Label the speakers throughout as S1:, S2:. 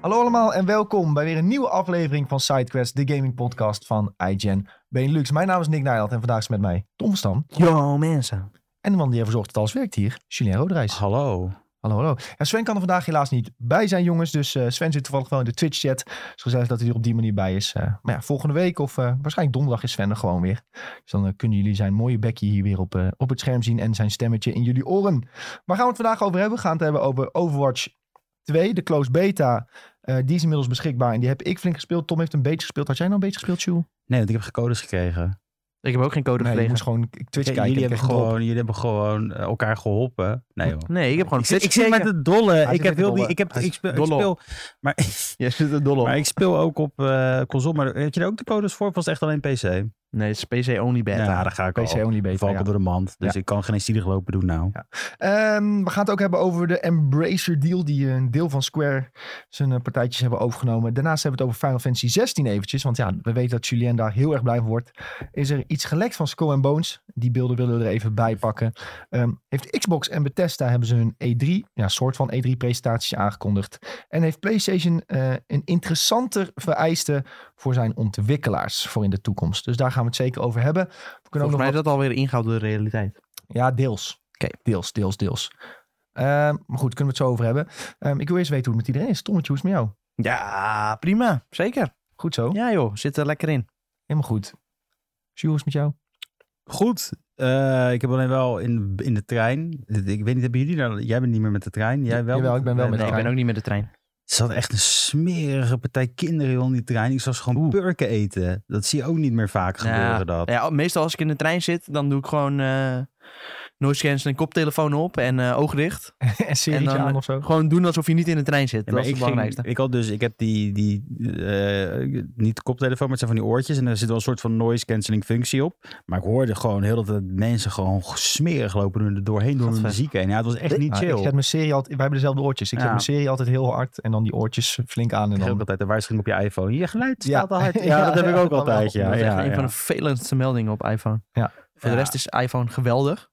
S1: Hallo allemaal en welkom bij weer een nieuwe aflevering van SideQuest, de gaming podcast van iGen Benelux. Mijn naam is Nick Nijland en vandaag is met mij Tom van Stam.
S2: Yo mensen.
S1: En de man die ervoor zorgt dat alles werkt hier, Julien Roderijs.
S3: Hallo.
S1: Hallo, hallo. Ja, Sven kan er vandaag helaas niet bij zijn, jongens. Dus eh, Sven zit toevallig wel in de Twitch-chat. Dus gezellig dat hij er op die manier bij is. Eh, maar ja, volgende week of eh, waarschijnlijk donderdag is Sven er gewoon weer. Dus dan eh, kunnen jullie zijn mooie bekje hier weer op, eh, op het scherm zien. En zijn stemmetje in jullie oren. Waar gaan we het vandaag over hebben? We gaan het hebben over Overwatch 2, de closed beta. Eh, die is inmiddels beschikbaar. En die heb ik flink gespeeld. Tom heeft een beetje gespeeld. Had jij nou een beetje gespeeld, Sjoel?
S3: Nee, want ik heb codes gekregen.
S2: Ik heb ook geen code
S1: Nee, je
S2: gekregen.
S1: moest gewoon Twitch kijken.
S3: jullie,
S1: en
S3: hebben
S1: kreeg een drop.
S3: gewoon, jullie hebben gewoon eh, elkaar geholpen. Nee, joh.
S2: Nee, ik heb gewoon
S3: Ik zit, ik
S2: Twitch
S3: zit met
S2: gekeken.
S3: de dolle.
S1: zit
S3: Ik
S1: met
S3: heb
S1: de
S3: heel die.
S1: dolle.
S3: Ik heb.
S1: Hij
S3: Ik
S1: zit
S3: speel. Ik
S2: dolle
S3: speel maar,
S2: Jij zit er dol op.
S3: maar ik speel ook op eh, console. Maar heb je er ook de codes voor? Of was het echt alleen PC?
S2: Nee, het is PC only beta.
S3: Ja, daar ga ik
S1: PC
S3: al.
S1: only beta.
S3: Val ik
S1: ja.
S3: al door de mand. Dus
S1: Ja.
S3: ik kan geen zielig lopen doen nou.
S1: Ehm, we gaan het ook hebben over de Embracer deal, die eh, een deel van Square zijn eh, partijtjes hebben overgenomen. Daarnaast hebben we het over Final Fantasy 16 eventjes, want ja, we weten dat Julien daar heel erg blij van wordt. Is er iets gelekt van Skull and Bones? Die beelden willen we er even bij pakken. Ehm, heeft Xbox en Bethesda hebben ze hun E3, ja, soort van E3-presentatie aangekondigd. En heeft PlayStation eh, een interessanter vereiste voor zijn ontwikkelaars voor in de toekomst. Dus daar gaan we het zeker over hebben. We kunnen ook nog
S2: Volgens mij
S1: wat-
S2: is dat alweer ingehaald door de realiteit.
S1: ja, deels.
S2: Oké.
S1: Deels, deels, deels. Ehm, maar goed, kunnen we het zo over hebben. Ehm, ik wil eerst weten hoe het met iedereen is. Tommetje, hoe is het met jou?
S2: Ja, prima. Zeker.
S1: Goed zo.
S2: Ja joh, zit er lekker in.
S1: Helemaal goed. Sjoe, hoe is het met jou?
S3: Goed. Eh, ik heb alleen wel in, in de trein. Ik weet niet, hebben jullie daar. Jij bent niet meer met de trein. Jij wel?
S1: Jawel, ik ben wel met de
S2: Nee, ik
S1: trein.
S2: ben ook niet met de trein.
S3: Er zat echt een smerige partij kinderen joh, in die trein. Ik zag ze gewoon
S2: Oeh.
S3: purken eten. Dat zie je ook niet meer vaak gebeuren. Dat.
S2: Ja, meestal als ik in de trein zit, dan doe ik gewoon eh noise cancelling, koptelefoon op en eh oog dicht.
S1: en eh, serietje
S2: En dan-
S1: aan of zo?
S2: Gewoon doen alsof je niet in de trein zit.
S3: Ja,
S2: dat
S3: maar
S2: is het
S3: ik, ging-
S2: belangrijkste.
S3: ik had dus, ik heb die, die eh, niet de koptelefoon, maar het zijn van die oortjes. En er zit wel een soort van noise cancelling functie op. Maar ik hoorde gewoon heel dat het mensen gewoon smerig lopen doen er doorheen door hun
S2: Gadver. nou,
S3: muziek heen. Ja, het was echt niet
S1: Ah,
S3: chill.
S1: ik zet mijn serie altijd... Wij hebben dezelfde oortjes. Ik zet
S3: Ja.
S1: mijn serie altijd heel hard en dan die oortjes flink aan. En
S3: Ik heb ook
S1: dan...
S3: altijd de waarschuwing op je iPhone. Je geluid
S1: Ja.
S3: staat al hard. Ja,
S1: Ja,
S3: dat heb ik
S1: ja,
S3: ook
S1: dat
S3: altijd.
S1: wel.
S3: Ja,
S2: dat is echt
S3: ja,
S2: een
S3: ja.
S2: van de vervelendste meldingen op iPhone.
S1: Ja.
S2: Voor
S3: Ja.
S2: de rest is iPhone geweldig.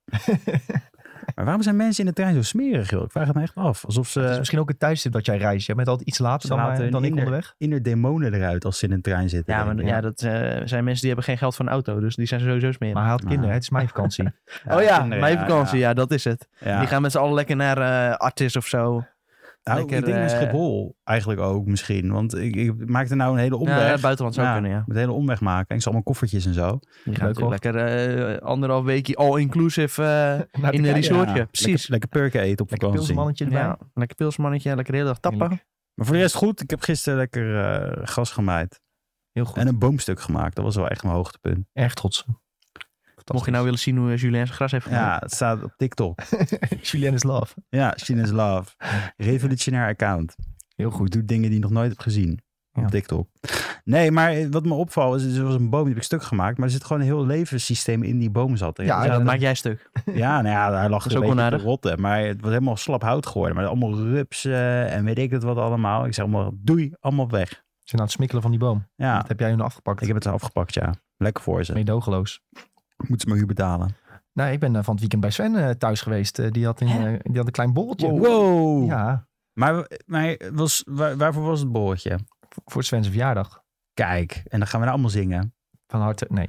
S3: Maar waarom zijn mensen in de trein zo smerig, joh? Ik vraag het me echt af. Alsof
S1: Het is
S3: ze
S1: misschien ook het thuiszit dat jij reist. Jij bent altijd iets later
S3: eh, Ze
S1: dan,
S3: laten
S1: mij- dan
S3: hun
S1: ik
S3: inner-
S1: onderweg.
S3: inner demonen eruit als ze in een trein zitten.
S2: Ja,
S3: denk
S2: maar
S3: ik.
S2: ja, dat eh, zijn mensen die hebben geen geld voor een auto, dus die zijn sowieso smerig.
S1: Maar hij had kinderen.
S3: Ah.
S1: hè? Het is mijn vakantie.
S2: oh ja,
S3: kinderen,
S2: mijn vakantie, ja, dat is het.
S3: ja.
S2: Die gaan met z'n allen lekker naar eh Artis of zo.
S3: Nou,
S2: Lekker,
S3: ik denk naar
S2: eh,
S3: Schiphol eigenlijk ook misschien. Want ik, ik maakte nou een hele
S2: Ja,
S3: omweg.
S2: het buitenland zou kunnen, ja.
S3: Met een hele omweg maken. En ik zal mijn koffertjes en zo.
S2: Die gaan
S1: Leuk, hoor.
S2: natuurlijk lekker eh, anderhalf weekje all-inclusive eh,
S1: Naar
S2: in een
S1: Turkije.
S2: resortje.
S3: Ja,
S2: Precies.
S3: Lekker, lekker purken eten op
S1: Lekker
S3: vakantie.
S1: pilsenmannetje erbij.
S2: Ja, lekker pilsmannetje, lekker de hele dag tappen.
S1: Heerlijk.
S3: Maar voor de rest goed. Ik heb gisteren lekker eh, gas gemaaid.
S1: Heel goed.
S3: En een boomstuk gemaakt. Dat was wel echt mijn hoogtepunt.
S1: Erg trots.
S2: Mocht je nou willen zien hoe eh, Julien zijn gras heeft gemaakt.
S3: Ja, het staat op TikTok.
S1: Julien is love.
S3: Ja, Sheena's Love. Revolutionair account.
S1: Heel goed.
S3: Doet dingen die Oh, ik nog nooit heb gezien. Op
S1: Ja.
S3: Tiktok. Nee, maar wat me opvalt is, er was een boom die heb ik stuk gemaakt. Maar er zit gewoon een heel levenssysteem in die boom zat. Dus Er
S1: Ja,
S2: Ja,
S3: zaten
S2: dat maak jij stuk.
S3: Ja, nou ja, hij lag
S2: Dat is
S3: dus een
S2: ook
S3: beetje te
S2: onaardig.
S3: rotten. Maar het was helemaal slap hout geworden. Maar allemaal rupsen en weet ik het wat allemaal. Ik zeg allemaal, doei, allemaal weg.
S1: Ze zijn aan het smikkelen van die boom.
S3: Ja,
S1: Dat heb jij hun afgepakt.
S3: ik heb het afgepakt, ja. Lekker voor ze.
S1: Meedogenloos.
S3: Moeten ze maar huur betalen.
S1: Nou, ik ben eh, van het weekend bij Sven eh, thuis geweest. Eh, die, had een,
S2: Hè?
S1: eh, die had een klein borreltje.
S3: Wow!
S1: Ja,
S3: Maar, maar was, waar- waarvoor was het boordje?
S1: v- voor Sven's verjaardag.
S3: Kijk, en dan gaan we daar allemaal zingen.
S1: Van harte, nee.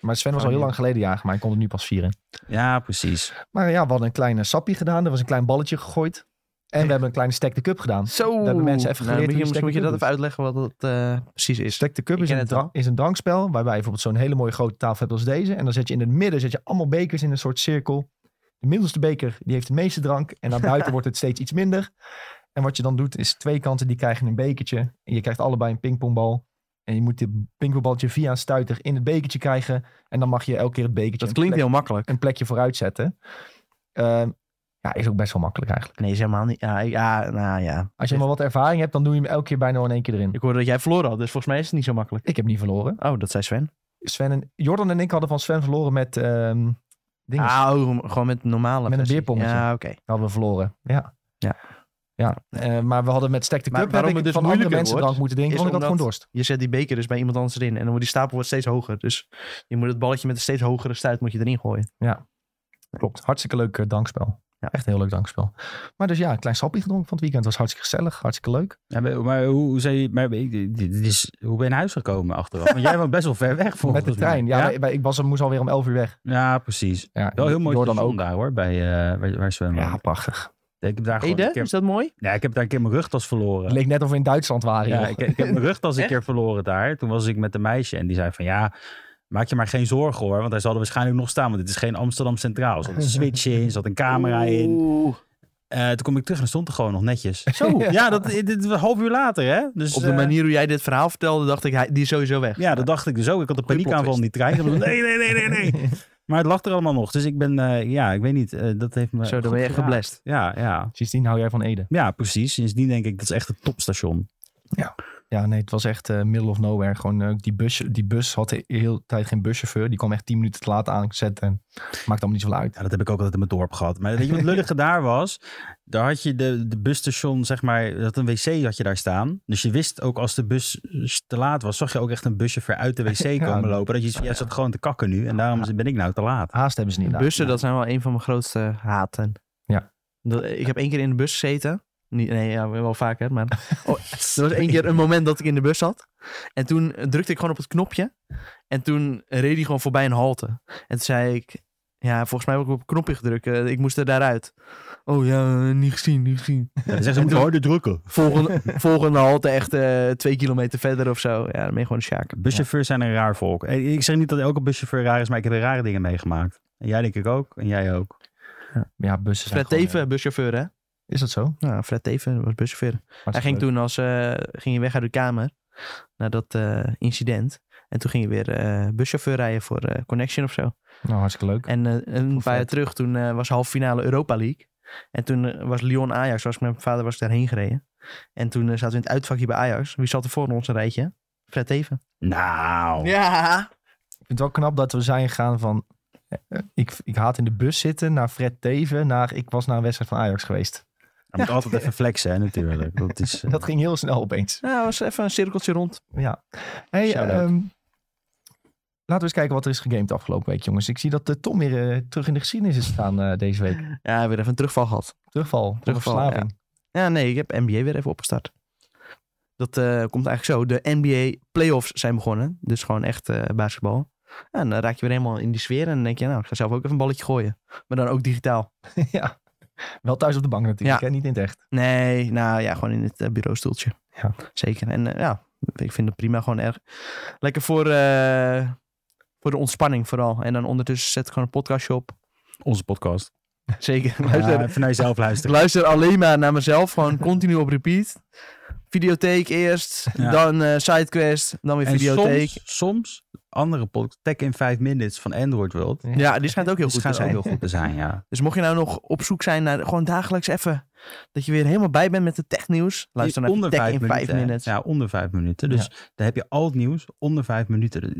S1: maar Sven was al
S3: Oh,
S1: heel
S3: nee.
S1: lang geleden jarig, maar hij kon het nu pas vieren.
S3: Ja, precies.
S1: Maar ja, we hadden een kleine sappie gedaan. Er was een klein balletje gegooid. En we hebben een kleine stack the cup gedaan.
S2: Zo. Nou,
S1: hebben mensen even geleerd hoe
S2: moet
S1: je
S2: je,
S1: stekker
S2: moet je dat
S1: doet.
S2: even uitleggen wat dat eh, precies is.
S1: Stack the cup
S2: Ik
S1: is
S2: ken
S1: een,
S2: het wel.
S1: dra- is een drankspel. Waarbij je bijvoorbeeld zo'n hele mooie grote tafel hebt als deze. En dan zet je in het midden zet je allemaal bekers in een soort cirkel. De middelste beker die heeft de meeste drank. En naar buiten wordt het steeds iets minder. En wat je dan doet is twee kanten die krijgen een bekertje. En je krijgt allebei een pingpongbal. En je moet dit pingpongbaltje via een stuiter in het bekertje krijgen. En dan mag je elke keer het bekertje
S2: Dat
S1: een
S2: klinkt
S1: plek-
S2: heel makkelijk.
S1: een plekje vooruit zetten. Ehm, ja, is ook best wel makkelijk eigenlijk.
S2: Nee, is helemaal niet. Ja, ja, nou ja.
S1: Als je maar wat ervaring hebt, dan doe je hem elke keer bijna wel in één keer erin.
S2: Ik hoorde dat jij verloren had, dus volgens mij is het niet zo makkelijk.
S1: Ik heb niet verloren.
S2: Oh, dat zei Sven.
S1: Sven en, Jordan en ik hadden van Sven verloren met ehm dingen.
S2: Ah, oh, gewoon met normale
S1: Met een
S2: versie.
S1: beerpongetje.
S2: Ja, oké.
S1: hadden we verloren. Ja.
S2: Ja.
S1: Ja, eh, maar we hadden met Stack the
S2: Maar
S1: Cup heb
S2: waarom
S1: ik
S2: het dus
S1: van andere
S2: moeilijker
S1: mensen
S2: wordt,
S1: drank moeten drinken,
S2: is
S1: want ik had gewoon
S2: omdat-
S1: dorst.
S2: Je zet die beker dus bij iemand anders erin en dan wordt die stapel wordt steeds hoger. Dus je moet het balletje met een steeds hogere stuit moet je erin gooien.
S1: Klopt, hartstikke leuk eh, drankspel. Ja, echt een heel leuk drankspel. Maar dus ja, een klein sapje gedronken van het weekend. Was hartstikke gezellig, hartstikke leuk.
S3: Ja, maar, maar hoe, hoe, zei je, maar, dit- dit is, hoe ben je naar huis gekomen achteraf? Want jij was best wel ver weg volgens
S1: Met de
S3: mij.
S1: trein. Ja,
S3: Ja,
S1: wij- wij- ik was, moest alweer om 11 uur weg.
S3: Ja, precies.
S1: Ja,
S3: Wel heel mooi
S1: door
S3: dan
S1: dan ook.
S3: daar hoor, bij, eh waar, waar Sven
S1: Ja,
S3: woont.
S1: prachtig.
S3: Ik heb daar gewoon
S2: Ede,
S3: een keer,
S2: is dat mooi?
S3: ja, ik heb daar een keer mijn rugtas verloren.
S1: Het leek net of we in Duitsland waren.
S3: Ja,
S1: joh.
S3: ik, ik heb mijn rugtas een keer verloren daar. Toen was ik met een meisje en die zei van ja, maak je maar geen zorgen hoor. Want hij zal er waarschijnlijk nog staan, want dit is geen Amsterdam Centraal. Er zat een switch in, er zat een camera in.
S2: Oeh.
S3: Eh, toen kom ik terug en er stond er gewoon nog netjes.
S1: Zo.
S3: Ja, dat, dit was een half uur later hè. Dus,
S2: Op de
S3: eh,
S2: manier hoe jij dit verhaal vertelde, dacht ik, hij, die is sowieso weg.
S3: ja, dat dacht ik dus ook. Ik had een
S2: Goeie
S3: paniekaanval in die trein. Ik was, nee, nee, nee, nee, nee. Maar het lag er allemaal nog. Dus ik ben, eh, ja, ik weet niet. eh, dat heeft me
S2: Zo, dan
S3: goed
S2: ben je echt
S3: geraakt.
S2: geblest.
S3: Ja, ja.
S1: Sindsdien hou jij van Ede.
S3: Ja, precies. Sindsdien denk ik, dat is echt het topstation.
S1: Ja, nee, het was echt eh, middle of nowhere. Gewoon eh, die, bus, die bus had de hele tijd geen buschauffeur. Die kwam echt 10 minuten te laat aanzetten. En maakt allemaal niet zoveel uit.
S3: Ja, dat heb ik ook altijd in mijn dorp gehad. Maar weet je wat het lullige daar was? Daar had je de, de busstation, zeg maar, dat een wc had je daar staan. Dus je wist ook als de bus te laat was, zag je ook echt een buschauffeur uit de wc komen lopen. Dat je zoiets van, ja, zat gewoon te kakken nu en daarom ben ik nou te laat.
S2: Ah.
S1: Haast hebben ze niet. daar.
S2: Bussen, dat zijn wel een van mijn grootste haten.
S1: Ja.
S2: Dat- ik heb één keer in de bus gezeten. Niet, nee, ja, wel vaker, maar... Oh, er was één keer een moment dat ik in de bus zat. En toen drukte ik gewoon op het knopje. En toen reed hij gewoon voorbij een halte. En toen zei ik... Ja, volgens mij heb ik op het knopje gedrukt. eh, Ik moest er daaruit. Oh ja, eh, niet gezien, niet gezien.
S3: Ja, dan zeggen ze, "Je moet harder drukken.
S2: Volgende, volgende halte echt eh, twee kilometer verder of zo. Ja, dan ben je gewoon een sjaak.
S3: Buschauffeurs zijn een raar volk. Eh, Ik zeg niet dat elke buschauffeur raar is, maar ik heb er rare dingen meegemaakt. En jij denk ik ook, en jij ook.
S1: Ja, bussen zijn
S2: Fred
S1: gewoon,
S2: Teven, buschauffeur hè?
S1: eh, Is dat zo?
S2: Ja, Fred Teven was buschauffeur. Hij ging toen als, eh, ging hij weg uit de kamer na dat eh, incident. En toen ging hij weer eh, buschauffeur rijden voor eh, Connection of zo.
S1: Nou, hartstikke leuk.
S2: En eh, een paar jaar terug, toen eh, was half finale Europa League. En toen eh, was Lyon Ajax, was met mijn vader was ik daarheen gereden. En toen eh, zaten we in het uitvakje bij Ajax. Wie zat er voor ons een rijtje? Fred Teven.
S3: Nou,
S2: Ja.
S1: Ik vind het wel knap dat we zijn gegaan van... eh, Ik, ik haat in de bus zitten naar Fred Teven. Naar, ik was naar een wedstrijd van Ajax geweest.
S3: je moet altijd even flexen, hè, natuurlijk. Dat is, eh,
S1: Dat ging heel snel opeens.
S2: Nou, was even een cirkeltje rond.
S1: Ja. Hey,
S2: Shout-out.
S1: ehm, laten we eens kijken wat er is gegamed de afgelopen week, jongens. Ik zie dat eh, Tom weer eh, terug in de geschiedenis is staan eh, deze week.
S2: Ja, weer even een terugval gehad.
S1: Terugval.
S2: Terugval,
S1: Terugval. Verslaving.
S2: Ja, nee, ik heb NBA weer even opgestart. Dat eh, komt eigenlijk zo. De NBA playoffs zijn begonnen. Dus gewoon echt eh, basketbal. Ja, en dan raak je weer helemaal in die sfeer. En dan denk je, nou, ik ga zelf ook even een balletje gooien. Maar dan ook digitaal.
S1: Ja. Wel thuis op de bank natuurlijk,
S2: Ja.
S1: hè? niet in het echt.
S2: Nee, nou ja, gewoon in het eh, bureaustoeltje.
S1: Ja.
S2: Zeker. En eh, ja, ik vind het prima. Gewoon erg lekker voor, eh, voor de ontspanning vooral. En dan ondertussen zet ik gewoon een podcastje op.
S3: onze podcast.
S2: Zeker.
S3: Ja,
S2: Luister,
S3: even naar jezelf
S2: Ik
S3: luisteren.
S2: luister alleen maar naar mezelf, gewoon continu op repeat. Videotheek eerst,
S3: Ja.
S2: dan eh, sidequest, dan weer
S3: En
S2: videotheek.
S3: soms, soms andere podcast, Tech in 5 Minutes van Android World. Die
S2: Ja, die schijnt ook heel goed te
S3: schijnt ook
S2: zijn.
S3: heel goed te zijn, ja.
S2: Dus mocht je nou nog op zoek zijn naar gewoon dagelijks even... dat je weer helemaal bij bent met de technieuws... luister naar
S3: onder
S2: Tech
S3: vijf
S2: in 5
S3: minuten, hè.
S2: minutes. Ja,
S3: Ja, onder vijf minuten. Dus daar heb je al het nieuws onder vijf minuten.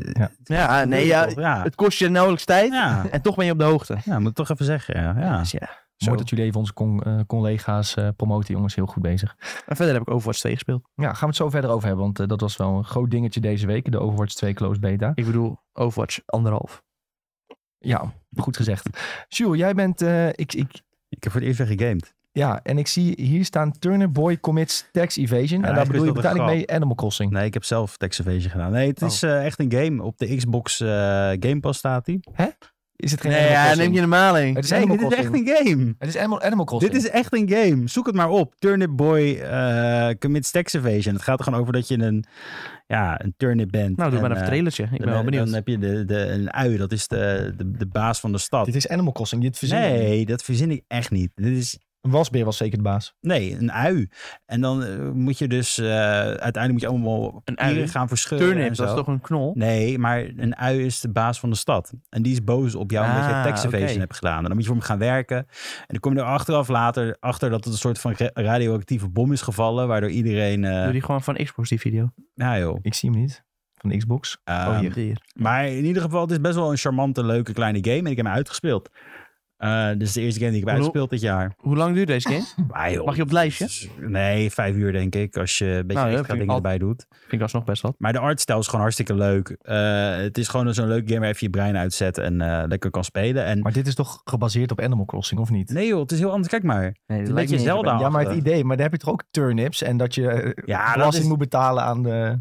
S1: Ja.
S2: nee, ja,
S3: ja.
S2: het kost je nauwelijks tijd
S3: Ja.
S2: en toch ben je op de hoogte.
S3: Ja, moet ik toch even zeggen. Ja, ja.
S2: Dus ja. Zo.
S1: Mooi dat jullie even onze con- eh, collega's eh, promoten, jongens. Heel goed bezig.
S2: En verder heb ik Overwatch 2 gespeeld.
S1: Ja, gaan we het zo verder over hebben, want eh, dat was wel een groot dingetje deze week. De Overwatch 2 Close Beta.
S2: Ik bedoel, Overwatch anderhalf.
S1: Ja, goed gezegd. Jules, jij bent... eh, ik, ik,
S3: Ik heb voor het eerst weer gegamed.
S1: ja, en ik zie hier staan Turner Boy commits tax evasion.
S3: Ja,
S1: en daar
S3: eigenlijk
S1: bedoel
S3: is
S1: je
S3: dat een
S1: uiteindelijk mee Animal Crossing.
S3: Nee, ik heb zelf Text Evasion gedaan. Nee, het
S1: Oh.
S3: is eh, echt een game. Op de Xbox eh, Game Pass staat die.
S1: Is het geen
S2: Nee,
S1: Animal
S2: ja,
S1: Crossing?
S2: neem je de maling.
S1: Het is
S3: Nee,
S1: Animal
S3: dit is echt
S1: Crossing.
S3: een game.
S1: Het is Animal, Animal Crossing.
S3: Dit is echt een game. Zoek het maar op. Turnip Boy eh, commits Text Evasion. Het gaat er gewoon over dat je een, ja, een turnip bent.
S2: Nou, doe
S3: En,
S2: maar even een
S3: eh,
S2: trailertje. Ik ben
S3: dan, eh,
S2: wel benieuwd.
S3: Dan heb je de, de, een ui, dat is de, de, de baas van de stad.
S1: Dit is Animal Crossing. Dit verzin ik niet.
S3: Nee, dat verzin ik echt niet. Dit is,
S1: Een wasbeer was zeker de baas.
S3: nee, een ui. En dan eh, moet je dus, eh, uiteindelijk moet je allemaal
S2: Een
S3: pieren
S2: ui?
S3: gaan verscheuren.
S2: Turnip,
S3: en
S2: dat is
S3: zo.
S2: toch een knol?
S3: Nee, maar een ui is de baas van de stad. En die is boos op jou omdat
S2: Ah,
S3: je tax evasion
S2: oké.
S3: hebt gedaan. En dan moet je voor hem gaan werken. En dan kom je er achteraf later achter dat het een soort van re- radioactieve bom is gevallen. Waardoor iedereen... eh,
S2: Doe die gewoon van Xbox, die video.
S3: ja joh.
S1: Ik zie hem niet. Van de Xbox.
S3: Ehm,
S2: Oh, hier.
S3: maar in ieder geval, het is best wel een charmante, leuke kleine game. En ik heb hem uitgespeeld. Eh, dit is de eerste game die ik heb
S2: Hoe-
S3: uitgespeeld dit jaar.
S2: Hoe lang duurt deze game?
S3: Ah, joh.
S2: Mag je op het lijstje?
S3: Nee, vijf uur denk ik, als je een beetje
S2: Nou, ja,
S3: extra
S2: vind ik
S3: dingen
S2: al-
S3: erbij doet.
S2: Vind ik alsnog best wat.
S3: Maar de artstijl is gewoon hartstikke leuk. Eh, het is gewoon zo'n leuk game waar je even je brein uitzet en eh, lekker kan spelen. En
S1: Maar dit is toch gebaseerd op Animal Crossing, of niet?
S3: nee joh, het is heel anders. Kijk maar.
S2: Nee, het lijkt
S3: een beetje
S2: me niet
S3: Zelda.
S2: eens
S1: Ja, maar het
S3: achter.
S1: idee, maar daar heb je toch ook turnips en dat je eh,
S3: Ja, dat
S1: belasting
S3: is-
S1: moet betalen aan de...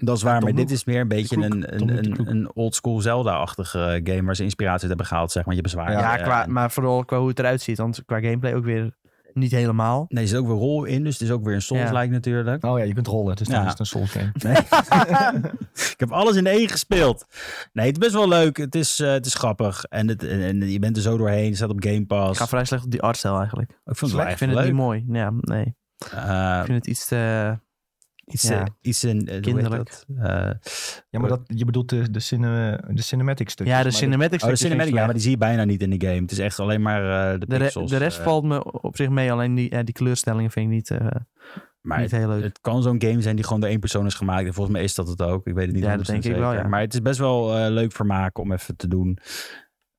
S3: Dat is waar,
S1: Tom
S3: maar dit
S1: Nook.
S3: is meer een beetje
S1: Kloek.
S3: een,
S1: Tom
S3: een,
S1: Nook de
S3: een,
S1: Kloek.
S3: een old-school Zelda-achtige game waar ze inspiratie uit hebben gehaald, zeg maar. Je bezwaar.
S2: Ja, qua, maar vooral qua hoe het eruit ziet. Want qua gameplay ook weer niet helemaal.
S3: Nee, er zit ook weer rol in, dus het is ook weer een Souls-like natuurlijk.
S1: Oh ja, je kunt rollen, dus dan
S3: Ja.
S1: is het een Souls game.
S3: Ik heb alles in één gespeeld. Nee, het is best wel leuk. Het is, eh, het is grappig. En, het, en, en je bent er zo doorheen. Het staat op Game
S2: Ik
S3: Pass.
S2: ga vrij slecht op die artstijl eigenlijk.
S3: ik vond het wel
S2: ik
S3: echt
S2: vind het
S3: leuk. Eh,
S2: niet mooi. Ja, nee. Ik vind het iets te...
S3: iets,
S2: Ja.
S3: eh, iets in... eh, hoe heet
S2: Kinderlijk.
S3: dat? Eh,
S1: Ja, maar dat, je bedoelt de, de, cine, de cinematic stukjes.
S2: Ja, de
S1: maar dat-
S2: cinematics.
S3: oh, de
S2: stukjes vind ik
S3: cinematic, ja, maar
S2: slecht.
S3: die zie je bijna niet in de game. Het is echt alleen maar eh, de
S2: de, re-
S3: pixels.
S2: de rest
S3: eh.
S2: valt me op zich mee. Alleen die, ja, die kleurstellingen vind ik niet, eh,
S3: Maar
S2: niet
S3: het,
S2: heel leuk.
S3: het kan zo'n game zijn die gewoon door één persoon is gemaakt. En volgens mij is dat het ook. Ik weet het niet
S2: Ja, dat
S3: 100%
S2: denk ik wel,
S3: zeker.
S2: ja.
S3: Maar het is best wel eh, leuk vermaak om even te doen.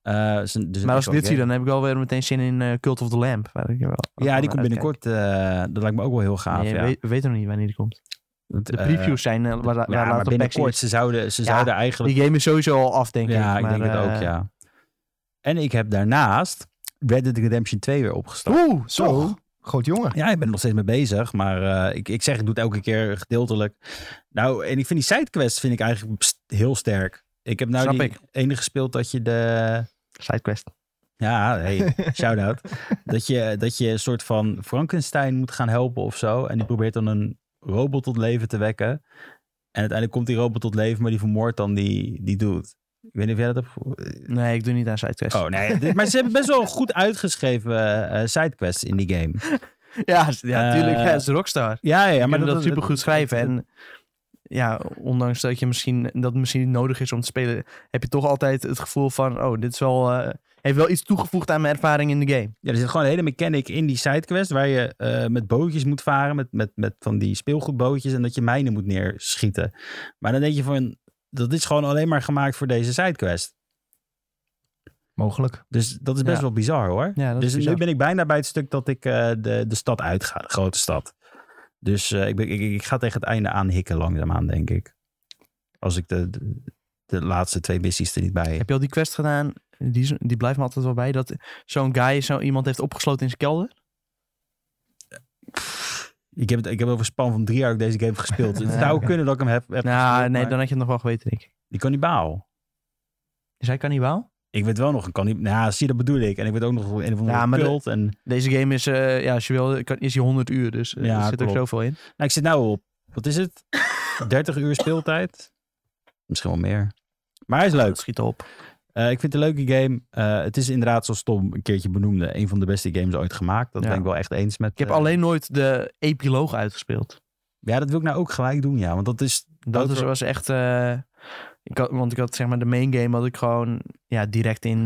S3: Eh, het is een- dus een
S2: maar als ik dit
S3: echt wel
S2: zie,
S3: game.
S2: dan heb ik wel weer meteen zin in eh, Cult of the Lamp. Waar ik wel,
S3: Ja,
S2: wel
S3: die komt
S2: naar
S3: binnenkort. eh, dat lijkt me ook wel heel
S2: uitkijk.
S3: gaaf.
S2: Nee,
S3: ja.
S2: We, we weten nog niet wanneer die komt.
S3: Want,
S2: De
S3: eh,
S2: previews zijn eh, waar, waar
S3: ja, maar
S2: later op
S3: binnenkort,
S2: backstage-
S3: ze zouden, ze
S2: Ja,
S3: zouden eigenlijk...
S2: Die game is sowieso al af, denk
S3: ja,
S2: ik.
S3: ik
S2: maar,
S3: denk het
S2: eh,
S3: ook, ja. En ik heb daarnaast Red Dead Redemption 2 weer opgestart.
S1: Oeh, zo. Groot jongen.
S3: Ja, ik ben er nog steeds mee bezig, maar eh, ik, ik zeg, ik doe het elke keer gedeeltelijk. Nou, en ik vind die sidequests vind ik eigenlijk pst- heel sterk. Ik heb nou
S2: Snap
S3: die
S2: ik.
S3: ene gespeeld dat je de...
S2: Sidequest.
S3: Ja, hey, shout-out. dat, je, dat je een soort van Frankenstein moet gaan helpen of zo. En die probeert dan een robot tot leven te wekken. En uiteindelijk komt die robot tot leven, maar die vermoordt dan die, die dude. Ik weet niet of jij dat hebt...
S2: Nee, ik doe niet aan sidequest.
S3: Oh nee, dit- maar ze hebben best wel goed uitgeschreven eh, eh, sidequests in die game.
S2: Ja, s- ja, tuurlijk.
S3: Eh,
S2: ja, het is Rockstar.
S3: Ja, ja,
S2: Maar
S3: maar
S2: dat, dat super goed schrijven. En ja, ondanks dat, je misschien, dat het misschien niet nodig is om te spelen, heb je toch altijd het gevoel van: oh, dit is wel, eh, heeft wel iets toegevoegd aan mijn ervaring in de game.
S3: Ja, er zit gewoon een hele mechanic in die sidequest waar je eh, met bootjes moet varen, met, met, met van die speelgoedbootjes en dat je mijnen moet neerschieten. Maar dan denk je van, dat is gewoon alleen maar gemaakt voor deze sidequest.
S1: Mogelijk.
S3: Dus dat is best
S2: Ja.
S3: wel bizar hoor.
S2: Ja, dat
S3: dus
S2: is bizar.
S3: nu ben ik bijna bij het stuk dat ik eh, de, de stad uitga, de grote stad. Dus eh, ik, ben, ik, ik ga tegen het einde aan hikken langzaamaan, denk ik. Als ik de, de, de laatste twee missies er niet bij heb.
S2: Heb je al die quest gedaan? Die, is- die blijft me altijd wel bij. Dat zo'n guy zo iemand heeft opgesloten in zijn kelder.
S3: Ik heb, het, ik heb over een span van drie jaar ook deze game gespeeld. Dus het
S2: Ja,
S3: zou
S2: oké.
S3: kunnen dat ik hem heb, heb
S2: nou,
S3: gespeeld,
S2: nee,
S3: maar-
S2: dan had je het nog wel geweten, denk ik.
S3: Die kannibaal.
S2: Is hij kannibaal?
S3: Ik weet wel nog een kannibaal. Ja, zie je, dat bedoel ik. En ik weet ook nog een of andere
S2: Ja, maar de-
S3: cult. En,
S2: Deze game is, eh, ja, als je wil, kan- is hij 100 uur. Dus eh,
S3: Ja,
S2: er zit
S3: klopt.
S2: ook zoveel in.
S3: nou, ik zit nou op, wat is het? 30 uur speeltijd? Misschien wel meer. Maar hij is leuk.
S2: Dat schiet op.
S3: Eh, ik vind het een leuke game. Eh, het is inderdaad, zoals Tom een keertje benoemde, een van de beste games ooit gemaakt. Dat
S2: Ja.
S3: ben ik wel echt eens met.
S2: Ik heb
S3: eh,
S2: alleen nooit de epiloog uitgespeeld.
S3: Ja, dat wil ik nou ook gelijk doen, ja. Want dat is...
S2: Dat is,
S3: Outro-
S2: was echt. eh, ik had, want ik had zeg maar de main game had ik gewoon ja, direct in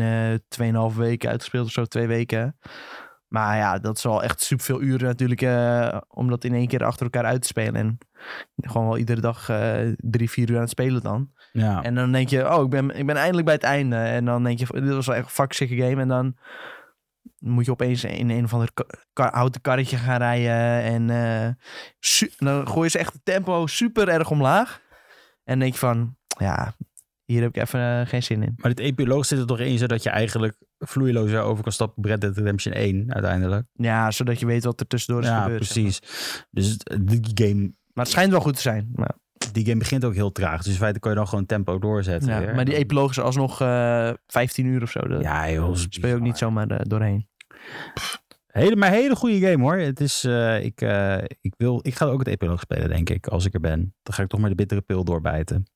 S2: eh 2,5 weken uitgespeeld of zo, twee weken. Maar ja, dat is wel echt superveel uren natuurlijk eh, om dat in één keer achter elkaar uit te spelen. En gewoon wel iedere dag eh, drie, vier uur aan het spelen dan.
S3: Ja.
S2: En dan denk je, oh, ik ben, ik ben eindelijk bij het einde. En dan denk je, dit was wel echt een vakzikke game. En dan moet je opeens in een of ander ka- ka- houten karretje gaan rijden. En eh, su- dan gooi je ze echt het tempo super erg omlaag. En denk je van, ja, hier heb ik even eh, geen zin in.
S3: Maar dit epiloog zit er toch in, zodat je eigenlijk vloeilozer over kan stappen op Red Dead Redemption 1 uiteindelijk.
S2: Ja, zodat je weet wat er tussendoor is
S3: ja,
S2: gebeurd. zeg
S3: precies. Dus het- die game,
S2: maar. Maar het schijnt wel goed te zijn. Maar,
S3: die game begint ook heel traag. Dus in feite kan je dan gewoon tempo doorzetten
S2: ja,
S3: weer.
S2: maar die epiloog is alsnog eh 15 uur of zo. Dat
S3: Ja, joh. dat is
S2: speel je ook niet
S3: bizar.
S2: zomaar eh, doorheen.
S3: Hele, maar hele goede game hoor. Het is, eh, ik, eh, ik, wil, ik ga ook het epiloog spelen, denk ik, als ik er ben. Dan ga ik toch maar de bittere pil doorbijten.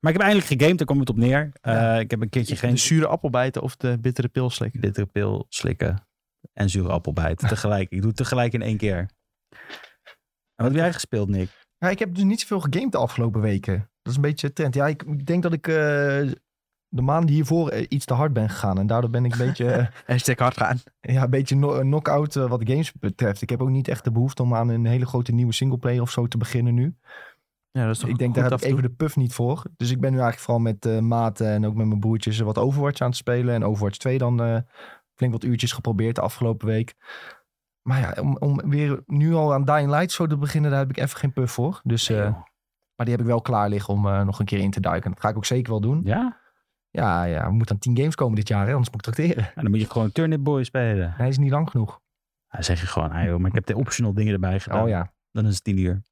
S3: Maar ik heb eindelijk gegamed, daar komt het op neer. Eh,
S2: Ja. dus-
S3: Ik heb een keertje
S2: De
S3: geen
S2: zure appel bijten of de bittere pil slikken.
S3: bittere pil slikken en zure appel bijten. Tegelijk. ik doe het tegelijk in één keer. En wat heb jij gespeeld, Nick?
S1: Ja, ik heb dus niet zoveel gegamed de afgelopen weken. Dat is een beetje de trend. Ja, ik ik denk dat ik eh, de maanden hiervoor eh, iets te hard ben gegaan. En daardoor ben ik een beetje... eh,
S2: Hashtag hard gaan.
S1: Ja, een beetje no- knock-out eh, wat games betreft. Ik heb ook niet echt de behoefte om aan een hele grote nieuwe singleplayer of zo te beginnen nu.
S2: Ja, dat is toch
S1: Ik denk,
S2: goed
S1: daar heb
S2: af
S1: ik
S2: en toe.
S1: even de puff niet voor. Dus ik ben nu eigenlijk vooral met eh maten en ook met mijn broertjes eh, wat Overwatch aan het spelen. En Overwatch 2 dan eh, flink wat uurtjes geprobeerd de afgelopen week. Maar ja, om, om weer nu al aan Dying Light zo te beginnen, daar heb ik even geen puff voor. Dus, eh, maar die heb ik wel klaar liggen om eh, nog een keer in te duiken. Dat ga ik ook zeker wel doen.
S3: Ja?
S1: Ja, ja, we moeten aan 10 games komen dit jaar, hè, anders moet ik trakteren.
S3: Ja, Nou, dan moet je gewoon Turnip Boy spelen.
S1: Hij is niet lang genoeg.
S3: Dan zeg je gewoon, ah joh, maar ik heb de optional dingen erbij gedaan.
S1: Oh ja.
S3: Dan is het 10 uur.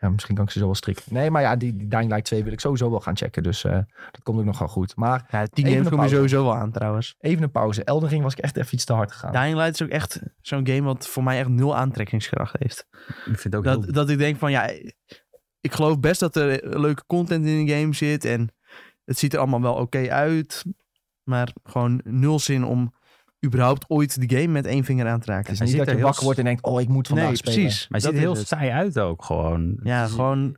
S1: ja, misschien kan ik ze zo wel strikken. Nee, maar ja, die, die Dying Light 2 wil ik sowieso wel gaan checken. Dus eh, dat komt ook nog wel goed. Maar
S2: Ja,
S1: Even
S2: tien games
S1: een
S2: kom je
S1: pauze.
S2: sowieso wel aan trouwens.
S1: even een pauze. Elden Ring was ik echt even iets te hard gegaan.
S2: Dying Light is ook echt zo'n game wat voor mij echt nul aantrekkingskracht heeft.
S3: Ik vind het ook heel...
S2: Dat, dat ik denk van ja, ik geloof best dat er leuke content in de game zit en het ziet er allemaal wel oké uit. Maar gewoon nul zin om überhaupt ooit de game met één vinger aan te raken.
S1: Het is
S3: Hij
S1: niet
S3: zit
S1: dat
S3: er
S1: je
S3: heel
S1: wakker
S3: s-
S1: wordt en denkt, oh, ik moet vandaag
S2: nee,
S1: spelen.
S2: precies.
S3: Maar
S2: Dat
S3: het ziet er heel
S2: is het.
S3: saai uit ook gewoon.
S2: Ja,
S3: Het is-
S2: gewoon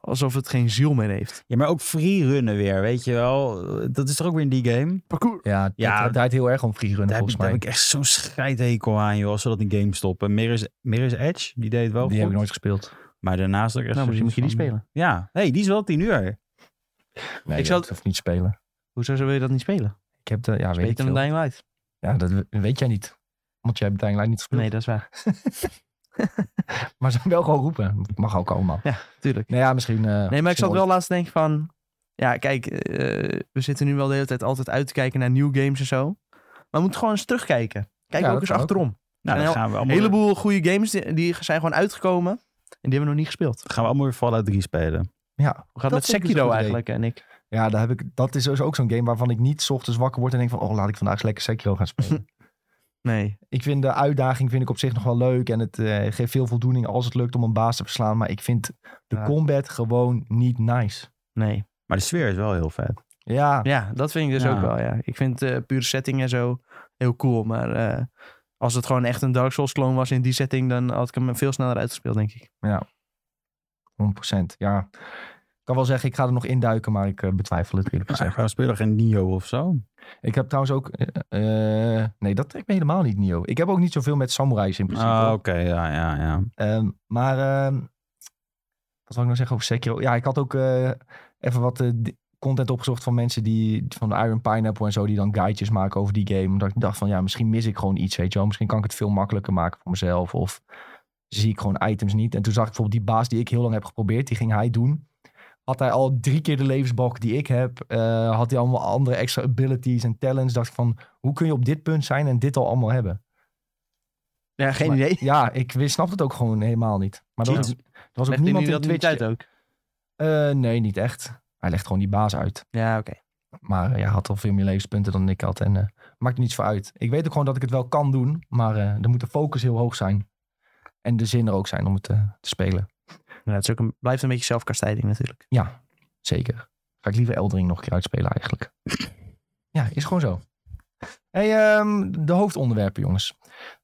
S2: alsof het geen ziel meer heeft.
S3: Ja, maar ook free runnen weer, weet je wel. Dat is toch ook weer in die game?
S2: Parcours.
S1: Ja, het-
S3: Ja,
S1: het draait heel erg om freerun
S3: Daar heb, ik,
S1: volgens
S3: daar
S1: mij.
S3: heb ik echt zo'n scheidhekel aan, joh. Als ze dat in game stoppen. Mirror's, Mirror's Edge, die deed het wel
S1: Die heb
S3: goed.
S1: ik nooit gespeeld.
S3: Maar daarnaast ook echt
S2: Nou, misschien moet je die
S3: zoiets van-
S2: spelen.
S3: Ja. hey, die is wel 10 uur.
S1: Nee,
S2: Ik
S1: ik
S2: zou-
S1: zou het of niet spelen.
S2: Hoezo zou wil je dat niet spelen?
S1: Ik heb de, ja, weet ik
S2: Beter dan
S1: veel.
S2: Dying Light.
S1: Ja, dat we- weet jij niet. Want jij hebt Dying Light niet gespeeld.
S2: Nee, dat is waar.
S1: Maar ze wel gewoon roepen. Mag ook allemaal.
S2: Tuurlijk.
S1: Nou ja, misschien... eh,
S2: Nee, maar ik
S1: misschien
S2: zat wel laatst te denken van... Ja, kijk, eh, we zitten nu wel de hele tijd altijd uit te kijken naar nieuwe games en zo. Maar we moeten gewoon eens terugkijken. Kijk
S1: Ja,
S2: ook
S1: dat
S2: eens
S1: kan
S2: achterom.
S3: Nou,
S2: En heel-
S3: dan gaan we
S2: Een
S3: allemaal,
S2: heleboel goede games die, die zijn gewoon uitgekomen. En die hebben we nog niet gespeeld.
S3: gaan we allemaal weer Fallout 3 spelen.
S1: Ja,
S2: Hoe gaat het
S1: Dat
S2: met
S1: vind ik dus
S2: Sekiro
S1: een goed idee.
S2: eigenlijk, eh, en ik?
S1: ja daar heb ik, dat is dus ook zo'n game waarvan ik niet 's ochtends wakker word en denk van... Oh, laat ik vandaag eens lekker Sekiro gaan spelen.
S2: Nee.
S1: ik vind de uitdaging vind ik op zich nog wel leuk. En het eh, geeft veel voldoening als het lukt om een baas te verslaan. Maar ik vind de
S2: Ja.
S1: combat gewoon niet nice.
S2: Nee.
S3: Maar de sfeer is wel heel vet.
S1: Ja,
S2: Ja, dat vind ik dus
S3: Ja.
S2: ook wel, ja. Ik vind eh pure setting en zo heel cool. Maar eh, als het gewoon echt een Dark Souls clone was in die setting... dan had ik hem veel sneller uitgespeeld, denk ik.
S1: 100%. Ja, ik kan wel zeggen, ik ga er nog induiken, maar ik eh, betwijfel het eerlijk
S3: Nou,
S1: gezegd.
S3: gaan we spelen geen Nio of zo.
S1: Ik heb trouwens ook... eh, eh, nee, dat trekt me helemaal niet, Nio. Ik heb ook niet zoveel met samurais in principe.
S3: Ah, oké. Ja, ja, ja.
S1: Ehm, maar ehm, wat wil ik nou zeggen over Sekiro? Ja, ik had ook eh, even wat eh, di- content opgezocht van mensen die van de Iron Pineapple en zo, die dan guidejes maken over die game. Omdat ik dacht van ja, misschien mis ik gewoon iets, weet je wel. Misschien kan ik het veel makkelijker maken voor mezelf of zie ik gewoon items niet. En toen zag ik bijvoorbeeld die baas die ik heel lang heb geprobeerd, die ging hij doen. Had hij al drie keer de levensbalk die ik heb? eh, had hij allemaal andere extra abilities en talents? Dacht ik van, hoe kun je op dit punt zijn en dit al allemaal hebben?
S2: Ja, geen
S1: Maar-
S2: idee.
S1: Ja, ik wist- snap het ook gewoon helemaal niet. Maar er was,
S2: Jeez.
S1: er was ook
S2: Legt hij
S1: niemand
S2: nu
S1: in
S2: dat
S1: Twitch.
S2: niet uit ook?
S1: Eh, nee, niet echt. Hij legt gewoon die baas uit.
S2: Ja, oké.
S1: Maar eh, ja, hij had al veel meer levenspunten dan ik had. En eh, maakt er niets voor uit. Ik weet ook gewoon dat ik het wel kan doen. Maar eh er moet de focus heel hoog zijn. En de zin er ook zijn om het eh, te spelen.
S2: Ja, het is ook een, blijft een beetje zelfkastijding natuurlijk.
S1: Ja, zeker. Ga ik liever Eldering nog een keer uitspelen eigenlijk. ja, is gewoon zo. hey, ehm, de hoofdonderwerpen jongens.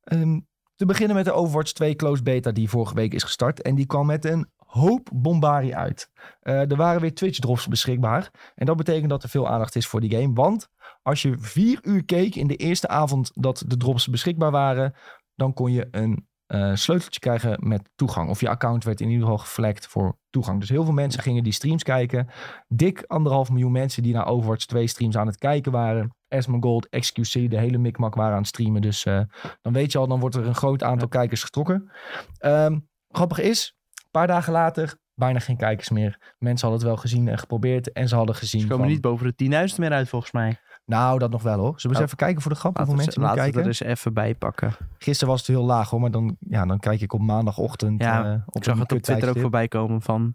S1: Ehm, te beginnen met de Overwatch 2 Closed Beta die vorige week is gestart. En die kwam met een hoop bombarie uit. Eh, er waren weer Twitch drops beschikbaar. En dat betekent dat er veel aandacht is voor die game. Want als je vier uur keek in de eerste avond dat de drops beschikbaar waren... dan kon je een eh, sleuteltje krijgen met toegang. Of je account werd in ieder geval geflagd voor toegang. Dus heel veel mensen gingen die streams kijken. Dik anderhalf miljoen mensen die naar Overwatch 2 streams aan het kijken waren. Gold, XQC, de hele mikmak waren aan het streamen. Dus eh, dan weet je al, dan wordt er een groot aantal kijkers getrokken. Ehm, grappig is, een paar dagen later, bijna geen kijkers meer. Mensen hadden het wel gezien en geprobeerd. En ze hadden gezien
S2: Ze komen
S1: van-
S2: niet boven de 10.000 meer uit volgens mij.
S1: Nou, dat nog wel hoor. Zullen we eens
S2: Oh.
S1: even kijken voor de grap hoeveel
S2: we-
S1: mensen nu
S2: laten we
S1: kijken?
S2: er eens even bij pakken.
S1: Gisteren was het heel laag hoor, maar dan, ja, dan kijk ik op maandagochtend.
S2: Ja,
S1: eh, op
S2: Ik zag
S1: een
S2: het op
S1: kut
S2: Twitter ook
S1: tijdstip.
S2: voorbij komen van...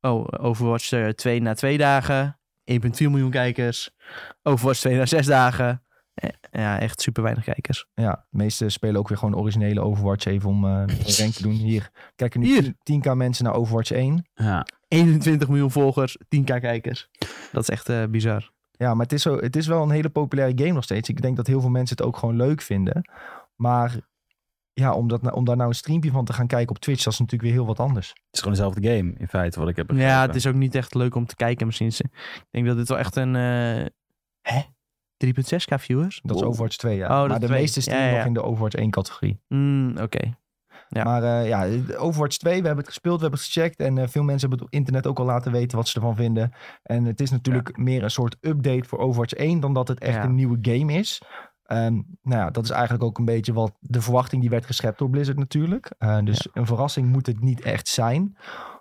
S2: Oh, Overwatch 2 na twee dagen. 1,4 miljoen kijkers. Overwatch 2 na zes dagen. Eh, Ja, echt super weinig kijkers.
S1: Ja, de meesten spelen ook weer gewoon originele Overwatch even om eh, een rank te doen. Hier kijken nu
S2: Hier.
S1: 10, k mensen naar Overwatch 1.
S3: ja.
S2: 21 miljoen volgers, 10k kijkers. Dat is echt eh, bizar.
S1: Ja, maar het is, zo, het is wel een hele populaire game nog steeds. Ik denk dat heel veel mensen het ook gewoon leuk vinden. Maar ja, om, dat, nou- om daar nou een streampje van te gaan kijken op Twitch, dat is natuurlijk weer heel wat anders.
S3: Het is gewoon dezelfde game, in feite, wat ik heb begrepen.
S2: Ja, het is ook niet echt leuk om te kijken misschien. is- Ik denk dat dit wel echt een... eh, hè? 3.6k viewers?
S1: Dat is
S2: Wow.
S1: Overwatch 2, ja.
S2: Oh, dat
S1: maar de
S2: twee.
S1: meeste
S2: Ja,
S1: streamen
S2: ja, ja.
S1: nog in de Overwatch 1 categorie.
S2: Mm, Oké. Ja.
S1: Maar eh, ja, Overwatch 2, we hebben het gespeeld, we hebben het gecheckt. En eh, veel mensen hebben het op internet ook al laten weten wat ze ervan vinden. En het is natuurlijk meer een soort update voor Overwatch 1 dan dat het echt
S2: Ja.
S1: een nieuwe game is. Ehm, nou ja, dat is eigenlijk ook een beetje wat de verwachting die werd geschept door Blizzard natuurlijk. Eh, dus een verrassing moet het niet echt zijn.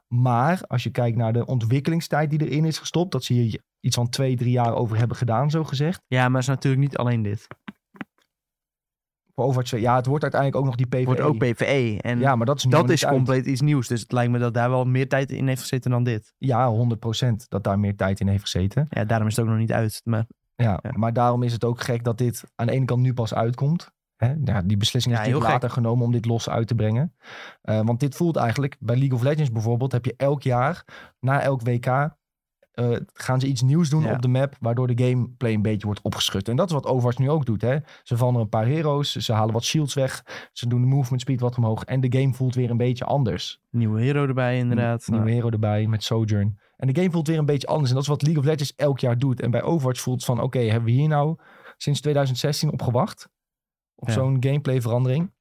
S1: Maar als je kijkt naar de ontwikkelingstijd die erin is gestopt, dat ze hier iets van twee, drie jaar over hebben gedaan, zo gezegd.
S2: Ja, maar het is natuurlijk niet alleen dit.
S1: Voor Overwatch 2, ja, het wordt uiteindelijk ook nog die PvE.
S2: Het wordt ook PvE. En
S1: E. Ja, maar dat is nu nog
S2: dat
S1: niet
S2: is
S1: uit.
S2: compleet iets nieuws. Dus het lijkt me dat daar wel meer tijd in heeft gezeten dan dit.
S1: Ja, 100% dat daar meer tijd in heeft gezeten.
S2: Ja, daarom is het ook nog niet uit. Maar
S1: Ja,
S2: Ja.
S1: maar daarom is het ook gek dat dit aan de ene kant nu pas uitkomt. Hè? Ja, die beslissing is
S2: Ja, heel
S1: natuurlijk later genomen om dit los uit te brengen. Eh, want dit voelt eigenlijk, bij League of Legends bijvoorbeeld, heb je elk jaar, na elk WK, eh, gaan ze iets nieuws doen
S2: Ja.
S1: op de map, waardoor de gameplay een beetje wordt opgeschud. En dat is wat Overwatch nu ook doet. Hè? Ze vallen er een paar heroes, ze halen wat shields weg, ze doen de movement speed wat omhoog en de game voelt weer een beetje anders.
S2: nieuwe hero erbij inderdaad.
S1: Nieuwe
S2: Nou,
S1: hero erbij met Sojourn. En de game voelt weer een beetje anders. En dat is wat League of Legends elk jaar doet. En bij Overwatch voelt het van, oké, hebben we hier nou sinds 2016 op gewacht? Op
S2: Ja.
S1: zo'n gameplay verandering?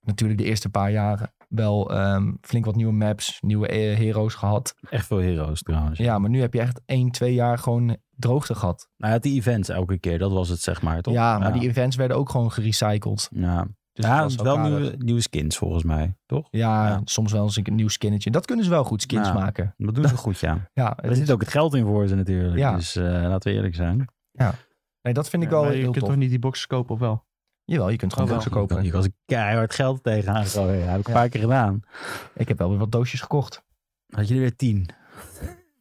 S1: Natuurlijk de eerste paar jaren wel ehm, flink wat nieuwe maps, nieuwe eh, heroes gehad.
S3: Echt veel heroes trouwens.
S1: Ja, maar nu heb je echt één, twee jaar gewoon droogte gehad.
S3: Nou, het die events elke keer, dat was het zeg maar, toch?
S1: Ja, maar die events werden ook gewoon gerecycled.
S3: Ja,
S1: Dus het
S3: ja het
S1: was
S3: is wel
S1: elkaar-
S3: nieuwe, nieuwe skins volgens mij, toch?
S1: Ja,
S3: Ja.
S1: soms wel eens een nieuw skinnetje. Dat kunnen ze wel goed, skins
S3: Ja.
S1: maken.
S3: Dat doen ze goed, ja.
S1: Ja,
S3: Er zit ook het geld in voor ze natuurlijk,
S1: Ja.
S3: dus eh, laten we eerlijk zijn.
S1: nee, dat vind ik
S2: ja,
S1: wel
S2: maar je
S1: heel
S2: kunt
S1: tof.
S2: toch niet die boxen kopen of wel?
S1: Jawel, je kunt gewoon
S2: Oh, wel.
S1: boxen kopen.
S3: Ik was keihard geld tegenaan gegooid. Ja, heb ik een
S1: Ja.
S3: paar keer gedaan.
S1: Ik heb wel weer wat doosjes gekocht.
S3: Had je er weer tien.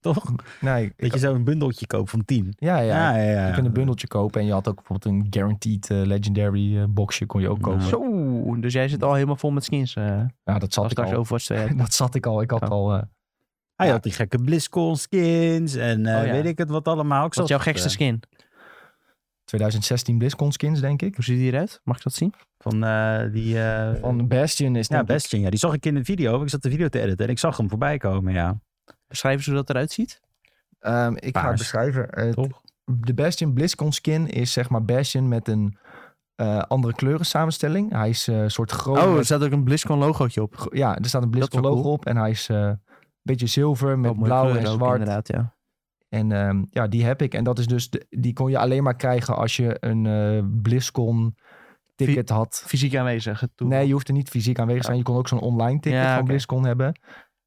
S3: Toch?
S1: Nee, ik-
S3: Dat je zo een bundeltje koopt van tien.
S1: ja, ja,
S3: Ja, ja, ja.
S1: Je kunt een bundeltje kopen en je had ook bijvoorbeeld een guaranteed eh, legendary eh, boxje kon je ook kopen.
S3: Ja.
S1: Ja,
S2: Nou, Zo, dus jij zit al helemaal vol met skins. eh
S1: dat
S2: als
S1: zat ik
S2: straks
S1: al.
S2: Overwatch 2 hebt.
S1: Dat zat ik al. Ik had
S2: Oh.
S1: al. eh,
S3: Hij
S1: Ja.
S3: had die gekke BlizzCon skins en eh,
S2: Oh, ja.
S3: weet ik het wat allemaal. Ik
S2: Wat is
S3: zat-
S2: jouw gekste
S3: eh,
S2: skin?
S1: 2016 BlizzCon skins, denk ik.
S2: Hoe ziet die eruit? Mag ik dat zien?
S3: Van eh, die... eh,
S1: Van Bastion is
S3: ja,
S1: denk ik-
S3: Bastion. Ja, die zag ik in de video. Ik zat de video te editen en ik zag hem voorbij komen, ja.
S2: Beschrijf eens hoe dat eruit ziet.
S1: Ehm, ik ga het
S3: Paars.
S1: beschrijven. Eh,
S3: Toch?
S1: de Bastion BlizzCon skin is zeg maar Bastion met een eh, andere kleurensamenstelling. Hij is eh, een soort groot.
S2: Oh, er staat ook een BlizzCon logootje op.
S1: Go- Ja, er staat een BlizzCon
S2: wel
S1: logo
S2: cool.
S1: op en hij is eh, een beetje zilver met
S2: Oh, mooie
S1: blauw en
S2: kleuren ook
S1: zwart.
S2: inderdaad, ja.
S1: En ehm, ja, die heb ik. En dat is dus, de- die kon je alleen maar krijgen als je een eh BlizzCon ticket had.
S2: Fysiek aanwezig. het toeval.
S1: Nee, je hoeft er niet fysiek aanwezig te zijn. Je kon ook zo'n online ticket
S2: Ja,
S1: van
S2: oké.
S1: BlizzCon hebben.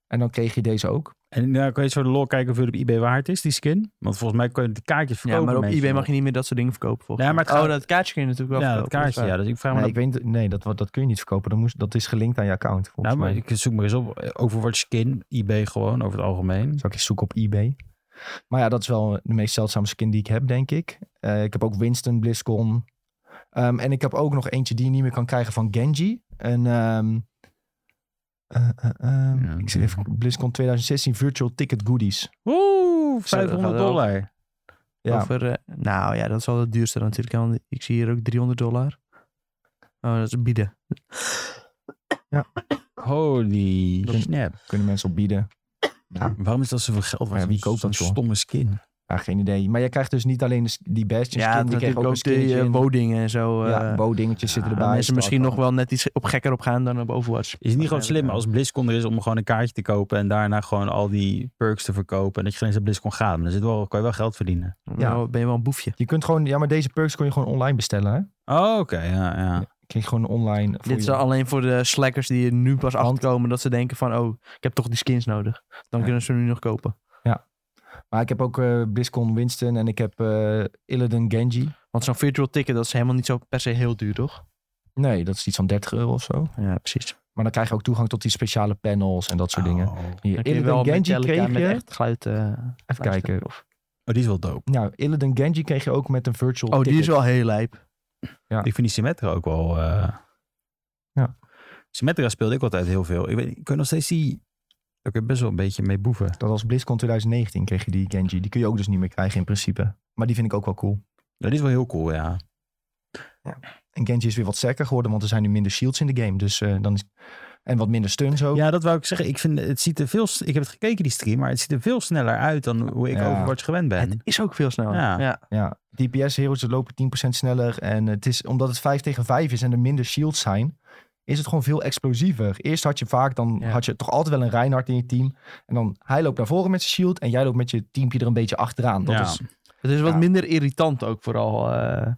S1: En dan kreeg je deze ook.
S3: En nou kan je zo de lol kijken hoeveel het op eBay waard is, die skin. Want volgens mij kun je de kaartjes
S2: ja,
S3: verkopen.
S2: maar op
S3: mensen
S2: eBay mag
S3: nog.
S2: je niet meer dat soort dingen verkopen volgens
S3: Ja,
S2: mij.
S3: maar het gaat-
S2: Oh, dat kaartje kun je natuurlijk wel
S3: Ja, dat
S2: verkopen. dat is
S3: kaartje. Ja,
S2: waar.
S3: dus ik vraag
S1: Maar
S3: me
S1: ik weet, niet- nee, dat, dat kun je niet verkopen. Dan moest, dat is gelinkt aan je account. Volgens
S3: Nou, maar
S1: mij.
S3: ik zoek maar eens op. Overwatch skin, eBay gewoon, over het algemeen.
S1: Zal ik eens zoeken op eBay. Maar ja, dat is wel de meest zeldzame skin die ik heb, denk ik. Eh, ik heb ook Winston BlizzCon. Ehm, en ik heb ook nog eentje die je niet meer kan krijgen van Genji. En, ehm, eh, eh, ehm,
S3: Ja.
S1: ik zit even BlizzCon 2016 Virtual Ticket Goodies.
S3: Oeh,
S2: Zo, dat
S3: 500
S2: gaat wel.
S3: dollar.
S1: Ja,
S2: Over, eh, nou ja, dat is wel het duurste dan natuurlijk. hè, Want ik zie hier ook 300 dollar. Oh, dat is bieden.
S3: Holy
S1: Dat-
S3: snap.
S1: kunnen mensen op bieden. Ja.
S3: Waarom is dat zoveel geld?
S1: Maar ja, wie koopt dat,
S3: Zo'n
S1: joh?
S3: stomme skin?
S1: Ja, geen idee. Maar jij krijgt dus niet alleen de s- die Bastion
S2: Ja,
S1: skin. Je krijgt
S2: natuurlijk
S1: ook een
S2: ook de
S1: skinnetje
S2: eh,
S1: in.
S2: wodingen en zo.
S1: ja,
S2: eh,
S1: bo-dingetjes zitten
S2: ja,
S1: erbij.
S2: mensen misschien nog
S1: Starcraft.
S2: wel net iets op gekker op gaan dan op Overwatch.
S3: Is het niet gewoon
S2: Ja,
S3: slim
S2: ja.
S3: als BlizzCon er is om gewoon een kaartje te kopen en daarna gewoon al die perks te verkopen en dat je geen eens naar BlizzCon gaat. Maar dan zit wel, kan je wel geld verdienen.
S2: Dan
S1: Ja.
S2: wel- ben je wel een boefje.
S1: Je kunt gewoon... Ja, maar deze perks kon je gewoon online bestellen, hè?
S3: Oh, oké. ja, ja.
S1: Kreeg je gewoon online... voor
S2: Dit is
S1: je-
S2: alleen voor de slackers die er nu pas achterkomen dat ze denken van, oh, ik heb toch die skins nodig. Dan
S1: Ja.
S2: kunnen ze nu nog kopen.
S1: Maar ik heb ook eh BlizzCon Winston en ik heb eh Illidan Genji.
S2: Want zo'n virtual ticket, dat is helemaal niet zo per se heel duur, toch?
S1: Nee, dat is iets van 30 euro of zo.
S2: Ja, precies.
S1: Maar dan krijg je ook toegang tot die speciale panels en dat soort dingen.
S3: Oh.
S2: Dan
S1: Hier,
S2: kun je
S1: Illidan
S2: wel
S1: Genji
S2: Metallica
S1: kreeg
S2: met
S1: je...
S2: echt geluid... eh,
S1: Even
S2: luisteren.
S1: kijken.
S2: Of-
S3: Oh, die is wel dope.
S1: Nou, Illidan Genji kreeg je ook met een virtual
S2: Oh, die
S1: ticket.
S2: is wel heel lijp.
S3: Ik vind die Symmetra ook wel... eh,
S1: Ja.
S3: Symmetra speelde ik altijd heel veel. Ik, weet, ik kan nog steeds die... Daar kun je best wel een beetje mee boeven.
S1: Dat was BlizzCon 2019 kreeg je die Genji. Die kun je ook dus niet meer krijgen in principe. Maar die vind ik ook wel cool.
S3: Dat is wel heel cool, ja.
S1: En Genji is weer wat sterker geworden, want er zijn nu minder shields in de game. Dus eh, dan is... En wat minder stuns ook.
S3: Ja, dat wou ik zeggen. Ik, vind, het ziet er veel, s- ik heb het gekeken, die stream, maar het ziet er veel sneller uit dan hoe ik
S1: Ja.
S3: Overwatch gewend
S2: Het
S3: ben.
S2: is ook veel sneller.
S3: Ja.
S2: ja.
S1: Ja, DPS heroes lopen 10% sneller. En het is omdat het 5 tegen 5 is en er minder shields zijn, is het gewoon veel explosiever. Eerst had je vaak, dan
S2: Ja.
S1: had je toch altijd wel een Reinhardt in je team. En dan hij loopt naar voren met zijn shield en jij loopt met je teampje er een beetje achteraan. Dat
S3: Ja.
S1: is,
S2: Het is wat
S1: Ja.
S2: minder irritant ook vooral. eh,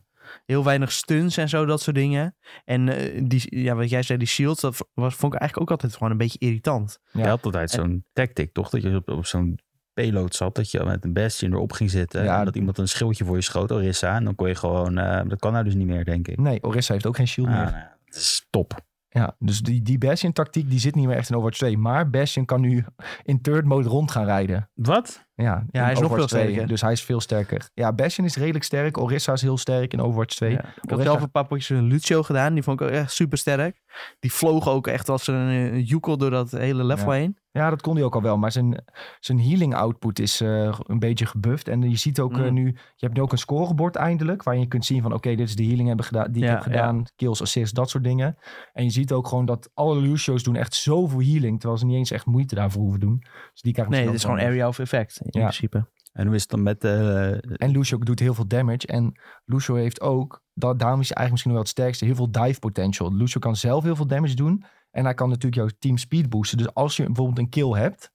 S2: heel weinig stunts en zo, dat soort dingen. En eh, die, ja, wat jij zei, die shields, dat v- was, vond ik eigenlijk ook altijd gewoon een beetje irritant.
S1: Ja.
S3: Je had altijd zo'n tactic, toch? Dat je op, op zo'n payload zat, dat je met een bastion erop ging zitten.
S1: Ja.
S3: en dat iemand een schildje voor je schoot, Orissa. En dan kon je gewoon... eh, dat kan nou dus niet meer, denk ik.
S1: nee, Orissa heeft ook geen shield
S3: Ah,
S1: meer.
S3: nou ja, dat is top.
S1: Ja, dus die, die Bastion-tactiek die zit niet meer echt in Overwatch 2. Maar Bastion kan nu in third mode rond gaan rijden.
S3: Wat?
S1: Ja, in
S2: hij is nog
S1: Overwatch
S2: veel
S1: 2,
S2: sterker.
S1: Dus hij is veel sterker. Ja, Bastion is redelijk sterk. Orissa is heel sterk in Overwatch 2.
S2: Ja. Ik had
S1: Orissa-
S2: zelf een paar potjes een Lucio gedaan, die vond ik ook echt super sterk. Die vloog ook echt als een, een joekel door dat hele level
S1: Ja.
S2: heen.
S1: Ja, dat kon hij ook al wel. Maar zijn, zijn healing output is eh, een beetje gebufft. En je ziet ook eh,
S2: Mm.
S1: nu... Je hebt nu ook een scorebord eindelijk. Waarin je kunt zien van... Oké, dit is de healing hebben gedaan, die
S2: Ja,
S1: ik heb gedaan. Kills, assists, dat soort dingen. En je ziet ook gewoon dat alle Lucio's doen echt zoveel healing. Terwijl ze niet eens echt moeite daarvoor hoeven doen. Dus die krijgen
S2: Nee,
S1: misschien
S2: het
S1: ook
S2: is
S1: wel
S2: gewoon
S1: een-
S2: area of effect in
S1: Ja.
S2: principe.
S3: En hoe is het dan met... eh,
S1: En Lucio doet heel veel damage. En Lucio heeft ook, da- daarom is hij eigenlijk misschien wel het sterkste, heel veel dive potential. Lucio kan zelf heel veel damage doen. En hij kan natuurlijk jouw team speed boosten. Dus als je bijvoorbeeld een kill hebt.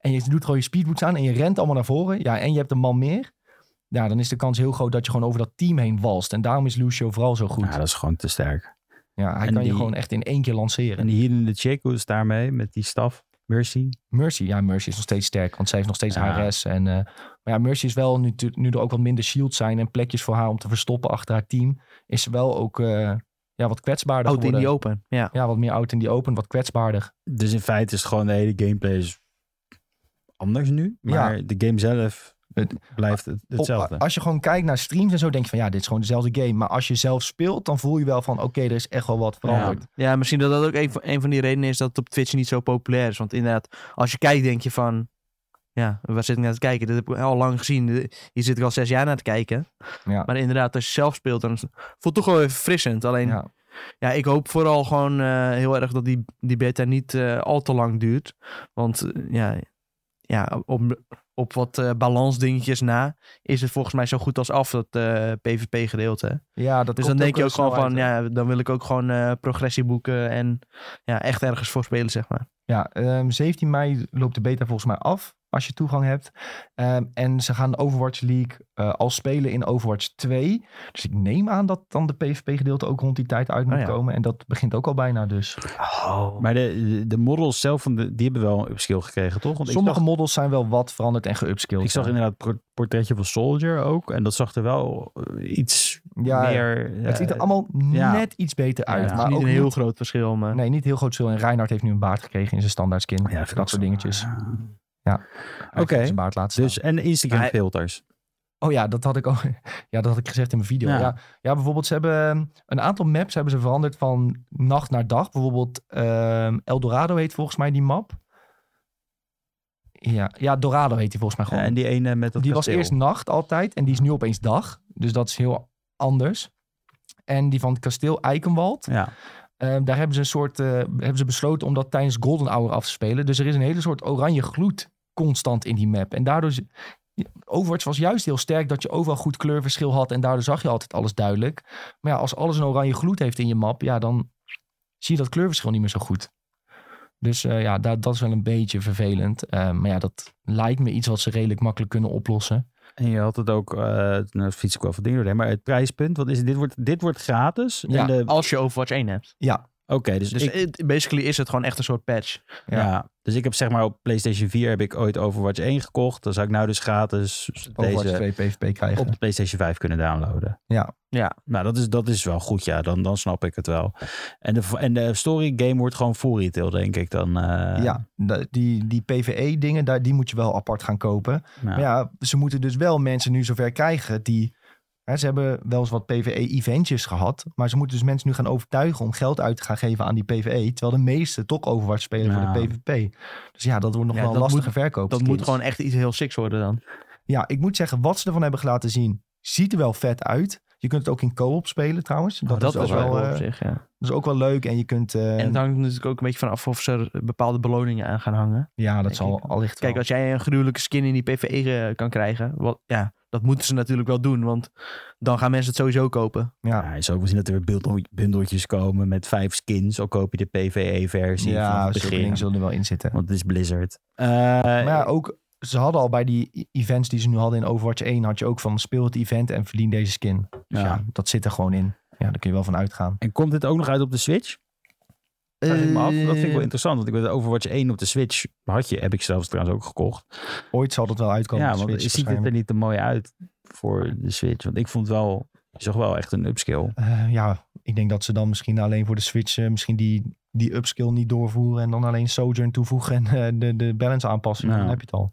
S1: En je doet gewoon je speedboots aan en je rent allemaal naar voren. Ja, en je hebt een man meer. Ja, dan is de kans heel groot dat je gewoon over dat team heen walst. En daarom is Lucio vooral zo goed.
S3: Ja, dat is gewoon te sterk.
S1: Ja, hij
S3: en
S1: kan je
S3: die-
S1: gewoon echt in één keer lanceren.
S3: En hier in de chick, hoe is het daarmee? Met die staf? Mercy?
S1: Mercy, ja, Mercy is nog steeds sterk, want zij heeft nog steeds
S3: Ja.
S1: haar HRS. En, eh, maar ja, Mercy is wel, nu, tu- nu er ook wat minder shields zijn en plekjes voor haar om te verstoppen achter haar team, is ze wel ook eh, ja, wat kwetsbaarder
S2: Out in
S1: geworden.
S2: the Oh, open, ja.
S1: Ja, wat meer out in die open, wat kwetsbaarder.
S3: Dus in feite is het gewoon de hele gameplay is anders nu. Maar de game zelf
S1: Het-
S3: blijft het,
S1: Op-
S3: hetzelfde.
S1: als je gewoon kijkt naar streams en zo, denk je van ja, dit is gewoon dezelfde game. Maar als je zelf speelt, dan voel je wel van oké, er is echt wel wat veranderd.
S2: Ja, misschien dat dat ook een van, een van die redenen is dat het op Twitch niet zo populair is. Want inderdaad, als je kijkt denk je van... Ja, waar zit ik naar te kijken? Dit heb ik al lang gezien. Hier zit ik al zes jaar naar te kijken.
S1: Ja.
S2: Maar inderdaad, als je zelf speelt, dan voelt het toch wel even verfrissend. Alleen, ja.
S1: Ja.
S2: ik hoop vooral gewoon eh, heel erg dat die, die beta niet eh, al te lang duurt. Want eh, ja, ja, op, op wat eh balansdingetjes na is het volgens mij zo goed als af, dat eh, PvP-gedeelte.
S1: Ja, dat
S2: Dus
S1: komt
S2: dan denk je
S1: wel
S2: ook gewoon
S1: snel
S2: van,
S1: uit.
S2: ja, dan wil ik ook gewoon eh, progressie boeken en ja, echt ergens voor spelen, zeg maar.
S1: Ja, ehm, 17 mei loopt de beta volgens mij af. Als je toegang hebt. Ehm, en ze gaan de Overwatch League eh, al spelen in Overwatch 2. Dus ik neem aan dat dan de PvP-gedeelte ook rond die tijd uit moet
S3: Oh
S2: ja.
S1: komen. En dat begint ook al bijna dus.
S3: Maar de, de, de models zelf, van de, die hebben wel een upskill gekregen, toch? Want
S1: Sommige
S3: ik
S1: models zijn wel wat veranderd en geupskilled.
S3: zag, ik zag
S1: ja.
S3: inderdaad het pro- portretje van Soldier ook. En dat zag er wel eh, iets
S1: Ja,
S3: meer... eh,
S1: het ziet er allemaal
S3: ja.
S1: net iets beter
S3: Ja,
S1: uit.
S3: het is
S2: Het
S1: maar
S2: is
S1: ook
S2: niet een heel groot verschil, maar...
S1: Nee, niet heel groot verschil. En Reinhard heeft nu een baard gekregen in zijn standaard skin.
S3: eh, ja, vind ik ook
S1: dat soort
S3: zo.
S1: dingetjes. Hij heeft
S3: Oké.
S1: Zijn baard laten staan.
S3: Dus, en Instagram
S2: Maar-
S3: filters.
S1: Oh ja, dat had ik ook. Ja, dat had ik gezegd in mijn video. Ja.
S3: Ja.
S1: Ja, bijvoorbeeld, ze hebben ehm, een aantal maps hebben ze veranderd van nacht naar dag. Bijvoorbeeld ehm Eldorado heet volgens mij die map. Ja, ja Dorado heet die volgens mij gewoon.
S3: en die ene met dat
S1: die was
S3: kasteel.
S1: eerst nacht altijd en die is nu opeens dag. Dus dat is heel anders. En die van het kasteel Eikenwald.
S3: Ja,
S1: Ehm, daar hebben ze een soort eh, hebben ze besloten om dat tijdens Golden Hour af te spelen. Dus er is een hele soort oranje gloed constant in die map. En daardoor. z- Overwatch was juist heel sterk dat je overal goed kleurverschil had. En daardoor zag je altijd alles duidelijk. Maar ja, als alles een oranje gloed heeft in je map, ja, dan zie je dat kleurverschil niet meer zo goed. Dus eh, ja, dat, dat is wel een beetje vervelend. Eh, maar ja, dat lijkt me iets wat ze redelijk makkelijk kunnen oplossen.
S3: en je had het ook, eh nou fiets ik wel van dingen doorheen, maar het prijspunt, wat is het? Dit wordt, dit wordt gratis.
S1: Ja.
S3: En de- Oké,
S2: Als je Overwatch 1 hebt.
S3: dus,
S2: Dus
S3: ik-
S2: het- basically is het gewoon echt een soort patch.
S1: Ja.
S3: Ja. dus ik heb zeg maar op PlayStation 4 heb ik ooit Overwatch 1 gekocht. Dan zou ik nou dus gratis
S1: Overwatch
S3: deze
S1: 2 PvP krijgen.
S3: op de PlayStation 5 kunnen downloaden.
S1: Ja.
S2: Ja.
S3: Nou, dat is, dat is wel goed, ja. Dan, dan snap ik het wel. En de, en de story game wordt gewoon full retail, denk ik dan. eh,
S1: ja, da- die, die PvE dingen, daar, die moet je wel apart gaan kopen.
S3: nou.
S1: Maar ja, ze moeten dus wel mensen nu zover krijgen die... Hè, ze hebben wel eens wat PvE-eventjes gehad. Maar ze moeten dus mensen nu gaan overtuigen om geld uit te gaan geven aan die PvE. Terwijl de meesten toch Overwatch spelen
S3: Ja.
S1: voor de PvP. Dus ja, dat wordt nog
S2: Ja,
S1: wel een
S2: dat
S1: lastige verkoop.
S2: Dat moet gewoon echt iets heel sick worden dan.
S1: Ja, ik moet zeggen, wat ze ervan hebben laten zien, ziet er wel vet uit. Je kunt het ook in co-op spelen trouwens. Dat,
S2: Ah, Dat,
S1: is,
S2: is
S1: ook
S2: wel
S1: wel,
S2: op
S1: eh,
S2: zich, ja.
S1: dat is ook wel leuk. En je kunt... eh,
S2: En het hangt natuurlijk ook een beetje vanaf of ze er bepaalde beloningen aan gaan hangen.
S1: ja, dat
S2: denk
S1: zal
S2: ik.
S1: allicht wel.
S2: Kijk, als jij een gruwelijke skin in die PvE ge- kan E, eh, krijgen, wat, ja, Dat moeten ze natuurlijk wel doen, want dan gaan mensen het sowieso kopen.
S1: Ja.
S3: Ja, je zou ook wel zien dat er weer bundel- bundeltjes komen met vijf skins. Al koop je de PvE-versie van
S1: Ja,
S3: het
S1: zulke
S3: begin.
S1: dingen zullen er wel in zitten.
S3: Want het is Blizzard. Eh,
S1: Maar ja, ook, ze hadden al bij die e- events die ze nu hadden in Overwatch 1, had je ook van speel het event en verdien deze skin. Dus ja,
S3: Ja.
S1: dat zit er gewoon in. Ja, daar kun je wel van uitgaan.
S3: En komt dit ook nog uit op de Switch? Vraag ik me af. Dat vind ik wel interessant. Want ik weet dat Overwatch 1 op de Switch had je. Heb ik zelfs trouwens ook gekocht.
S1: Ooit zal dat wel uitkomen.
S3: ja,
S1: op de
S3: want
S1: Switch
S3: ziet het er
S1: waarschijnlijk.
S3: niet te mooi uit voor de Switch. Want ik vond wel, je zag wel echt een upscale.
S1: Eh, ja, ik denk dat ze dan misschien alleen voor de Switch eh, misschien die, die upskill niet doorvoeren en dan alleen Sojourn toevoegen en eh, de, de balance aanpassen.
S3: Ja.
S1: Dan heb je het al.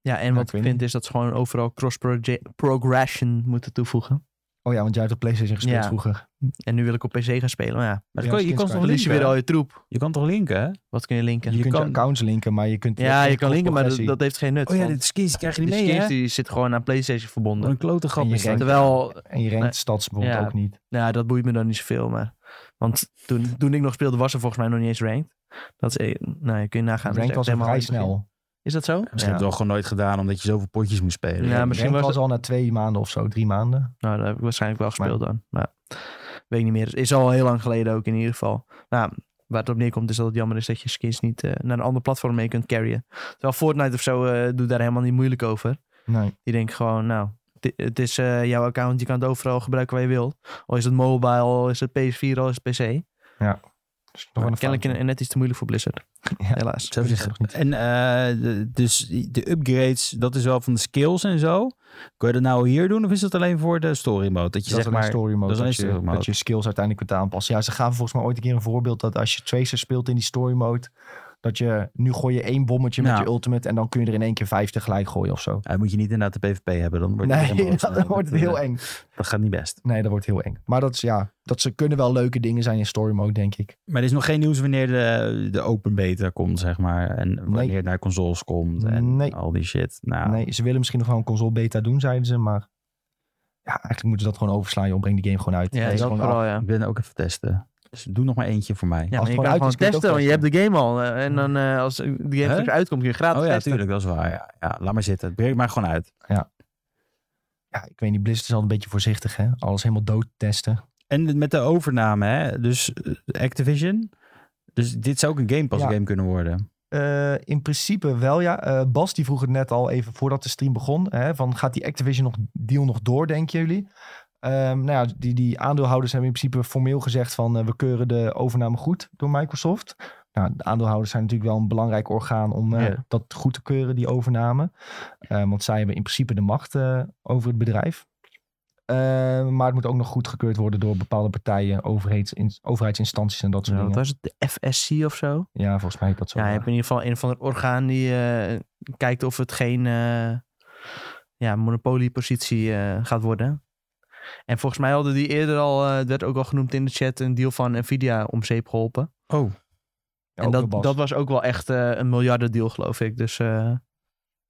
S2: Ja, en
S1: ik
S2: wat
S1: weet
S2: ik
S1: niet.
S2: vind is dat ze gewoon overal cross-progression moeten toevoegen.
S1: Oh ja, want jij hebt op PlayStation gespeeld
S2: Ja.
S1: vroeger.
S2: En nu wil ik op PC gaan spelen, maar ja,
S3: Maar
S1: Ja,
S3: dat kon- je,
S1: skins kan
S3: kan toch
S1: je.
S2: dan verlies je
S3: linken?
S2: weer al je troep.
S3: Je kan toch linken? hè?
S2: Wat kun je linken?
S1: Je, kunt
S3: kan-
S1: je accounts linken, maar je kunt...
S2: ja, je kan
S1: klopt,
S2: linken, maar dat,
S1: progressie.
S2: dat heeft geen nut.
S3: Oh ja,
S2: want
S3: de skins krijg je niet
S2: de
S3: mee,
S2: skins
S3: hè?
S2: die zitten gewoon aan PlayStation
S3: Wat
S1: Oh,
S2: verbonden.
S3: een klote grap
S1: En je
S3: is dat.
S1: rankt-
S2: Terwijl,
S1: En je rankt stads bijvoorbeeld
S2: Ja.
S1: ook niet.
S2: nou, dat boeit me dan niet zoveel, maar... Want toen, toen ik nog speelde was er volgens mij nog niet eens ranked. Dat is, nou, je kun je nagaan.
S1: Rank
S2: dat is
S1: was
S2: echt
S1: al
S2: helemaal
S1: vrij
S2: aan het begin.
S1: snel.
S2: Is dat zo?
S3: Misschien heb je het wel gewoon nooit gedaan omdat je zoveel potjes moest spelen.
S2: Ja,
S1: Misschien
S2: maar- misschien
S1: was,
S2: was
S1: al na twee maanden of zo, drie maanden.
S2: Nou, dat heb ik waarschijnlijk wel
S1: Maar-
S2: gespeeld dan. Maar weet ik niet meer. Is al heel lang geleden ook in ieder geval. Nou, waar het op neerkomt is dat het jammer is dat je skins niet eh, naar een ander platform mee kunt carryen. Terwijl Fortnite of zo eh, doet daar helemaal niet moeilijk over.
S1: Nee.
S2: Die denkt gewoon, nou, het- het is eh, jouw account. Je kan het overal gebruiken waar je wilt. Al is het mobile, al is het PS4, al is het PC.
S1: Dus nog wel
S2: Maar
S1: een
S2: kennelijk
S1: foutje.
S2: net iets te moeilijk voor Blizzard.
S1: Ja.
S2: Helaas.
S1: Zo is het nog niet.
S3: En eh, de- dus de upgrades, dat is wel van de skills en zo. Kun je dat nou hier doen of is dat alleen voor de story mode? Dat je
S1: Dus Dat is
S3: zeg
S1: alleen
S3: maar...
S1: story mode,
S3: dat is
S1: dat,
S3: alleen
S1: je,
S3: story mode.
S1: dat je skills uiteindelijk kunt aanpassen. Ja, ze gaven volgens mij ooit een keer een voorbeeld dat als je Tracer speelt in die story mode, dat je nu gooi je één bommetje met
S3: Ja.
S1: je ultimate en dan kun je er in één keer vijf tegelijk gooien of zo.
S3: Ja, moet je niet inderdaad de PvP hebben, dan wordt het helemaal
S1: Nee,
S3: boos.
S1: dat wordt heel eng.
S3: Dat gaat niet best.
S1: Nee, dat wordt heel eng. Maar dat, is, ja, dat ze kunnen wel leuke dingen zijn in story mode, denk ik.
S3: Maar er is nog geen nieuws wanneer de, de open beta komt, zeg maar. En wanneer
S1: Nee.
S3: het naar consoles komt en
S1: Nee.
S3: al die shit. Nou,
S1: Nee, ze willen misschien nog wel een console beta doen, zeiden ze, maar ja, eigenlijk moeten ze dat gewoon overslaan. Joh, breng die game gewoon uit.
S2: Ja,
S1: Het
S2: dat
S1: is gewoon af.
S2: vooral, ja.
S3: ik ben ook even testen. Dus doe nog maar eentje voor mij.
S2: Ja,
S1: Als
S2: maar
S1: het
S2: je
S1: gewoon
S2: kan
S1: uit is,
S2: gewoon
S1: kun je het ook
S2: testen, want je
S1: testen.
S2: hebt de game al. eh, En dan eh, als de game
S3: Hè?
S2: straks uitkomt, kun je gratis
S3: oh ja,
S2: testen.
S3: tuurlijk, dat is waar. Ja, ja, laat maar zitten. Breek maar gewoon uit.
S1: Ja, ik weet niet, Blizzard is al een beetje voorzichtig, hè? Alles helemaal dood testen.
S3: En met de overname, hè? dus eh, Activision. Dus dit zou ook een Game Pass
S1: Ja.
S3: game kunnen worden.
S1: Eh, in principe wel, ja. Eh, Bas die vroeg het net al even voordat de stream begon. Hè, van gaat die Activision nog, deal nog door, denken jullie? Ehm, nou ja, die, die aandeelhouders hebben in principe formeel gezegd van... eh, we keuren de overname goed door Microsoft. Nou, de aandeelhouders zijn natuurlijk wel een belangrijk orgaan om eh,
S2: Ja.
S1: dat goed te keuren, die overname. Eh, want zij hebben in principe de macht eh, over het bedrijf. Eh, maar het moet ook nog goedgekeurd worden door bepaalde partijen, overheids, overheidsinstanties en dat soort
S2: Ja, wat
S1: dingen.
S2: was het? De FSC of zo?
S1: Ja, volgens mij heet dat zo.
S2: Ja, je hebt in ieder geval een van de orgaan die eh, kijkt of het geen eh, ja, monopoliepositie eh, gaat worden. En volgens mij hadden die eerder al, eh, het werd ook al genoemd in de chat, een deal van Nvidia om zeep geholpen.
S3: Oh,
S1: Ja,
S2: en
S1: ook
S2: dat,
S1: door Bas.
S2: dat was ook wel echt eh, een miljardendeal, geloof ik. Dus eh,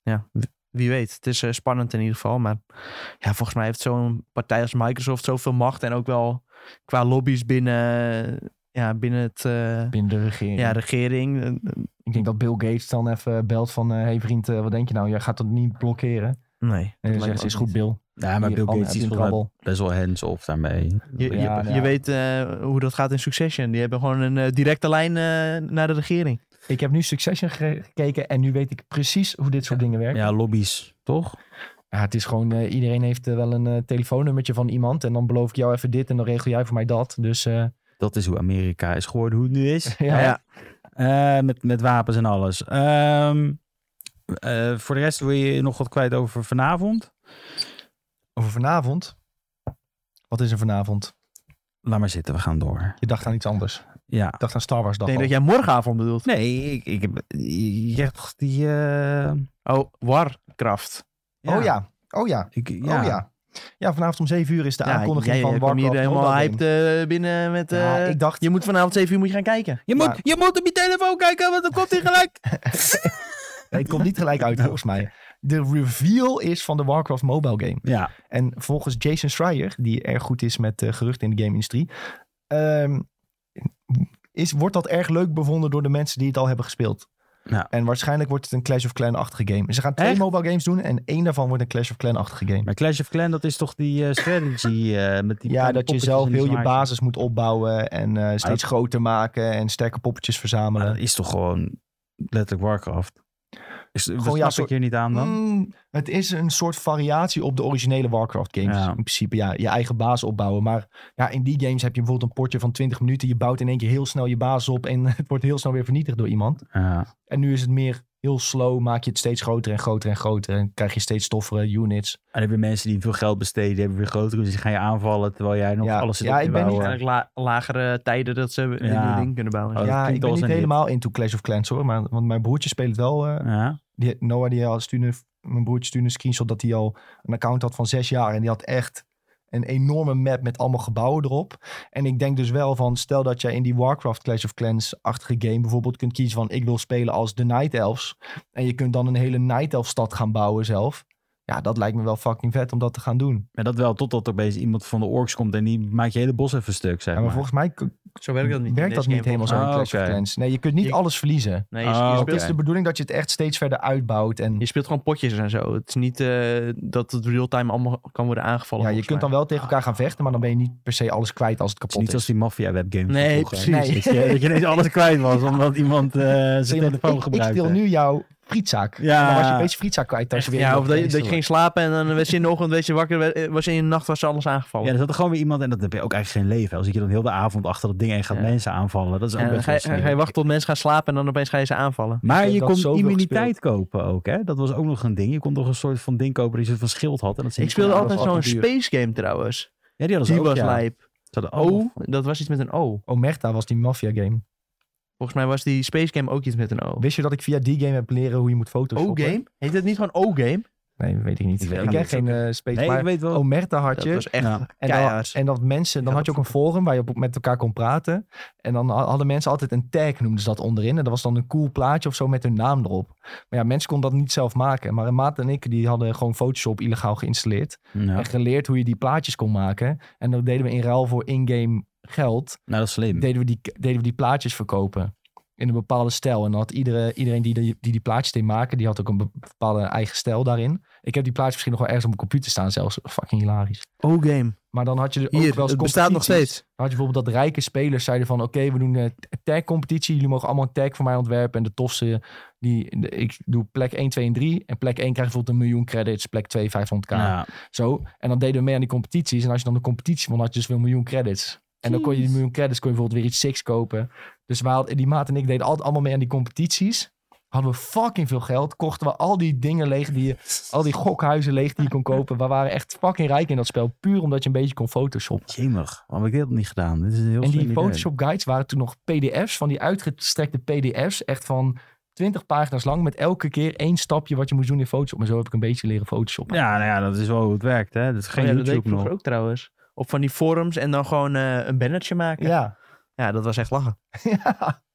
S2: ja, w- wie weet. Het is eh, spannend in ieder geval. Maar ja, volgens mij heeft zo'n partij als Microsoft zoveel macht. En ook wel qua lobby's binnen, ja, binnen het... eh,
S1: binnen de regering.
S2: ja, regering. eh,
S1: Ik denk dat Bill Gates dan even belt van... hé hey vriend, eh, wat denk je nou? Jij gaat dat niet blokkeren.
S2: Nee.
S1: En dan
S2: lijkt me
S1: zegt ze,
S2: ook
S1: is goed
S2: niet.
S1: Bill.
S3: ja, maar
S1: Hier,
S3: Bill
S1: Anne,
S3: Gates
S1: heb je
S3: is
S1: een
S3: wel
S1: krabbel?
S3: best wel hands-off daarmee.
S2: Je, je,
S1: Ja, ja.
S2: je weet eh, hoe dat gaat in Succession. Die hebben gewoon een eh, directe lijn eh, naar de regering.
S1: Ik heb nu Succession ge- gekeken en nu weet ik precies hoe dit soort dingen werken. Ja.
S3: Ja, lobby's, toch?
S1: het is gewoon, eh, iedereen heeft eh, wel een eh, telefoonnummertje van iemand. En dan beloof ik jou even dit en dan regel jij voor mij dat. Dus eh,
S3: Dat is hoe Amerika is geworden, hoe het nu is.
S1: ja.
S3: Eh, met, met wapens en alles. Ehm, eh, voor de rest wil je nog wat kwijt over vanavond?
S1: Over vanavond. Wat is er vanavond?
S3: Laat maar zitten, we gaan door.
S1: Je dacht aan iets anders. Ik
S3: Ja.
S1: dacht aan Star Wars dag
S2: Ik denk
S1: al.
S2: dat jij morgenavond bedoelt.
S3: Nee, ik, ik heb... Je hebt toch die... eh,
S2: Oh, Warcraft.
S1: Oh ja, oh ja,
S3: Ik, ja.
S1: ja. oh ja. Ja, vanavond om 7 uur is de
S2: Ja,
S1: aankondiging
S2: jij,
S1: van
S2: eh, kwam
S1: Warcraft.
S2: hier helemaal
S1: Mobile
S2: hyped
S1: Game.
S2: eh, binnen met... eh,
S1: Ja, ik dacht, Oh,
S2: Je moet vanavond 7 uur moet je gaan kijken.
S3: Je,
S1: Maar-
S3: moet, je moet op je telefoon kijken, want dan komt hij gelijk.
S1: ik kom niet gelijk
S3: Nou,
S1: uit volgens mij. De reveal is van de Warcraft mobile game.
S3: ja.
S1: En volgens Jason Schreier, die erg goed is met eh, geruchten in de game-industrie, ehm, is, wordt dat erg leuk bevonden door de mensen die het al hebben gespeeld.
S3: Ja.
S1: En waarschijnlijk wordt het een Clash of Clan-achtige game. Ze gaan twee
S3: Echt?
S1: mobile games doen en één daarvan wordt een Clash of Clan-achtige game.
S3: Maar Clash of Clan, dat is toch die eh, strategy eh, met die
S1: ja, dat je
S3: kleine poppetjes
S1: zelf
S3: en die
S1: heel je
S3: zwaardjes.
S1: basis moet opbouwen en eh, steeds groter maken en sterke poppetjes
S3: Maar
S1: verzamelen.
S3: dat is toch gewoon letterlijk Warcraft? Is, dat
S1: ja,
S3: snap
S1: soort-
S3: ik hier niet aan dan?
S1: Mm, het is een soort variatie op de originele Warcraft games.
S3: Ja.
S1: In principe, ja, je eigen baas opbouwen. Maar ja, in die games heb je bijvoorbeeld een potje van 20 minuten. Je bouwt in één keer heel snel je basis op en het wordt heel snel weer vernietigd door iemand.
S3: Ja.
S1: En nu is het meer heel slow, maak je het steeds groter en groter en groter. En krijg je steeds toffere units.
S3: En dan heb je mensen die veel geld besteden, die hebben weer grotere, dus die gaan je aanvallen terwijl jij nog
S1: Ja.
S3: alles zit
S1: Ja,
S3: op te
S1: ik ben niet-
S3: bouwen.
S2: Eigenlijk la- lagere tijden dat ze een
S3: Ja.
S2: nieuw ding kunnen bouwen.
S3: Oh, dat
S1: ja,
S3: klinkt
S1: ik ben
S3: als
S1: niet
S3: een hit.
S1: helemaal into Clash of Clans hoor. Maar, want mijn broertje speelt het wel. eh,
S3: Ja.
S1: die, Noah, die al stuurde, mijn broertje stuurde een screenshot dat hij al een account had van zes jaar. En die had echt een enorme map met allemaal gebouwen erop. En ik denk dus wel van, stel dat jij in die Warcraft Clash of Clans-achtige game bijvoorbeeld kunt kiezen van, ik wil spelen als de Night Elves. En je kunt dan een hele Night Elf-stad gaan bouwen zelf. Ja, dat lijkt me wel fucking vet om dat te gaan doen.
S3: Maar dat wel, totdat er opeens iemand van de orks komt en die maakt je hele bos even stuk, zeg
S1: Ja, maar
S3: maar.
S1: volgens mij k-
S2: Zo werkt dat niet. in
S1: werkt dat
S2: deze
S1: niet
S2: game
S1: helemaal Oh, zo
S2: volgens
S1: in
S3: Ah,
S1: Clash
S3: oké.
S1: of Clans. Nee, je kunt niet
S2: Je-
S1: alles verliezen.
S2: mij. Nee, je, je
S3: Ah, oké.
S1: Het is
S2: speelt,
S1: de bedoeling dat je het echt steeds verder uitbouwt. En
S2: je speelt gewoon potjes en zo. Het is niet eh, dat het real-time allemaal kan worden aangevallen.
S1: ja, je
S2: volgens
S1: kunt
S2: mij.
S1: dan wel tegen elkaar gaan vechten, maar dan ben je niet per se alles kwijt als het
S3: Het is
S1: kapot
S3: niet als die maffia-webgames. van
S2: Nee,
S3: vroeger.
S2: precies.
S1: Nee.
S3: Dat je- dat je ineens alles kwijt was, omdat iemand eh zijn
S1: Zeg je maar,
S3: telefoon
S1: ik, ik
S3: gebruikte.
S1: stil nu jouw frietzaak.
S3: Ja.
S1: Dan was je opeens je frietzaak kwijt. Als je weer
S2: ja,
S1: in
S2: of dat je, dat je
S1: feesten
S2: ging slapen en dan werd je in de ochtend werd je wakker. werd- Was je in de nacht was alles aangevallen.
S3: Ja, er zat er gewoon weer iemand en dat heb je ook eigenlijk geen leven. Als ik je dan heel de avond achter dat ding en gaat
S2: Ja.
S3: mensen aanvallen, dat is ook
S2: Ja, dan
S3: best
S2: ga
S3: wel
S2: je,
S3: slim.
S2: ga je wachten tot mensen gaan slapen en dan opeens ga je ze aanvallen.
S3: Maar
S1: Ik heb
S3: je
S1: dat
S3: kon
S1: zoveel
S3: immuniteit kopen ook, hè? Dat was ook nog een ding. Je kon toch een soort van ding kopen die een soort van schild had. En dat ze-
S2: Ik speelde
S1: Ja,
S2: altijd
S1: dat was
S2: zo'n
S1: altijd duur.
S2: space game trouwens.
S3: Ja, die hadden ze
S2: Die
S3: ook,
S2: was
S3: ja. Oh.
S2: lijp.
S3: Ze
S1: Oh,
S3: hadden ook-
S2: O, dat was iets met een O.
S1: Omerta was die maffia game.
S2: Volgens mij was die space game ook iets met een O.
S1: Wist je dat ik via die game heb leren hoe je moet foto's
S3: Oh,
S2: O-game? Heet het niet gewoon O-game?
S1: Nee, weet ik niet. Ik,
S3: Ik weet het
S1: ken
S3: niet.
S1: geen eh space.
S3: Nee, ik
S1: maar
S3: weet wel.
S1: Omerta had
S2: Dat
S1: je.
S2: was echt
S3: Ja.
S1: En dan,
S2: keihard.
S1: en dat mensen, dan
S2: ga
S1: had je ook
S2: dat
S1: een forum waar je op, met elkaar kon praten. En dan ha- hadden mensen altijd een tag, noemden ze dat onderin. En dat was dan een cool plaatje of zo met hun naam erop. Maar ja, mensen konden dat niet zelf maken. Maar Maat en ik, die hadden gewoon Photoshop illegaal geïnstalleerd.
S3: Ja.
S1: En geleerd hoe je die plaatjes kon maken. En dat deden we in ruil voor in-game geld.
S3: Nou, dat is
S2: Hm.
S3: slim.
S1: deden we die, deden we die plaatjes verkopen. In een bepaalde stijl. En dan had iedere, iedereen die, die die plaatjes deed maken, die had ook een be- bepaalde eigen stijl daarin. Ik heb die plaatjes misschien nog wel ergens op mijn computer staan zelfs. Fucking hilarisch.
S2: O-game.
S1: Maar dan had je er ook
S2: Hier,
S1: wel eens
S2: het bestaat nog
S1: competities.
S2: steeds.
S1: Dan had je bijvoorbeeld dat rijke spelers zeiden van... oké, we doen eh, een tagcompetitie. Jullie mogen allemaal een tag voor mij ontwerpen. En de tofste, die, de- ik doe plek 1, 2 en 3. En plek 1 krijgt bijvoorbeeld een miljoen credits. Plek 2, 500k.
S3: Ja.
S1: Zo. En dan deden we mee aan die competities. En als je dan de competitie won, had je dus weer een miljoen credits. En dan kon je die miljoen credits kon je bijvoorbeeld weer iets six kopen. Dus we hadden, die maat en ik deden altijd allemaal mee aan die competities. Hadden we fucking veel geld. Kochten we al die dingen leeg die je, al die gokhuizen leeg die je kon kopen. We waren echt fucking rijk in dat spel. Puur omdat je een beetje kon photoshoppen.
S3: Jemig. Waarom heb ik dit nog niet gedaan? Dit is een heel
S1: En
S3: slim
S1: die
S3: idee.
S1: Photoshop guides waren toen nog PDF's. Van die uitgestrekte PDF's. Echt van 20 pagina's lang. Met elke keer één stapje wat je moest doen in Photoshop. En zo heb ik een beetje leren Photoshoppen.
S3: Ja, nou ja, dat is wel hoe het werkt, hè? Dat is geen
S2: Oh ja, dat deed ik
S3: YouTube nog.
S2: vroeger ook trouwens. Op van die forums en dan gewoon eh, een bannertje maken. Ja.
S1: Ja.
S2: dat was echt lachen.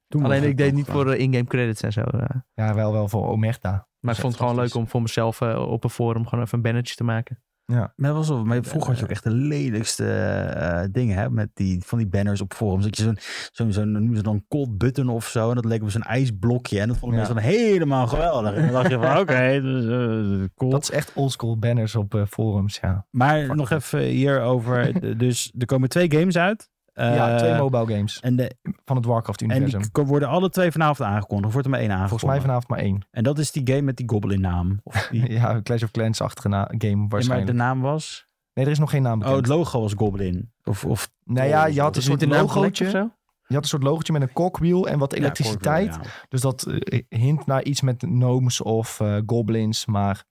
S3: Toen
S2: Alleen
S3: was
S2: ik deed
S3: nog
S2: niet
S3: wel.
S2: voor eh, in-game credits en zo. eh.
S1: ja, wel, wel voor Omerta.
S2: Maar ik vond het gewoon leuk om voor mezelf eh, op een forum gewoon even een bannertje te maken.
S3: Maar, dat was wel, maar vroeger had je ook echt de lelijkste eh, dingen, hè? Met die, van die banners op forums. Dat je zo'n, zo'n, zo'n noemen ze dan cold button of zo. En dat leek op zo'n ijsblokje. En dat vonden
S1: Ja.
S3: mensen dan helemaal geweldig. En dan dacht je van, oké, dus, eh, cool.
S1: Dat is echt oldschool banners op eh, forums, ja.
S3: Maar
S1: Fuck
S3: nog
S1: it.
S3: even hierover. De- dus er komen twee games uit.
S1: ja,
S3: Eh,
S1: twee mobile games
S3: En, de,
S1: van het
S3: en
S1: Warcraft-universum.
S3: die k- worden alle twee vanavond aangekondigd. Of wordt er maar één aangekondigd?
S1: Volgens mij vanavond maar één.
S3: En dat is die game met die goblin naam. Of die,
S1: Ja, Clash of Clans-achtige na- game
S3: Ja, maar
S1: waarschijnlijk.
S3: de naam was...
S1: Nee, er is nog geen naam
S3: Oh,
S1: bekend.
S3: het logo was goblin. Of, of
S1: nee, Nou ja, je had een
S2: Dus niet
S1: soort
S2: een logootje of
S1: logootje.
S2: zo?
S1: Je had een soort logootje met een kokwiel en wat elektriciteit.
S3: Ja, Corvus,
S1: Dus dat eh, hint naar iets met gnomes of eh, goblins. Maar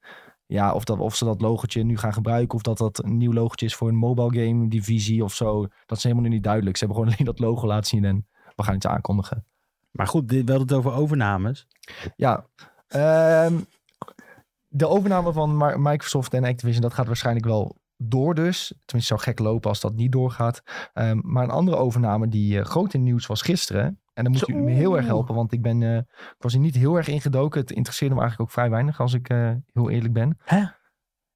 S1: ja, of, dat, of ze dat logotje nu gaan gebruiken... of dat dat een nieuw logotje is voor een mobile game divisie of zo... dat is helemaal nu niet duidelijk. Ze hebben gewoon alleen dat logo laten zien en we gaan iets aankondigen.
S3: ja. Maar goed, dit, we hadden het over overnames.
S1: Ja. ehm, de overname van Ma- Microsoft en Activision, dat gaat waarschijnlijk wel door dus. Tenminste, het zou gek lopen als dat niet doorgaat. Ehm, maar een andere overname die eh, groot in het nieuws was gisteren. En dan moet u me heel erg
S2: Zo.
S1: helpen, want ik, ben, eh, ik was er niet heel erg ingedoken. Het interesseerde me eigenlijk ook vrij weinig, als ik eh, heel eerlijk ben.
S2: Hè?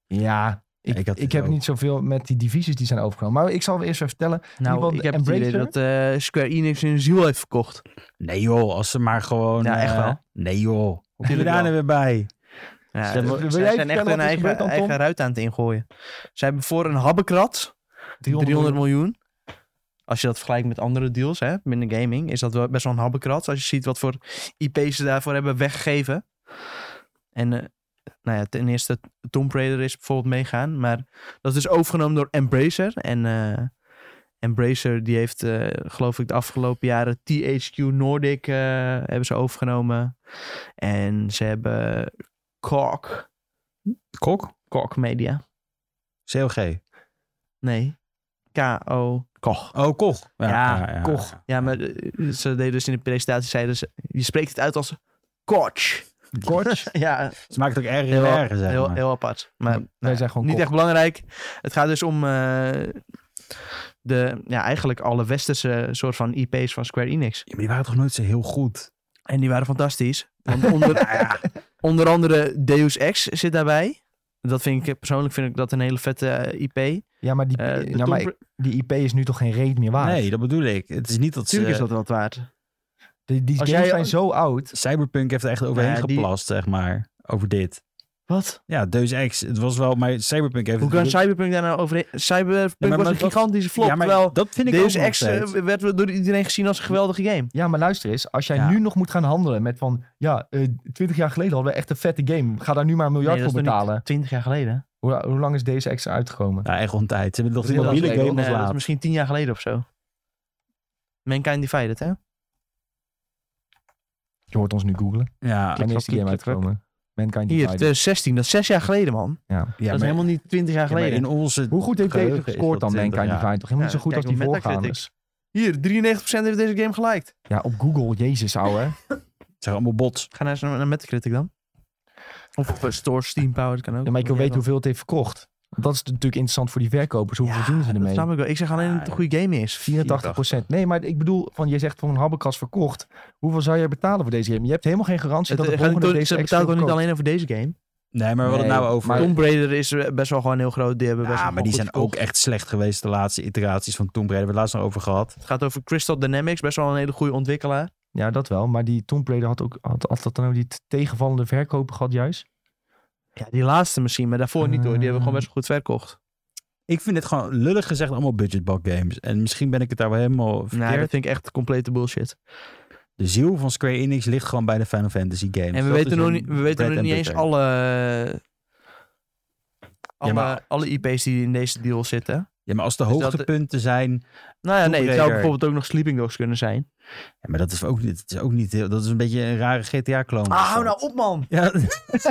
S1: Ja, ik Ik,
S3: Ik
S1: ik,
S3: had het
S1: heb
S3: ook.
S1: niet zoveel met die divisies die zijn overgenomen. Maar ik zal eerst even vertellen.
S2: Nou,
S1: Iemand-
S2: ik heb het idee
S1: Embracer?
S2: dat eh, Square Enix hun ziel heeft verkocht.
S3: Nee joh, als ze maar gewoon...
S2: Ja, echt
S3: eh,
S2: wel.
S3: nee joh, hoe kom je
S2: Tuurlijk
S3: daar
S2: wel.
S3: nou weer bij?
S2: Ja,
S1: Wil
S2: ze
S1: jij
S2: zij
S1: vertellen
S2: zijn echt
S1: wat er
S2: hun eigen,
S1: gebeurt dan, Tom?
S2: eigen ruit aan het ingooien. Ze hebben voor een habbekrat 300, miljoen. Als je dat vergelijkt met andere deals hè, binnen gaming, is dat wel best wel een habbekrat. Als je ziet wat voor IP's ze daarvoor hebben weggegeven. En eh, nou ja, ten eerste Tomb Raider is bijvoorbeeld meegaan. Maar dat is dus overgenomen door Embracer. En eh, Embracer die heeft eh, geloof ik de afgelopen jaren THQ Nordic eh, hebben ze overgenomen. En ze hebben Cork,
S3: Kok?
S2: Cork Media.
S3: COG.
S2: Nee, K-O, Koch.
S3: Oh, Koch.
S2: Ja,
S1: Koch.
S2: Ja, maar eh, ze deden dus in de presentatie, zeiden ze, je spreekt het uit als Koch.
S1: Kort.
S2: Ja,
S3: Ze maakt het ook erger
S2: heel,
S3: en erger, zeg
S2: heel,
S3: maar.
S2: heel apart. Maar
S1: Wij zijn gewoon
S2: Nou,
S1: kop.
S2: niet echt belangrijk. Het gaat dus om eh, de, ja, eigenlijk alle westerse soort van IP's van Square Enix.
S3: Ja, maar die waren toch nooit zo heel goed?
S2: En die waren fantastisch. Want onder, onder andere Deus Ex zit daarbij. Dat vind ik eh, persoonlijk vind ik dat een hele vette eh, IP. Eh,
S1: Ja, maar die,
S2: de
S1: nou, maar
S2: Tomb Ra-
S1: ik- die IP is nu toch geen reet meer waard?
S3: Nee, dat bedoel ik. Het is niet dat ze...
S2: Natuurlijk is dat wat waard.
S1: Die, die
S2: Als
S1: games
S2: jij-
S1: zijn zo oud.
S3: Cyberpunk heeft er echt overheen
S2: Ja, die-
S3: geplast, zeg maar. Over dit.
S2: Wat?
S3: Ja, Deus Ex. Het was wel... Maar Cyberpunk heeft...
S2: Hoe
S3: het-
S2: kan Cyberpunk daar nou over... Cyberpunk
S3: Ja, maar-
S2: was
S3: maar
S2: een
S3: dat-
S2: gigantische flop.
S3: Ja, maar
S2: terwijl
S3: dat vind ik
S2: Deus
S3: ook nog
S2: Ex
S3: steeds.
S2: eh, werd door iedereen gezien als een geweldige game.
S1: Ja, maar luister eens. Als jij
S3: Ja.
S1: nu nog moet gaan handelen met van... Ja, eh, twintig jaar geleden hadden we echt een vette game. Ga daar nu maar een miljard
S2: Nee, dat
S1: voor
S2: is nog niet
S1: betalen.
S2: 20 jaar geleden.
S1: Hoe, hoe lang is deze extra uitgekomen?
S3: Ja, echt ontijd. Ze hebben nog die
S1: Dat is
S3: mobiele
S1: wel leuk,
S3: game
S1: hoor.
S3: als
S2: Nee, dat is
S3: laat.
S2: misschien 10 jaar geleden of zo. Mankind Divided, hè?
S1: Je hoort ons nu googlen.
S3: Ja,
S1: Wanneer is die game
S2: klik, klik, klik.
S1: uitgekomen? Mankind
S2: Hier,
S1: Divided.
S2: 2016. Dat is 6 jaar geleden, man.
S1: Ja.
S3: ja,
S2: dat is
S3: maar-
S2: helemaal niet 20 jaar
S3: ja, maar
S2: geleden.
S3: in onze...
S1: Hoe goed heeft deze
S3: Geheugen is
S1: gescoord dan,
S3: tot 20,
S1: Mankind
S3: ja.
S1: Divided? Toch helemaal niet zo
S2: Ja,
S1: goed als
S2: kijk
S1: die
S2: hoe Metacritic.
S1: voorgaande.
S2: Hier, 93% heeft deze game geliked.
S1: Ja, op Google. Jezus, ouwe.
S3: Het zijn allemaal bots.
S2: Ga naar, naar Metacritic dan. Of op eh, Store, Steam Power, dat kan ook.
S1: Ja, maar ik wil
S2: Ja,
S1: weten hoeveel het heeft verkocht. Want Dat is natuurlijk interessant voor die verkopers. Hoeveel
S2: Ja,
S1: verdienen ze
S2: Dat
S1: ermee?
S2: snap ik wel. Ik zeg alleen dat het een goede game is.
S1: 84 Nee, maar ik bedoel, van, je zegt van een habbekras verkocht. Hoeveel zou jij betalen voor deze game? Je hebt helemaal geen garantie
S2: Het,
S1: dat de
S2: gaat niet
S1: volgende
S2: door-
S1: deze
S2: ze
S1: extra
S2: betaalt ook niet
S1: verkoopt.
S2: alleen over deze game.
S3: Nee, maar we hadden het
S1: Nee,
S3: nou over...
S1: Maar-
S2: Tomb Raider is eh, best wel gewoon heel groot. Die hebben best
S3: ja,
S2: wel
S3: maar die
S2: goed
S3: zijn ook
S2: verkocht.
S3: echt slecht geweest, de laatste iteraties van Tomb Raider. We hebben het laatst nog over gehad.
S2: Het gaat over Crystal Dynamics, best wel een hele goede ontwikkelaar.
S1: Ja, dat wel. Maar die Tomb Raider had ook had, had dat dan ook die t- tegenvallende verkopen gehad juist.
S2: Ja, die laatste misschien, maar daarvoor niet hoor. Die hebben gewoon best wel goed verkocht.
S3: Ik vind het gewoon lullig gezegd allemaal budgetbak games. En misschien ben ik het daar wel helemaal verkeerd.
S2: Nee, dat vind ik echt complete bullshit.
S3: De ziel van Square Enix ligt gewoon bij de Final Fantasy games.
S2: En we
S3: Dat is
S2: weten nog
S3: hun
S2: niet, we
S3: bread
S2: weten nog
S3: and
S2: niet eens
S3: butter.
S2: alle, alle,
S3: maar-
S2: alle IP's die in deze deal zitten.
S3: Ja, maar als de
S2: Dus dat-
S3: hoogtepunten zijn...
S2: Nou ja,
S3: Tomb
S2: nee, het zou
S3: Raider.
S2: bijvoorbeeld ook nog Sleeping Dogs kunnen zijn.
S3: Ja, maar dat is ook niet, het is ook niet heel... Dat is een beetje een rare GTA-kloon.
S2: Ah, nou
S3: nou
S2: op man!
S3: Ja,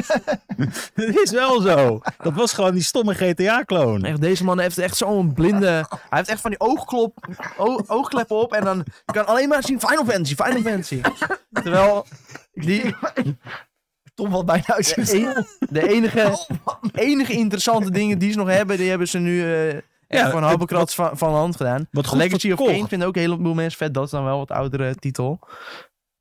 S3: dat is wel zo. Dat was gewoon die stomme GTA-kloon.
S2: Echt, deze man heeft echt zo'n blinde... Hij heeft echt van die oogklop, o- oogkleppen op en dan je kan alleen maar zien Final Fantasy, Final Fantasy. Terwijl die,
S1: Tom valt bijna uit zijn
S2: de, e- de enige, enige interessante dingen die ze nog hebben, die hebben ze nu eh, echt
S3: Ja,
S2: van
S3: het-
S2: Habbekrat van, van de hand gedaan.
S3: Wat goed
S2: Legacy of
S3: verkocht.
S2: Kane vinden ook een heleboel mensen vet. Dat is dan wel wat oudere titel.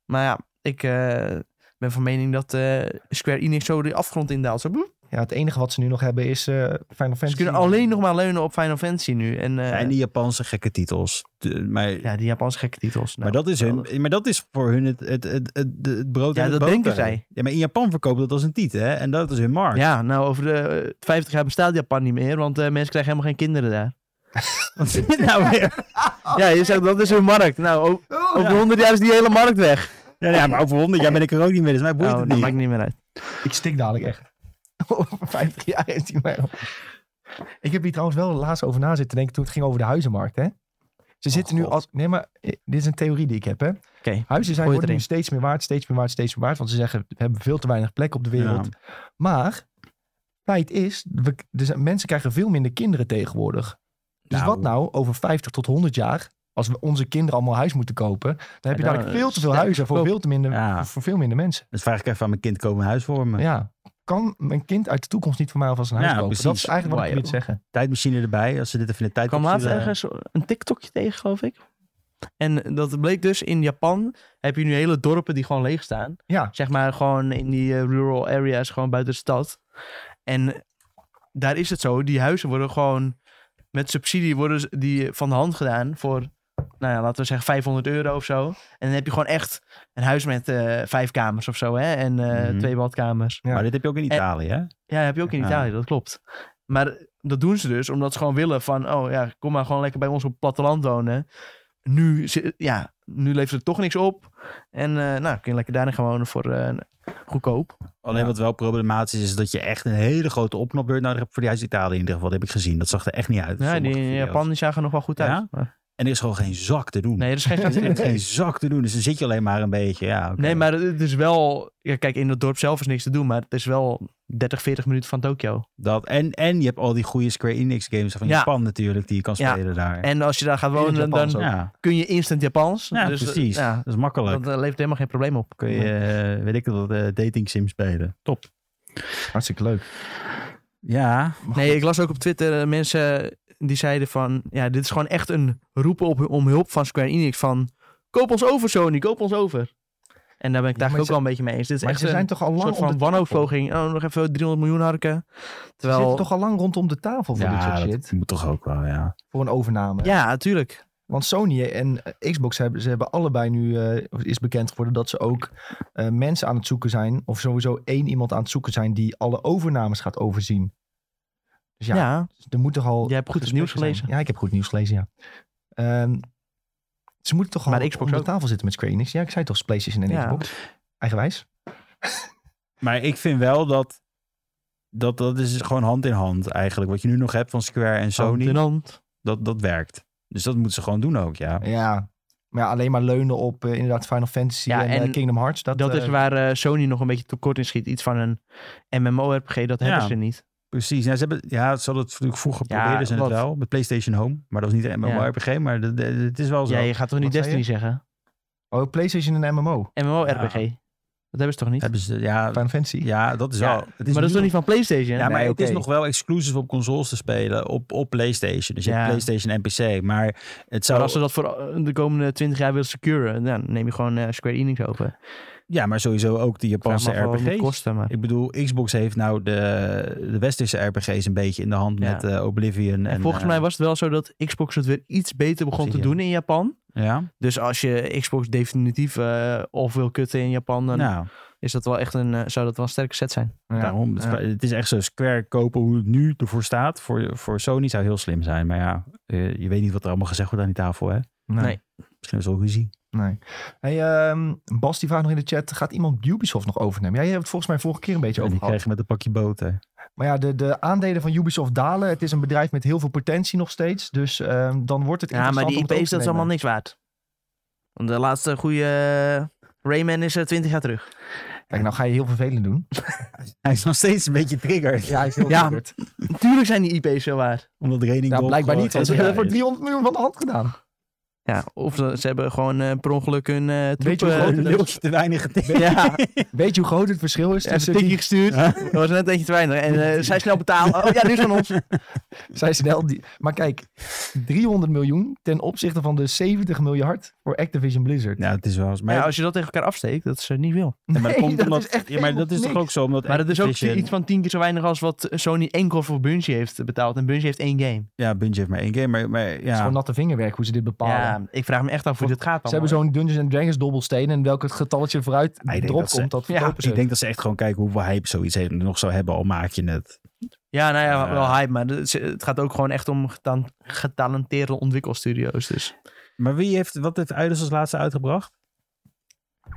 S2: Maar ja, ik eh, ben van mening dat eh, Square Enix zo de afgrond indaalt. Zo, boep.
S1: Ja, het enige wat ze nu nog hebben is eh, Final
S2: Ze
S1: Fantasy.
S2: kunnen alleen nog maar leunen op Final Fantasy nu. En, eh,
S3: Ja, en die Japanse gekke titels. De- maar,
S2: Ja, die Japanse gekke titels. Nou,
S3: maar, dat is hun,
S2: geweldig.
S3: maar dat is voor hun het, het, het, het, het brood
S2: Ja,
S3: en het
S2: dat denken
S3: boter.
S2: zij.
S3: Ja, maar in Japan verkopen dat als een titel, hè? En dat is hun markt.
S2: Ja, nou over de eh, 50 jaar bestaat Japan niet meer, want eh, mensen krijgen helemaal geen kinderen daar.
S3: Wat zit dit nou weer?
S2: Ja, je zegt dat is hun markt. Nou, o- over 100 jaar is die hele markt weg.
S3: Ja, ja, maar over 100 jaar ben ik er ook niet meer, dus mij boeit
S2: Oh,
S3: het
S2: dat
S3: niet.
S2: maakt niet meer uit.
S1: Ik stik dadelijk echt. Over 50 jaar is die mij. Ik heb hier trouwens wel laatst over na zitten denken toen het ging over de huizenmarkt, hè? Ze zitten nu
S3: God.
S1: als. Nee, maar eh, dit is een theorie die ik heb, hè?
S2: Oké,
S1: Huizen zijn,
S2: gooi het
S1: worden nu
S2: erin.
S1: steeds meer waard, steeds meer waard, steeds meer waard. Want ze zeggen, we hebben veel te weinig plek op de wereld. Maar, feit is, we, er zijn- mensen krijgen veel minder kinderen tegenwoordig. Dus
S3: Nou.
S1: wat nou over 50 tot 100 jaar, als we onze kinderen allemaal huis moeten kopen, dan heb je
S2: dan
S1: dadelijk veel te veel
S2: sterk
S1: huizen voor
S2: goedkoop.
S1: veel, te minder,
S3: Ja.
S1: voor veel minder mensen.
S3: Dus vraag ik even aan mijn kind, komen een huis voor me?
S1: Ja. Kan mijn kind uit de toekomst niet voor mij alvast een huis
S3: Ja,
S1: kopen? Dat
S3: precies.
S1: is eigenlijk wat ik
S2: Wauw.
S1: probeer te zeggen.
S3: Tijdmachine erbij, als ze dit even in de tijd
S2: Ik kwam laatst
S3: opsturen.
S2: ergens een TikTokje tegen, geloof ik. En dat bleek dus in Japan heb je nu hele dorpen die gewoon leeg staan.
S1: Ja.
S2: Zeg maar gewoon in die eh, rural areas, gewoon buiten de stad. En daar is het zo. Die huizen worden gewoon met subsidie worden ze- die van de hand gedaan voor, nou ja, laten we zeggen 500 euro of zo. En dan heb je gewoon echt een huis met eh, vijf kamers of zo, hè? En eh,
S3: Mhm.
S2: twee badkamers.
S1: Ja.
S3: Maar dit heb je ook in
S2: En-
S3: Italië, hè?
S2: Ja, heb je ook in
S3: Ja.
S2: Italië, dat klopt. Maar dat doen ze dus omdat ze gewoon willen van, oh ja, kom maar gewoon lekker bij ons op het platteland wonen. Nu, zi- ja, nu levert het toch niks op. En eh, nou, kun je lekker daarin gaan wonen voor eh, goedkoop.
S3: Alleen
S1: Ja.
S3: wat wel problematisch is, is dat je echt een hele grote opknopbeurt nodig hebt voor die huis Italië. In ieder geval, dat heb ik gezien. Dat zag er echt niet uit.
S2: Ja,
S3: sommige
S2: die in
S3: video's.
S2: Japan die zagen er nog wel goed uit.
S3: Ja?
S2: Maar-
S3: En er is gewoon geen zak te doen.
S2: Nee, dat is geen
S3: Er is echt geen zak te doen. Dus dan zit je alleen maar een beetje. Ja, oké.
S2: Nee, maar het is wel... Ja, kijk, in het dorp zelf is niks te doen, maar het is wel 30, 40 minuten van Tokio.
S3: dat, en, en je hebt al die goede Square Enix games van
S2: Ja.
S3: Japan natuurlijk, die je kan
S2: Ja.
S3: spelen daar.
S2: En als je daar gaat
S1: In het
S2: wonen,
S1: Japans
S2: dan
S1: ook.
S3: ja,
S2: kun je instant Japans.
S3: ja
S2: dus, eh,
S3: precies.
S2: Ja,
S3: Dat is makkelijk.
S2: dat eh, levert helemaal geen probleem op.
S3: kun je, eh, weet ik dat, eh dating sim spelen. Top.
S1: Hartstikke leuk.
S3: Ja,
S2: Nee, ik las ook op Twitter eh, mensen die zeiden van... Ja, dit is gewoon echt een roepen op, om hulp van Square Enix. Van, koop ons over Sony, koop ons over. En daar ben ik het
S1: Ja, maar
S2: eigenlijk ook
S1: ze-
S2: wel een beetje mee eens. Dit is
S1: Maar
S2: echt
S1: ze zijn
S2: een
S1: toch al lang
S2: soort
S1: op de
S2: van wanhoopvoging. Oh, nog even 300 miljoen harken.
S1: Ze
S2: Terwijl...
S1: zitten toch al lang rondom de tafel voor dit
S3: ja
S1: soort
S3: dat
S1: shit.
S3: moet toch ook wel, ja.
S1: Voor een overname.
S2: Ja, natuurlijk.
S1: Want Sony en eh, Xbox hebben, ze hebben allebei nu, eh, is bekend geworden dat ze ook eh, mensen aan het zoeken zijn. Of sowieso één iemand aan het zoeken zijn die alle overnames gaat overzien. Dus ja,
S2: ja.
S1: er moet toch al...
S2: Jij hebt goed het nieuws
S1: gesprekken zijn.
S2: gelezen.
S1: Ja, ik heb goed nieuws gelezen, ja. Ehm, ze moeten toch
S2: Maar
S1: al
S2: Xbox
S1: onder de
S2: ook.
S1: tafel zitten met Square Enix. Ja, ik zei toch PlayStation en
S2: Ja.
S1: Xbox. Eigenwijs.
S3: Maar ik vind wel dat, dat dat is gewoon hand in hand eigenlijk. Wat je nu nog hebt van Square en Sony,
S2: Hand in hand.
S3: dat, dat werkt. Dus dat moeten ze gewoon doen ook, ja.
S1: Ja. Maar ja, alleen maar leunen op eh, inderdaad Final Fantasy
S2: Ja,
S1: en, eh,
S2: en
S1: Kingdom Hearts. Dat,
S2: Dat, is
S1: eh,
S2: waar eh, Sony nog een beetje tekort in schiet. Iets van een MMORPG, dat
S3: Ja.
S2: hebben ze niet.
S3: Precies. Ja, ze hebben, ja, ze hadden het natuurlijk vroeger
S2: Ja,
S3: probeerden ze
S2: wat?
S3: het wel. Met PlayStation Home. Maar dat was niet een MMORPG, maar de- de- het is wel zo.
S2: Ja, je gaat toch niet
S1: Wat
S2: Destiny zeggen?
S1: Oh, PlayStation en MMO.
S2: MMORPG. Dat hebben ze toch niet?
S3: Hebben ze, ja,
S1: Final Fantasy.
S3: ja, dat is
S2: Ja,
S3: wel. Het is
S2: maar dat is toch
S3: nu-
S2: niet van PlayStation?
S3: Ja, maar
S1: Nee,
S3: het is
S1: oké.
S3: nog wel exclusief op consoles te spelen op, op PlayStation. Dus je hebt
S2: Ja.
S3: PlayStation en PC. Maar het
S2: Maar
S3: zou...
S2: als ze dat voor eh, de komende 20 jaar willen securen, dan neem je gewoon eh, Square Enix over.
S3: Ja, maar sowieso ook die
S2: Vraag me
S3: Japanse
S2: af wat het moet
S3: RPG's.
S2: kosten, maar.
S3: Ik bedoel, Xbox heeft nou de, de westerse RPG's een beetje in de hand
S2: Ja.
S3: met eh, Oblivion. En,
S2: En volgens
S3: eh,
S2: mij was het wel zo dat Xbox het weer iets beter begon te
S3: Obsidian.
S2: doen in Japan.
S3: Ja,
S2: Dus als je Xbox definitief eh, of wil kutten in Japan, dan
S3: nou,
S2: is dat wel echt een, eh, zou dat wel een sterke set zijn.
S1: Ja.
S3: daarom. Het,
S1: Ja.
S3: het is echt zo square kopen hoe het nu ervoor staat. Voor, voor Sony zou heel slim zijn. Maar ja, eh, je weet niet wat er allemaal gezegd wordt aan die tafel, hè?
S2: Nee.
S3: Misschien is het wel ruzie.
S1: Nee. Hey, ehm, Bas die vraagt nog in de chat, gaat iemand Ubisoft nog overnemen? Ja, je hebt het volgens mij vorige keer een beetje
S3: En
S1: over
S3: die
S1: gehad.
S3: krijgen met een pakje boter.
S1: Maar ja, de, de aandelen van Ubisoft dalen. Het is een bedrijf met heel veel potentie nog steeds. Dus ehm, dan wordt het
S2: Ja, maar die
S1: interessant om het
S2: IP's,
S1: over
S2: dat is
S1: te
S2: allemaal
S1: nemen.
S2: niks waard. Want de laatste goede eh, Rayman is eh, 20 jaar terug.
S1: Kijk, nou ga je heel vervelend doen.
S3: Hij is nog steeds een beetje triggered.
S1: Ja, hij is heel
S2: Ja.
S1: vervelend.
S2: Natuurlijk zijn die IP's wel waard.
S3: Omdat Raining
S1: Nou,
S3: Dog
S1: blijkbaar
S3: gewoon
S1: niet, want ze
S3: geen
S1: hebben voor
S3: bedrijf
S1: 300 miljoen van de hand gedaan.
S2: Ja, of ze, ze hebben gewoon eh, per ongeluk hun eh
S1: Weet je
S2: troepen-
S1: hoe groot
S3: is. Een deeltje te weinig getikt.
S2: Ja,
S1: Weet je hoe groot het verschil is?
S2: even
S1: tussen
S2: een tikje
S1: die,
S2: gestuurd. Dat was net eentje te weinig. En eh, zij snel betalen. Oh ja, nu is van ons.
S1: zijn snel die, maar kijk, 300 miljoen ten opzichte van de 70 miljard voor Activision Blizzard.
S3: Nou, het is wel eens. Maar,
S2: Ja, als je dat tegen elkaar afsteekt, dat is eh, niet veel.
S3: ja, maar dat
S1: Nee,
S3: komt
S1: dat
S3: omdat-
S1: is echt
S3: ja, maar dat is toch
S1: helemaal
S3: ook zo? Omdat
S2: Maar dat is ook
S3: Activision-
S2: iets van 10 keer zo weinig als wat Sony enkel voor Bungie heeft betaald. En Bungie heeft één game.
S3: Ja, Bungie heeft maar één game. Maar, maar
S1: Het is
S3: ja,
S1: gewoon natte vingerwerk hoe ze dit bepalen.
S2: Ja, ik vraag me echt af hoe dit gaat
S1: Ze
S2: allemaal.
S3: eh,
S1: hebben zo'n Dungeons and Dragons dobbelsteen en welk het getalletje vooruit
S3: denk
S1: erop
S3: dat ze-
S1: komt, dat
S2: Ja,
S1: verkopen ze.
S3: ik denk dat ze echt gewoon kijken hoeveel hype zoiets heeft, nog zou hebben, al maak je het.
S2: Ja, nou ja,
S3: Ja.
S2: wel hype, maar het het gaat ook gewoon echt om getan- getalenteerde ontwikkelstudio's. Dus
S3: Maar wie heeft, wat heeft Eidos als laatste uitgebracht?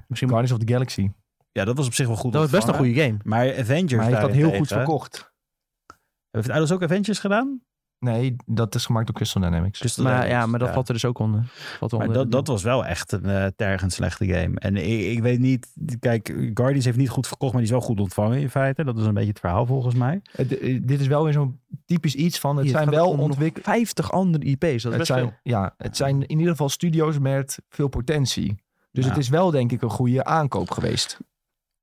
S2: misschien
S1: Guardians of the Galaxy.
S3: Ja, dat was op zich wel goed.
S2: dat was best een
S3: ontvangen.
S2: goede game.
S3: Maar Avengers
S1: Maar hij heeft dat heel goed
S3: daarentegen-
S1: verkocht.
S3: Heeft Eidos ook Avengers gedaan?
S1: Nee, dat is gemaakt door Crystal Dynamics.
S3: Crystal
S2: Maar
S3: Dynamics,
S2: ja, maar dat valt er dus ook onder. Valt
S3: Maar
S2: onder
S3: dat, dat was wel echt een eh, tergend slechte game. En ik, ik weet niet, kijk, Guardians heeft niet goed verkocht, maar die is wel goed ontvangen in feite. Dat is een beetje het verhaal volgens mij.
S1: Het- eh, dit is wel weer zo'n typisch iets van, het
S2: Hier, het
S1: zijn
S2: gaat
S1: wel
S2: om nog
S1: ontwikkelingen.
S2: 50 andere IP's, dat is
S1: Het
S2: best
S1: zijn,
S2: veel.
S1: ja, het zijn in ieder geval studio's met veel potentie. Dus
S3: Ja.
S1: het is wel denk ik een goede aankoop geweest.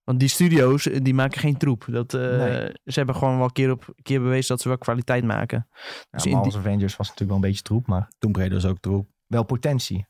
S2: Want die studio's, eh, die maken geen troep. Dat, eh,
S1: Nee.
S2: Ze hebben gewoon wel keer op keer bewezen dat ze wel kwaliteit maken. Dus
S1: Ja,
S2: in
S1: maar
S2: die-
S1: als Avengers was natuurlijk wel een beetje troep, maar
S3: Tomb Raider is ook troep.
S1: wel potentie.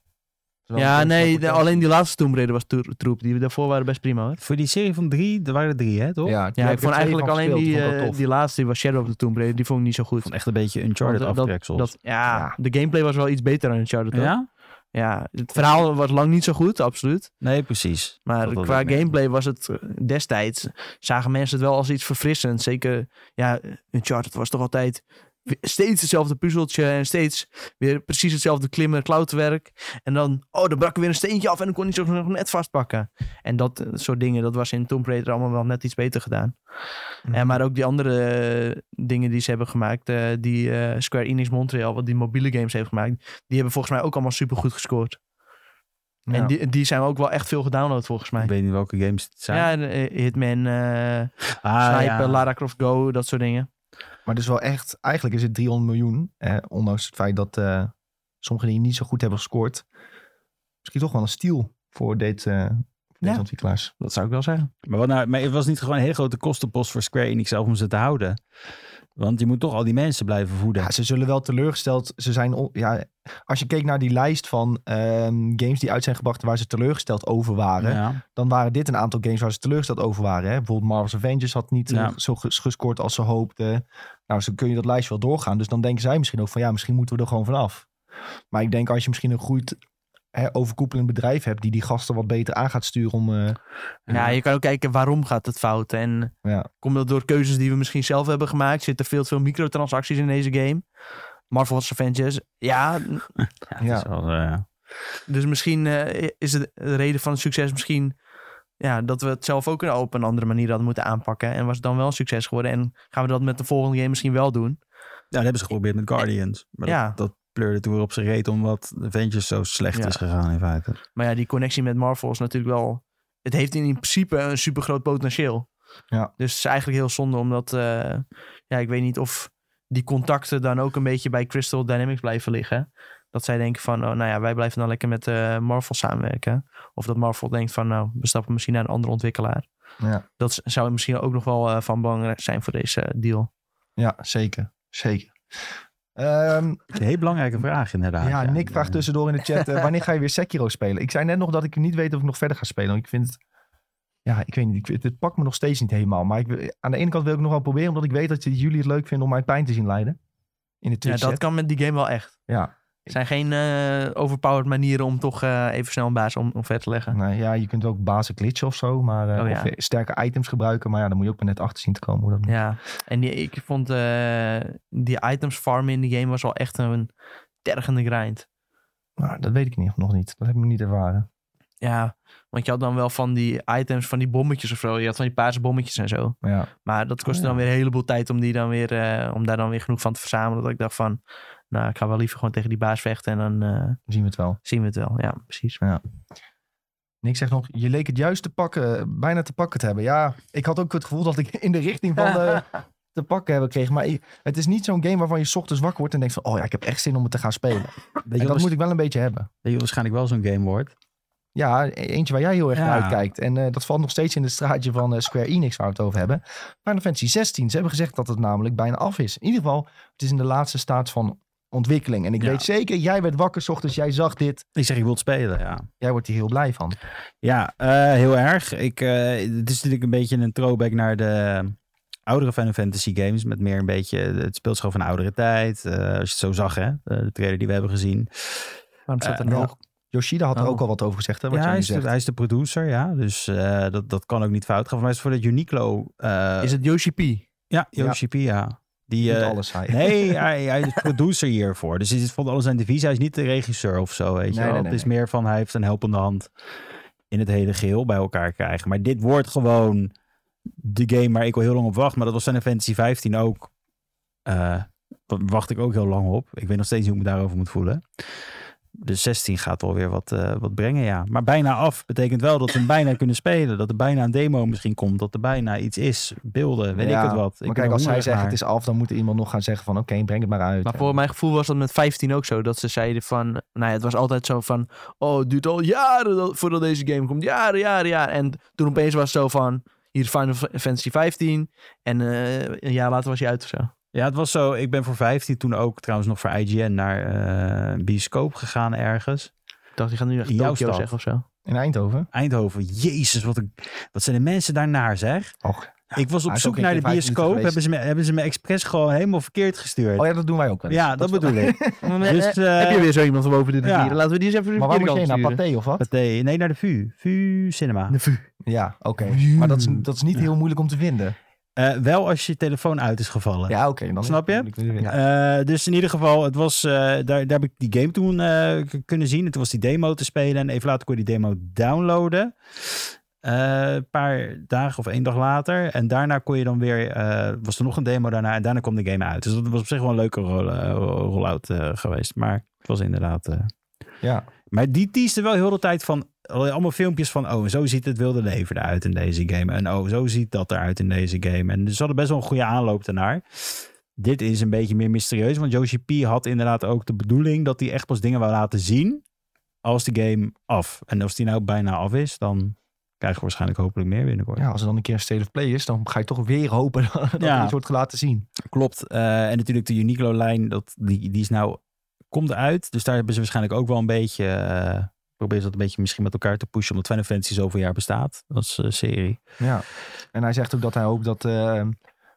S1: Terwijl
S2: Ja,
S1: het een
S2: nee,
S1: soort-
S2: de- alleen die laatste Tomb Raider was tro- troep. Die daarvoor waren best prima hoor.
S3: Voor die serie van drie, er waren er drie, hè, toch?
S1: Ja,
S2: Ja, ik vond eigenlijk alleen die, eh,
S1: die
S2: die laatste, die was Shadow of the Tomb Raider, die vond ik niet zo goed.
S3: Vond echt een beetje Uncharted
S2: Want, eh, dat,
S3: aftreksels.
S2: dat, ja,
S1: Ja.
S2: de gameplay was wel iets beter dan Uncharted. hoor.
S3: ja?
S2: ja, het verhaal was lang niet zo goed, absoluut.
S3: Nee, precies.
S2: Maar
S3: Dat had
S2: qua
S3: ik net.
S2: gameplay was het eh, destijds, zagen mensen het wel als iets verfrissends. Zeker, ja, eh, Uncharted was toch altijd we- steeds hetzelfde puzzeltje en steeds weer precies hetzelfde klimmen, klauterwerk. En dan, oh, dan brak er weer een steentje af en dan kon hij zo nog net vastpakken. En dat eh, soort dingen, dat was in Tomb Raider allemaal wel net iets beter gedaan. En maar ook die andere eh, dingen die ze hebben gemaakt, eh, die eh, Square Enix Montreal, wat die mobiele games heeft gemaakt, die hebben volgens mij ook allemaal supergoed gescoord. En die, die zijn ook wel echt veel gedownload volgens mij.
S3: Ik weet niet welke games het zijn.
S2: Ja, de, eh, Hitman, eh
S3: Ah,
S2: Sniper,
S3: ja.
S2: Lara Croft Go, dat soort dingen.
S1: Maar dus wel echt, eigenlijk is het 300 miljoen. Eh, ondanks het feit dat eh sommige dingen niet zo goed hebben gescoord. Misschien toch wel een steal voor dit, eh, voor deze
S2: Ja.
S1: ontwikkelaars.
S2: Dat zou ik wel zeggen.
S3: Maar, wat nou, maar het was niet gewoon een hele grote kostenpost voor Square Enix zelf om ze te houden. Want je moet toch al die mensen blijven voeden.
S1: Ja, ze zullen wel teleurgesteld. Ze zijn, on- ja, als je keek naar die lijst van ehm, games die uit zijn gebracht waar ze teleurgesteld over waren.
S3: Ja.
S1: Dan waren dit een aantal games waar ze teleurgesteld over waren. Hè? Bijvoorbeeld Marvel's Avengers had niet eh,
S3: Ja.
S1: zo ges- gescoord als ze hoopten. Nou, zo kun je dat lijstje wel doorgaan. Dus dan denken zij misschien ook van ja, misschien moeten we er gewoon vanaf. Maar ik denk als je misschien een goed hè, overkoepelend bedrijf hebt... die die gasten wat beter aan gaat sturen om... eh,
S2: Ja, je kan ook kijken waarom gaat het fout. En
S1: Ja.
S2: komt dat door keuzes die we misschien zelf hebben gemaakt? Zitten veel te veel microtransacties in deze game? Marvel's Avengers. Ja,
S3: Ja, het is wel, eh,
S2: Dus misschien eh, is het de reden van het succes misschien ja, dat we het zelf ook op een andere manier hadden moeten aanpakken. En was het dan wel een succes geworden. En gaan we dat met de volgende game misschien wel doen.
S3: Ja, dat hebben ze geprobeerd met Guardians. Maar
S2: Ja.
S3: dat, dat pleurde toen weer op zijn reet omdat Avengers zo slecht
S2: Ja.
S3: is gegaan in feite.
S2: Maar ja, die connectie met Marvel is natuurlijk wel... Het heeft in principe een supergroot potentieel.
S1: Ja.
S2: Dus het is eigenlijk heel zonde omdat... eh, ja, ik weet niet of die contacten dan ook een beetje bij Crystal Dynamics blijven liggen. Dat zij denken van, oh, nou ja, wij blijven dan lekker met eh, Marvel samenwerken. Of dat Marvel denkt van, nou, we stappen misschien naar een andere ontwikkelaar.
S1: ja.
S2: dat z- zou misschien ook nog wel eh, van belang zijn voor deze eh, deal.
S1: ja, zeker. Zeker. Ehm,
S3: Een heel belangrijke vraag inderdaad.
S1: ja, Nick vraagt
S3: dus-
S1: tussendoor in de chat... eh, wanneer ga je weer Sekiro spelen? Ik zei net nog dat ik niet weet of ik nog verder ga spelen. Want ik vind het... Ja, ik weet niet. Ik, vind- het pakt me nog steeds niet helemaal. Maar ik, wil- aan de ene kant wil ik nog wel proberen... omdat ik weet dat jullie het leuk vinden om mij pijn te zien lijden. In de
S2: Ja,
S1: Twitch
S2: dat kan met die game wel echt.
S1: Ja.
S2: Er zijn geen eh, overpowered manieren om toch eh, even snel een baas om, omver te leggen.
S1: Nou ja, je kunt ook bazen glitchen of zo. Maar, eh,
S2: Oh, ja.
S1: Of sterke items gebruiken. Maar ja, dan moet je ook maar net achter zien te komen hoe dat moet.
S2: Ja, en die, ik vond eh, die items farmen in die game was wel echt een tergende grind.
S1: Nou, dat weet ik niet, nog niet. Dat heb ik nog niet ervaren.
S2: Ja, want je had dan wel van die items, van die bommetjes of zo. Je had van die paarse bommetjes en zo.
S1: Maar ja,
S2: Maar dat kostte
S3: Oh, ja.
S2: dan weer een heleboel tijd om, die dan weer, eh, om daar dan weer genoeg van te verzamelen. Dat ik dacht van, nou, ik ga wel liever gewoon tegen die baas vechten en dan eh,
S1: dan zien we het wel.
S2: zien we het wel. Ja, precies.
S1: Nick zegt nog, je leek het juist te pakken, bijna te pakken te hebben. Ja, ik had ook het gevoel dat ik in de richting van de, te pakken hebben kreeg. Maar i- het is niet zo'n game waarvan je 's ochtends wakker wordt en denkt van... oh ja, ik heb echt zin om het te gaan spelen. En
S3: Weet je,
S1: dat
S3: wat
S1: moet ik wel een beetje hebben.
S3: weet je wat waarschijnlijk wel zo'n game wordt?
S1: Ja, e- eentje waar jij heel erg
S3: Ja.
S1: naar uitkijkt. En eh, dat valt nog steeds in het straatje van eh, Square Enix waar we het over hebben. Final Fantasy 16. Ze hebben gezegd dat het namelijk bijna af is. In ieder geval, het is in de laatste staat van ontwikkeling. En ik
S3: Ja.
S1: weet zeker, jij werd wakker 's ochtends, jij zag dit.
S3: Ik zeg, ik wil het spelen, ja.
S1: Jij wordt hier heel blij van.
S3: Ja, eh, heel erg. Ik, eh, het is natuurlijk een beetje een throwback naar de oudere Final Fantasy games. Met meer een beetje het speelschap van de oudere tijd. Eh, als je het zo zag, hè. eh, de trailer die we hebben gezien.
S2: Waarom staat er
S1: Eh,
S2: nog?
S1: ja. Yoshida had er
S2: Oh.
S1: ook al wat over gezegd, hè, wat
S3: Ja,
S1: jij
S3: hij
S1: nu
S3: is, de,
S1: zegt.
S3: hij is de producer, ja. Dus eh, dat, dat kan ook niet fout gaan. Voor mij is het voor dat Uniqlo... eh,
S2: Is het Yoshi P?
S3: Ja,
S1: Ja.
S3: Yoshi P, ja. Die,
S1: Niet
S3: eh,
S1: alles hij.
S3: nee, hij, hij is producer hiervoor. Dus het is van alles zijn devies. Hij is niet de regisseur of zo, weet je
S1: Nee,
S3: wel.
S1: nee,
S3: het
S1: nee,
S3: is meer van, hij heeft een helpende hand in het hele geheel bij elkaar krijgen. Maar dit wordt gewoon de game waar ik al heel lang op wacht. Maar dat was Final Fantasy 15 ook. Eh, daar wacht ik ook heel lang op. Ik weet nog steeds niet hoe ik me daarover moet voelen. Dus 16 gaat wel weer wat, eh, wat brengen, ja. Maar bijna af betekent wel dat we hem bijna kunnen spelen. Dat er bijna een demo misschien komt. Dat er bijna iets is. Beelden, weet
S1: Ja,
S3: ik het wat. Ik
S1: Maar
S3: ben
S1: kijk,
S3: er
S1: als zij
S3: hongerig
S1: zeggen
S3: naar.
S1: het is af, dan moet er iemand nog gaan zeggen van oké, breng het maar uit.
S2: Maar
S1: En-
S2: voor mijn gevoel was dat met 15 ook zo. Dat ze zeiden van... Nou ja, het was altijd zo van... Oh, het duurt al jaren dat- voordat deze game komt. Jaren, jaren, jaren. En toen opeens was het zo van... Hier is Final Fantasy 15. En eh, een jaar later was hij uit of zo.
S3: Ja, het was zo. Ik ben voor 15 toen ook trouwens nog voor IGN naar eh, een bioscoop gegaan ergens.
S2: dacht, je gaat nu echt
S3: In jouw
S2: Tokio
S3: stad.
S2: zeggen of zo.
S1: In Eindhoven.
S3: Eindhoven, jezus, wat, een, wat zijn de mensen daarnaar zeg.
S1: Och.
S3: Ik was
S1: hij
S3: op
S1: is ook
S3: zoek
S1: een
S3: naar de
S1: keer vijf minuten
S3: bioscoop,
S1: geweest.
S3: hebben ze, me, hebben ze me expres gewoon helemaal verkeerd gestuurd.
S1: Oh ja, dat doen wij ook wel. eens.
S3: ja, dat,
S1: is wel-
S3: bedoel ik. Dus, eh,
S2: Heb je weer zo iemand van boven de
S3: ja.
S2: rivieren? Laten we die eens even de
S1: Maar waar moet je
S2: verkeerde
S1: heen? Naar
S2: kant sturen.
S1: Pathé of wat?
S3: Pathé. Nee, naar de VU. VU Cinema.
S2: De vu-
S1: Ja, oké. Maar dat is,
S3: Hmm.
S1: dat is niet heel moeilijk om te vinden.
S3: Eh, wel als je telefoon uit is gevallen.
S1: Ja, oké. dan is
S3: Snap
S1: het
S3: je?
S1: moeilijk om te vinden.
S3: Eh, dus in ieder geval, het was, eh, daar, daar heb ik die game toen eh, k- kunnen zien. En toen was die demo te spelen. En even later kon je die demo downloaden. Eh, Een paar dagen of één dag later. En daarna kon je dan weer. eh, was er nog een demo daarna. En daarna kwam de game uit. Dus dat was op zich wel een leuke roll- eh, rollout eh, geweest. Maar het was inderdaad. eh,
S1: Ja.
S3: Maar die teaste wel heel de tijd van. Allemaal filmpjes van. Oh, en zo ziet het wilde leven eruit in deze game. En oh, zo ziet dat eruit in deze game. En ze hadden best wel een goede aanloop daarnaar. Dit is een beetje meer mysterieus. Want Yoshi P had inderdaad ook de bedoeling dat hij echt pas dingen wou laten zien. Als de game af. En als die nou bijna af is, dan krijgen we waarschijnlijk hopelijk meer binnenkort.
S1: ja, als er dan een keer een State of Play is, dan ga je toch weer hopen dat er
S3: Ja.
S1: iets wordt laten zien.
S3: Klopt. Eh, en natuurlijk de Uniqlo-lijn, dat- die, die is nou, komt uit. Dus daar hebben ze waarschijnlijk ook wel een beetje, eh proberen ze dat een beetje misschien met elkaar te pushen. Omdat Final Fantasy zoveel jaar bestaat als eh, serie.
S1: Ja. En hij zegt ook dat hij hoopt dat eh,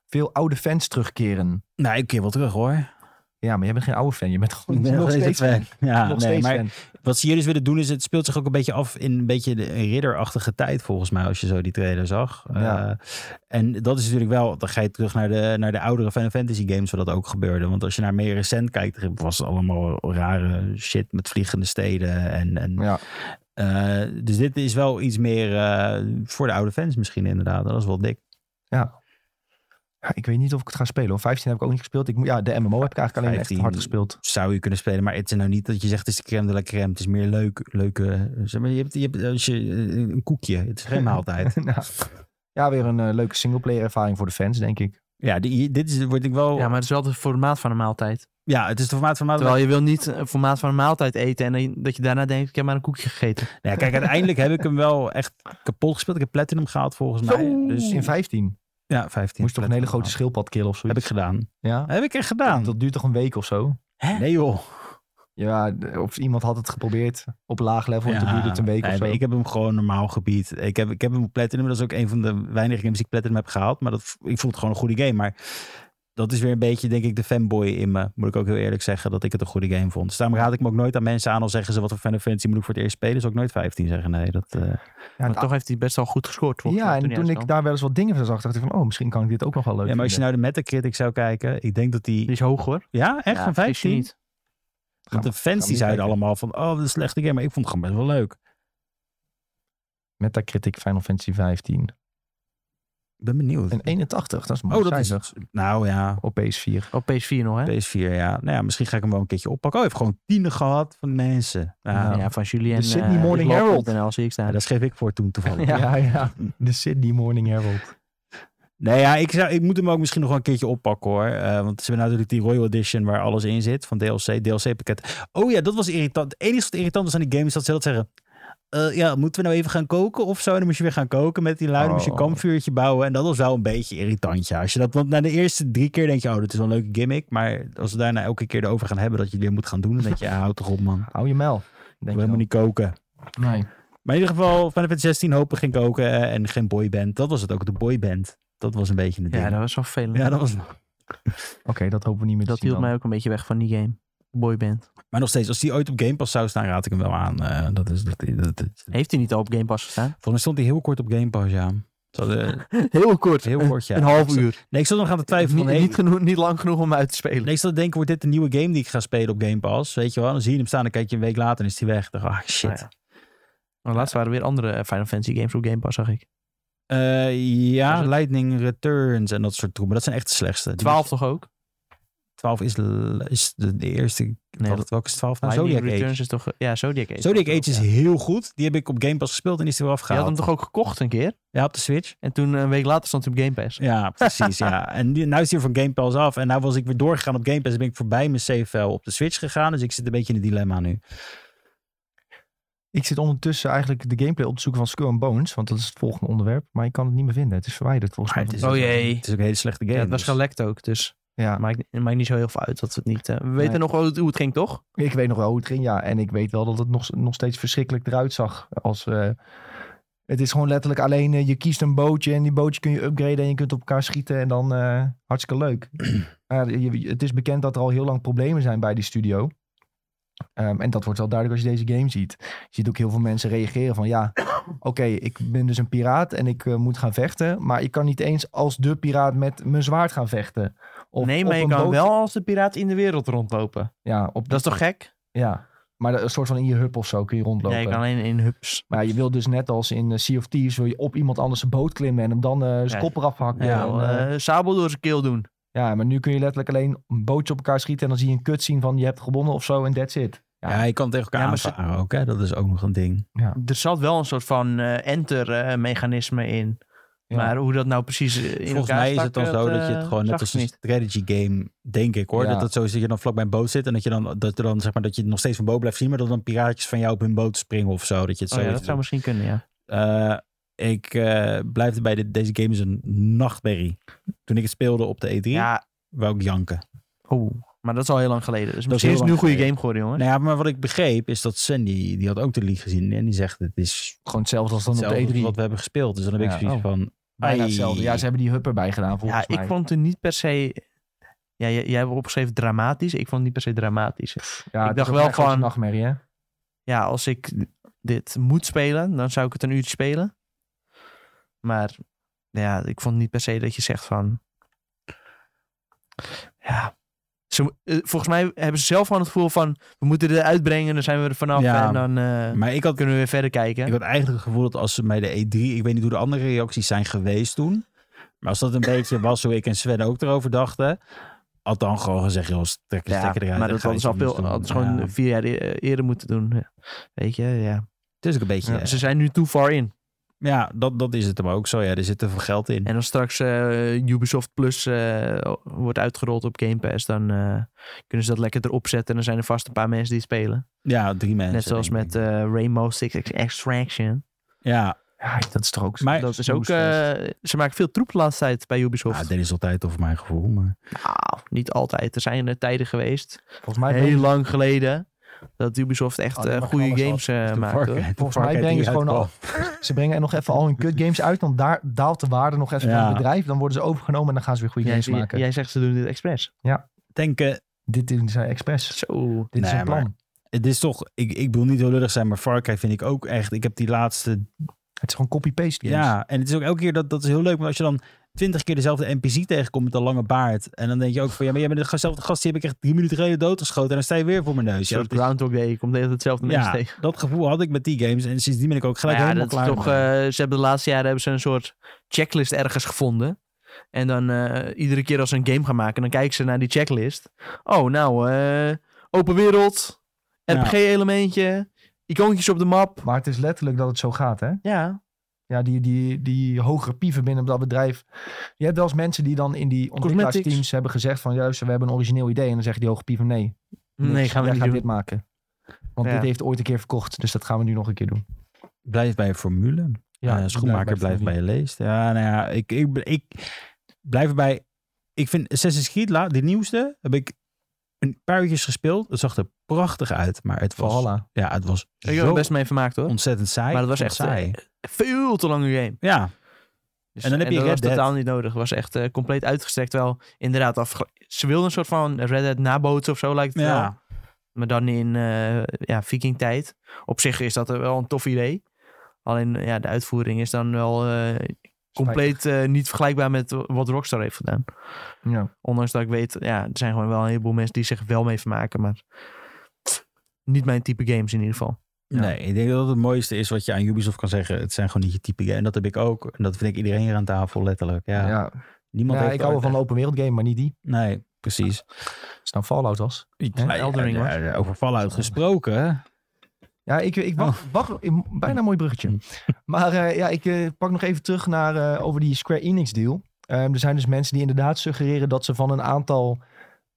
S1: veel oude fans terugkeren.
S3: Nou, ik keer wel terug hoor.
S1: Ja, maar jij bent geen oude fan. Je bent gewoon
S3: Ik ben
S1: nog steeds fan.
S3: Ja,
S1: nog
S3: nee,
S1: steeds
S3: maar
S1: fan.
S3: wat ze hier dus willen doen is, het speelt zich ook een beetje af in een beetje de een ridderachtige tijd volgens mij, als je zo die trailer zag.
S1: Ja.
S3: Eh, en dat is natuurlijk wel, dan ga je terug naar de, naar de oudere Final Fantasy games waar dat ook gebeurde. Want als je naar meer recent kijkt, er was allemaal rare shit met vliegende steden en, en
S1: Ja.
S3: Eh, dus dit is wel iets meer eh, voor de oude fans misschien inderdaad. Dat is wel dik.
S1: Ja, ik weet niet of ik het ga spelen. hoor. 15 heb ik ook niet gespeeld. Ik, moet- ja, de MMO heb ik eigenlijk alleen echt
S3: 15.
S1: hard gespeeld.
S3: Zou je kunnen spelen, maar het is nou niet dat je zegt het is de crème de la crème. Het is meer leuk, leuke... Zeg maar, je hebt, je hebt als je, eh, een koekje. Het is geen maaltijd.
S1: Nou, ja, weer een eh, leuke singleplayer ervaring voor de fans, denk ik.
S3: ja, die, dit is, word ik wel...
S2: Ja,
S3: Ja,
S2: maar het is wel het formaat van een maaltijd.
S3: het is de formaat van maaltijd.
S2: Terwijl je wil niet een formaat van een maaltijd eten en dan- dat je daarna denkt, ik heb maar een koekje gegeten.
S3: Nou ja, kijk, uiteindelijk heb ik hem wel echt kapot gespeeld. Ik heb platinum gehaald volgens mij. Dus
S1: Dus in 15
S3: ja, 15.
S1: moest toch een hele
S3: platinum
S1: grote
S3: gehaald.
S1: schildpad killen of
S3: Heb
S1: zoiets.
S3: ik gedaan.
S1: ja?
S3: Heb ik echt gedaan?
S1: Dat duurt toch een week of zo?
S3: Nee joh.
S1: Ja, de- of iemand had het geprobeerd op laag level en toen duurde het een week
S3: nee,
S1: of zo.
S3: maar Ik heb hem gewoon normaal gebied. Ik heb, ik heb hem platinum. Dat is ook een van de weinige games die ik platinum heb gehaald. Maar dat, ik vond het gewoon een goede game. Maar dat is weer een beetje, denk ik, de fanboy in me. Moet ik ook heel eerlijk zeggen dat ik het een goede game vond. Dus daarom raad ik me ook nooit aan mensen aan. Al zeggen ze wat voor Final Fantasy moet ik voor het eerst spelen. Zou ik nooit 15 zeggen. Nee, dat... eh,
S1: ja,
S2: maar toch heeft hij best wel goed gescoord. volgens
S1: ja,
S2: mij,
S1: en
S2: hij
S1: toen ik
S2: uitkwam.
S1: daar wel eens wat dingen van zag, dacht ik van, oh, misschien kan ik dit ook nog wel leuk
S3: ja, maar als je
S1: vinden.
S3: nou de Metacritic zou kijken. Ik denk dat
S2: Die
S3: die...
S2: is hoog hoor.
S3: Ja, echt?
S2: Ja,
S3: van
S2: vergis je
S3: 15?
S2: niet.
S3: Want nou de
S1: Gaan we
S3: fans die
S1: niet
S3: zeiden
S1: kijken.
S3: allemaal van... Oh, dat is een slechte game. Maar ik vond het gewoon best wel leuk.
S1: Metacritic Final Fantasy 15.
S3: Ik ben benieuwd.
S1: En 81, dat is mooi
S3: oh, dat is... Nou ja,
S1: Op PS4.
S2: Op PS4 nog hè?
S3: PS4, ja. Nou ja, misschien ga ik hem wel een keertje oppakken. Oh, hij heeft gewoon tienen gehad van mensen. Nou,
S2: Ja,
S3: ja.
S2: van eh, Julien.
S1: De Sydney Morning Herald.
S2: NL zie ik staan.
S3: dat schreef ik voor toen toevallig.
S1: Ja,
S2: Ja.
S1: ja. De Sydney Morning Herald.
S3: Nee, ja, ik, zou, ik moet hem ook misschien nog wel een keertje oppakken hoor. Eh, want ze hebben natuurlijk die Royal Edition waar alles in zit van DLC, DLC-pakket. Oh ja, dat was irritant. Het enige wat irritant was aan die game is dat ze dat zeggen. Eh, ja, moeten we nou even gaan koken of zo? En dan moest je weer gaan koken met die lui. Dan moest je een
S1: Oh.
S3: kampvuurtje bouwen. En dat was wel een beetje irritant, ja. Als je dat, want na de eerste drie keer denk je, oh, dit is wel een leuke gimmick. Maar als we daarna elke keer erover gaan hebben dat je het weer moet gaan doen. Dan denk je, ja, houd toch op man. Ik
S1: Hou je mel.
S3: wil
S1: Denk je
S3: helemaal niet koken.
S1: wel. Nee.
S3: Maar in ieder geval, Final Fantasy 16 hopen geen koken eh, en geen boyband. Dat was het ook, de boyband. Dat was een beetje het ding.
S2: Ja, dat was wel vervelend.
S3: Ja, dat was...
S1: Oké, dat hopen we niet meer te
S2: dat
S1: zien
S2: hield
S1: dan.
S2: mij ook een beetje weg van die game. Boyband.
S3: Maar nog steeds, als die ooit op Game Pass zou staan, raad ik hem wel aan. Eh, dat is, dat, dat, dat- Volgens
S2: Heeft hij niet al op Game Pass gestaan?
S3: mij stond hij heel kort op Game Pass, ja. Ze hadden-
S2: Heel kort.
S3: heel kort, ja.
S2: Een half uur.
S3: Nee, ik zat nog aan de twijfelen
S2: Niet,
S3: van, hey,
S2: niet, genoeg, niet lang genoeg om hem uit te spelen.
S3: nee, ik zat te denken, wordt dit de nieuwe game die ik ga spelen op Game Pass? Weet je wel, dan zie je hem staan, dan kijk je een week later en is hij weg. Dan, dacht ik, ah, shit.
S2: Nou ja. Maar laatst waren er weer andere eh, Final Fantasy games op Game Pass, zag ik.
S3: Eh, ja,
S2: Was het-
S3: Lightning Returns en dat soort troepen. Dat zijn echt de slechtste. Die-
S2: 12 toch ook?
S3: 12 is, l- is de, de eerste.
S2: Nee, dat,
S3: welke is 12? Nou,
S2: Lightning
S3: Zodiac Age.
S2: Returns is toch... eh, Ja, Zodiac Age.
S3: Zodiac
S2: was het
S3: Age is
S2: ook, ja.
S3: heel goed. Die heb ik op Game Pass gespeeld en die is er weer
S2: Je had
S3: afgehaald.
S2: hem toch ook gekocht een keer?
S3: Ja, op de Switch.
S2: En toen eh, een week later stond hij op Game Pass.
S3: Ja, precies. ja. En nu nou is hij van Game Pass af. En nou was ik weer doorgegaan op Game Pass. En ben ik voorbij mijn CFL op de Switch gegaan. Dus ik zit een beetje in een dilemma nu.
S1: Ik zit ondertussen eigenlijk de gameplay op te zoeken van Skull and Bones, want dat is het volgende onderwerp. Maar ik kan Ah, het niet meer vinden. Het is verwijderd volgens
S3: Maar
S1: mij.
S3: het
S1: van-
S2: Oh jee.
S3: Het is ook een hele slechte
S2: Ja,
S3: game.
S2: het was
S3: dus-
S2: gelekt ook, dus...
S1: Ja.
S2: Maakt, maakt niet zo heel veel uit dat we het niet... eh, we weten
S1: Nee.
S2: nog wel hoe het ging, toch?
S1: Ik weet nog wel hoe het ging, ja. En ik weet wel dat het nog, nog steeds verschrikkelijk eruit zag. Als, eh, het is gewoon letterlijk alleen, eh, je kiest een bootje en die bootje kun je upgraden en je kunt op elkaar schieten en dan eh, hartstikke leuk. Maar ja, je- je- het is bekend dat er al heel lang problemen zijn bij die studio. Ehm, en dat wordt wel duidelijk als je deze game ziet. Je ziet ook heel veel mensen reageren van ja, oké, ik ben dus een piraat en ik eh, moet gaan vechten. Maar ik kan niet eens als de piraat met mijn zwaard gaan vechten. Of
S2: nee,
S1: op
S2: maar je
S1: een
S2: kan
S1: boot-
S2: wel als de piraat in de wereld rondlopen.
S1: Ja, op,
S2: Dat is toch gek?
S1: ja, maar een soort van in je hub of zo kun je rondlopen.
S2: Nee, je kan alleen in hubs.
S1: Maar je wil dus net als in eh, Sea of Thieves, wil je op iemand anders zijn boot klimmen en hem dan eh, zijn
S2: Ja.
S1: kop eraf hakken.
S2: Ja,
S1: en, eh,
S2: eh, sabel door zijn keel doen.
S1: ja, maar nu kun je letterlijk alleen een bootje op elkaar schieten en dan zie je een kut zien van je hebt gewonnen of zo en that's it. Ja.
S3: Ja, je kan tegen elkaar
S2: Ja, maar ze-
S3: aanvaren ook, hè? Dat is ook nog een ding.
S2: Er zat wel een soort van eh, enter-mechanisme in.
S1: Ja.
S2: Maar hoe dat nou precies eh, in
S3: Volgens
S2: elkaar
S3: mij is
S2: stak,
S3: het dan
S2: dat,
S3: zo dat je
S2: eh,
S3: het gewoon
S2: zag
S3: net als
S2: ik
S3: een
S2: niet.
S3: strategy game, denk ik hoor.
S1: Ja.
S3: Dat het zo is dat je dan vlak bij een boot zit en dat je dan, dat er dan, zeg maar, dat je nog steeds van boot blijft zien, maar dat dan piraatjes van jou op hun boot springen of zo. Dat je het zo
S2: Oh, ja, dat
S3: weet te
S2: zou
S3: doen.
S2: misschien kunnen, ja.
S3: Eh, ik eh, blijf bij dit, deze game is een nachtmerrie. Toen ik het speelde op de E3,
S2: Ja,
S3: wou ik janken.
S2: oeh. Maar dat is al heel lang geleden. Dus
S3: is
S2: misschien
S3: heel
S2: is het nu een goede
S3: lang geleden.
S2: game geworden, jongen.
S3: Nou ja, maar wat ik begreep is dat Sandy, die had ook de league gezien en die zegt het is
S1: Gewoon hetzelfde als dan op
S3: hetzelfde
S1: de
S3: als
S1: E3.
S3: wat we hebben gespeeld. Dus dan heb ik
S1: Ja.
S3: zoiets
S1: Oh.
S3: van,
S1: Bijna
S3: Ai.
S1: hetzelfde. Ja, ze hebben die hub erbij gedaan volgens
S2: ja, ik
S1: mij.
S2: vond het niet per se... Ja, jij, jij hebt opgeschreven dramatisch. Ik vond het niet per se dramatisch.
S1: ja,
S2: ik
S1: het
S2: dacht
S1: is ook
S2: wel
S1: mijn grootste
S2: van-
S1: nachtmerrie, hè?
S2: Ja, als ik dit moet spelen, dan zou ik het een uurtje spelen. Maar ja, ik vond niet per se dat je zegt van... Ja... Ze, eh, volgens mij hebben ze zelf gewoon het gevoel van... We moeten dit uitbrengen, dan zijn we er vanaf.
S3: Ja,
S2: en dan eh,
S3: maar ik had
S2: kunnen we weer verder kijken.
S3: Ik had eigenlijk het gevoel dat als ze bij de E3, ik weet niet hoe de andere reacties zijn geweest toen, maar als dat een beetje was hoe ik en Sven ook erover dachten, had dan gewoon gezegd, joh, trek de stekker eruit.
S2: maar
S3: en
S2: dat
S3: ga
S2: hadden ze al
S3: iets
S2: veel,
S3: anders doen.
S2: hadden ze gewoon
S3: Ja.
S2: vier jaar e- eerder moeten doen. Ja. Weet je, ja.
S3: Het is ook een beetje, ja,
S2: Ze zijn nu too far in.
S3: dat, dat is het hem ook zo. Ja, er zit te veel geld in.
S2: En als straks eh, Ubisoft Plus eh, wordt uitgerold op Game Pass, dan eh, kunnen ze dat lekker erop zetten. En dan zijn er vast een paar mensen die het spelen.
S3: Ja, drie mensen.
S2: Net zoals
S3: denk ik.
S2: met eh Rainbow Six Extraction.
S3: Ja,
S1: Ja, dat is toch ook zo.
S3: maar
S2: Dat is ook, eh, ze maken veel troep de laatste tijd bij
S3: ja,
S2: Ubisoft.
S3: dat is altijd over mijn gevoel, maar
S2: Nou, niet altijd. Er zijn er tijden geweest,
S1: Volgens mij
S2: heel
S1: brengen,
S2: lang geleden, dat Ubisoft echt
S1: Ah,
S3: Alleen
S2: eh,
S3: maar
S2: goede
S3: knallers
S2: games eh,
S3: Toen
S2: maakt.
S3: Far Cry-
S2: hoor.
S3: toen
S1: volgens
S3: Far
S1: mij
S3: Cry
S1: brengen ze
S3: 3
S1: gewoon al.
S3: uitkwam.
S1: Ze brengen er nog even al hun kut games uit, dan daar daalt de waarde nog even
S3: Ja.
S1: van het bedrijf. Dan worden ze overgenomen en dan gaan ze weer goede
S2: Jij,
S1: games maken.
S2: jij zegt ze doen dit expres.
S3: Denken,
S1: Dit doen zij expres.
S2: Zo.
S1: Dit is
S3: Nee,
S1: een
S3: maar-
S1: plan.
S3: het is toch, ik, ik wil niet heel lullig zijn, maar Far Cry vind ik ook echt, ik heb die laatste
S1: Het is gewoon copy-paste games.
S3: Ja, en het is ook elke keer dat dat is heel leuk. Maar als je dan twintig keer dezelfde NPC tegenkomt met een lange baard. En dan denk je ook van ja, maar jij bent dezelfde gast. Die heb ik echt drie minuten geleden doodgeschoten. En dan sta je weer voor mijn neus.
S2: Een
S3: Ja,
S2: soort
S3: dat, is-
S2: Groundhog Day. Je komt de hele tijd hetzelfde
S3: ja,
S2: mensen tegen.
S3: dat gevoel had ik met die games. En sindsdien ben ik ook gelijk
S2: Maar Nou ja,
S3: helemaal
S2: dat is
S3: klaar.
S2: toch,
S3: mee.
S2: eh, ze hebben de laatste jaren hebben ze een soort checklist ergens gevonden. En dan eh, iedere keer als ze een game gaan maken, dan kijken ze naar die checklist. Oh, nou, eh, open wereld,
S3: Ja.
S2: RPG-elementje, icoontjes op de map.
S1: Maar het is letterlijk dat het zo gaat, hè?
S2: Ja,
S1: Ja, die, die, die hogere pieven binnen dat bedrijf. Je hebt wel eens mensen die dan in die ontwikkelaarsteams hebben gezegd van... juist, we hebben een origineel idee. En dan zeggen die hoge pieven nee. niks.
S2: nee, gaan we
S1: Jij
S2: niet
S1: gaat
S2: doen.
S1: dit maken. Want
S2: Ja.
S1: dit heeft ooit een keer verkocht. Dus dat gaan we nu nog een keer doen.
S3: Blijf bij je formule. Ja, Eh, schoenmaker blijft bij je leest. Ja, nou ja, ik, ik, ik blijf erbij. Ik vind Assassin's Creed, la- de nieuwste, heb ik een paar uurtjes gespeeld. Het zag er prachtig uit. Maar het was,
S1: Valhalla.
S3: ja, het was
S2: Ik heb er
S3: zo
S2: best mee vermaakt hoor.
S3: ontzettend saai.
S2: Maar dat was
S3: Ik vond het
S2: echt,
S3: saai.
S2: Veel te lange game.
S3: Ja,
S2: Dus-
S3: En dan heb je
S2: dat
S3: Red
S2: was
S3: Dead.
S2: totaal niet nodig. was echt eh, compleet uitgestrekt. Wel, inderdaad, afge- ze wilden een soort van Red Dead nabootsen of zo lijkt het wel.
S3: ja.
S2: Maar dan in eh ja, vikingtijd. Op zich is dat wel een tof idee. Alleen eh, ja, de uitvoering is dan wel eh, compleet eh, niet vergelijkbaar met wat Rockstar heeft gedaan.
S1: Ja.
S2: Ondanks dat ik weet, ja, er zijn gewoon wel een heleboel mensen die zich wel mee vermaken. Maar niet mijn type games in ieder geval. Ja.
S3: Nee, ik denk dat dat het mooiste is wat je aan Ubisoft kan zeggen. Het zijn gewoon niet je type game. En dat heb ik ook. En dat vind ik iedereen hier aan tafel, letterlijk. Ja,
S1: Ja.
S3: Niemand
S1: Ja,
S3: heeft
S1: ik hou wel
S3: ooit-
S1: van een open wereld game, maar niet die.
S3: Nee, precies.
S1: Als het nou Fallout was.
S3: Ja,
S1: Hè?
S2: Elden Ring,
S3: ja,
S2: hoor.
S3: ja, Over Fallout gesproken.
S1: Ja, ik, ik wacht,
S2: Oh.
S1: wacht, ik- bijna een mooi
S2: Hm.
S1: bruggetje. Maar eh, ja, ik eh, pak nog even terug naar, eh, over die Square Enix deal. Ehm, er zijn dus mensen die inderdaad suggereren dat ze van een aantal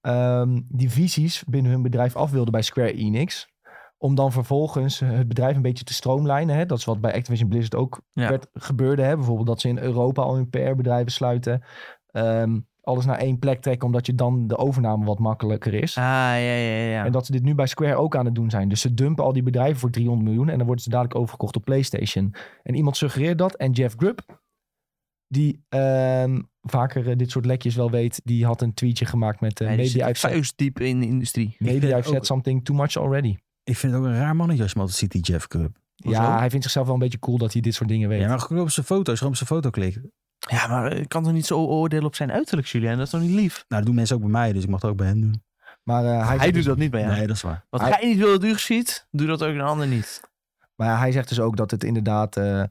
S1: ehm, divisies binnen hun bedrijf af wilden bij Square Enix. Om dan vervolgens het bedrijf een beetje te stroomlijnen. Hè? Dat is wat bij Activision Blizzard ook
S2: Ja.
S1: werd, gebeurde. Hè? Bijvoorbeeld dat ze in Europa al hun PR-bedrijven sluiten. Ehm, alles naar één plek trekken, omdat je dan de overname wat makkelijker is.
S2: Ah, ja, ja, ja.
S1: En dat ze dit nu bij Square ook aan het doen zijn. Dus ze dumpen al die bedrijven voor 300 miljoen en dan worden ze dadelijk overgekocht op PlayStation. En iemand suggereert dat. En Jeff Grubb, die ehm, vaker eh, dit soort lekjes wel weet, die had een tweetje gemaakt met eh,
S2: Nee, die
S1: Maybe
S2: zit
S1: I've said,
S2: vuistdiep in de industrie.
S3: Ik
S1: maybe
S3: vind
S1: I've
S3: ook-
S1: said something too much already.
S3: Ik vind het ook een raar mannetje als je hem altijd ziet, die Jeff Grubb.
S2: Hoezo?
S1: Ja, hij vindt zichzelf wel een beetje cool dat hij dit soort dingen weet.
S3: Ja, maar gewoon op zijn foto's, gewoon op zijn foto klikken. Nou,
S2: Ja, maar ik kan toch niet zo oordelen op zijn uiterlijk, Julian? Dat is toch niet lief?
S3: Nou, dat doen mensen ook bij mij, dus ik mag het ook bij hen doen.
S1: Maar, eh, hij,
S2: Hij doet dat niet bij jou.
S3: Nee, dat is waar.
S2: Wat
S1: Hij-
S2: jij niet wil dat u ziet, doe dat ook een ander niet.
S1: maar hij zegt dus ook dat het inderdaad... eh,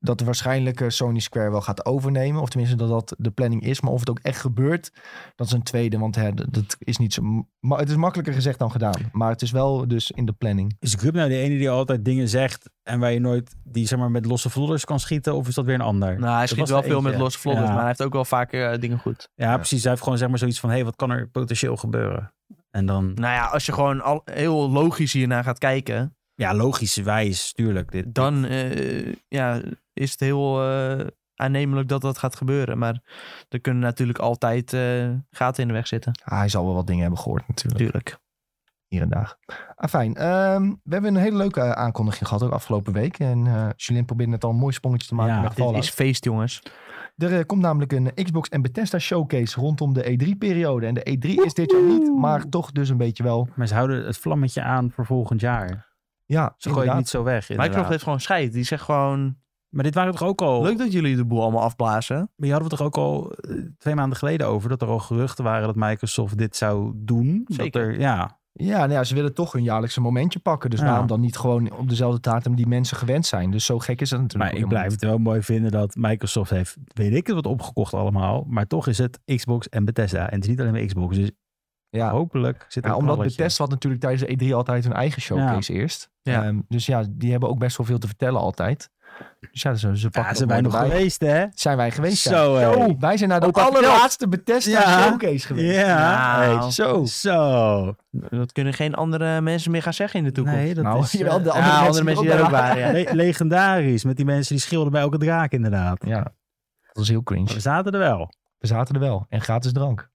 S1: dat waarschijnlijk eh, Sony Square wel gaat overnemen. Of tenminste dat dat de planning is. Maar of het ook echt gebeurt, dat is een tweede. Want hè, dat- dat is niet zo... ma- het is makkelijker gezegd dan gedaan. Maar het is wel dus in de planning.
S3: Is Grub nou de ene die altijd dingen zegt en waar je nooit, die zeg maar met losse vlodders kan schieten, of is dat weer een ander?
S2: Nou, hij
S3: was
S2: schiet
S3: er
S2: wel veel
S3: eentje.
S2: met losse vlodders,
S3: Ja.
S2: maar hij heeft ook wel vaak eh, dingen goed.
S3: ja, precies. Hij heeft gewoon zeg maar zoiets van, hé, hey, wat kan er potentieel gebeuren? En dan,
S2: Nou ja, als je gewoon al, heel logisch hiernaar gaat kijken,
S3: ja, logisch wijs, tuurlijk. Dit,
S2: dan eh, ja, is het heel eh, aannemelijk dat dat gaat gebeuren. Maar er kunnen natuurlijk altijd eh, gaten in de weg zitten,
S1: Ah, hij zal wel wat dingen hebben gehoord natuurlijk.
S2: natuurlijk.
S1: Hier en daar. Ah, fijn. Ehm, we hebben een hele leuke eh, aankondiging gehad ook afgelopen week. En eh Julien probeerde net al een mooi sprongetje te maken
S3: Ja,
S1: met
S2: Dit
S1: Fallout.
S2: is feest, jongens.
S1: Er eh, komt namelijk een Xbox en Bethesda showcase rondom de E3-periode. En de E3 is dit jaar niet, maar toch dus een beetje wel.
S3: Maar ze houden het vlammetje aan voor volgend jaar.
S1: Ja,
S3: Ze gooien het
S1: inderdaad.
S3: niet zo weg,
S2: Microsoft
S3: inderdaad. Oh.
S2: heeft gewoon scheid. Die zegt gewoon,
S3: Maar dit waren toch ook al...
S2: leuk dat jullie de boel allemaal afblazen.
S3: Maar je hadden we toch ook al eh, twee maanden geleden over dat er al geruchten waren dat Microsoft dit zou doen.
S2: Zeker.
S3: Dat er, ja.
S1: Ja, nou ja, ze willen toch hun jaarlijkse momentje pakken. Dus
S3: Ja.
S1: waarom dan niet gewoon op dezelfde datum die mensen gewend zijn? Dus zo gek is dat natuurlijk
S3: Maar ik
S1: ook helemaal
S3: blijf het wel mooi vinden dat Microsoft heeft, weet ik het wat opgekocht allemaal. Maar toch is het Xbox en Bethesda. En het is niet alleen maar Xbox. Dus
S1: niet. Ja.
S3: hopelijk zit er
S1: Ja,
S3: een
S1: omdat
S3: knalletje.
S1: Bethesda had natuurlijk tijdens de E3 altijd hun eigen showcase eerst.
S2: Ja.
S1: Ehm, dus ja, die hebben ook best wel veel te vertellen altijd. Dus ja, ze, ze pakken
S3: Ja,
S1: het
S3: zijn
S1: ook
S3: wij
S1: mooi
S3: nog
S1: erbij.
S3: geweest, hè?
S1: Zijn wij geweest, ja.
S3: Zo, hé.
S1: Zo, wij zijn naar de
S3: Ook al
S1: allerlaatste Bethesda
S3: Ja.
S1: showcase geweest.
S3: Ja.
S2: Nou,
S3: Hey,
S1: Zo.
S3: Zo.
S2: dat kunnen geen andere mensen meer gaan zeggen in de toekomst.
S3: Nee, dat
S1: Nou,
S3: is... eh,
S1: jawel, de
S2: Ja,
S1: andere mensen, die er ook bij
S2: waren, ja.
S3: le- legendarisch. Met die mensen die schilderden bij elke draak, inderdaad.
S1: waren. Ja, dat was heel cringe.
S3: Maar we zaten er wel.
S1: We zaten er wel. En gratis drank.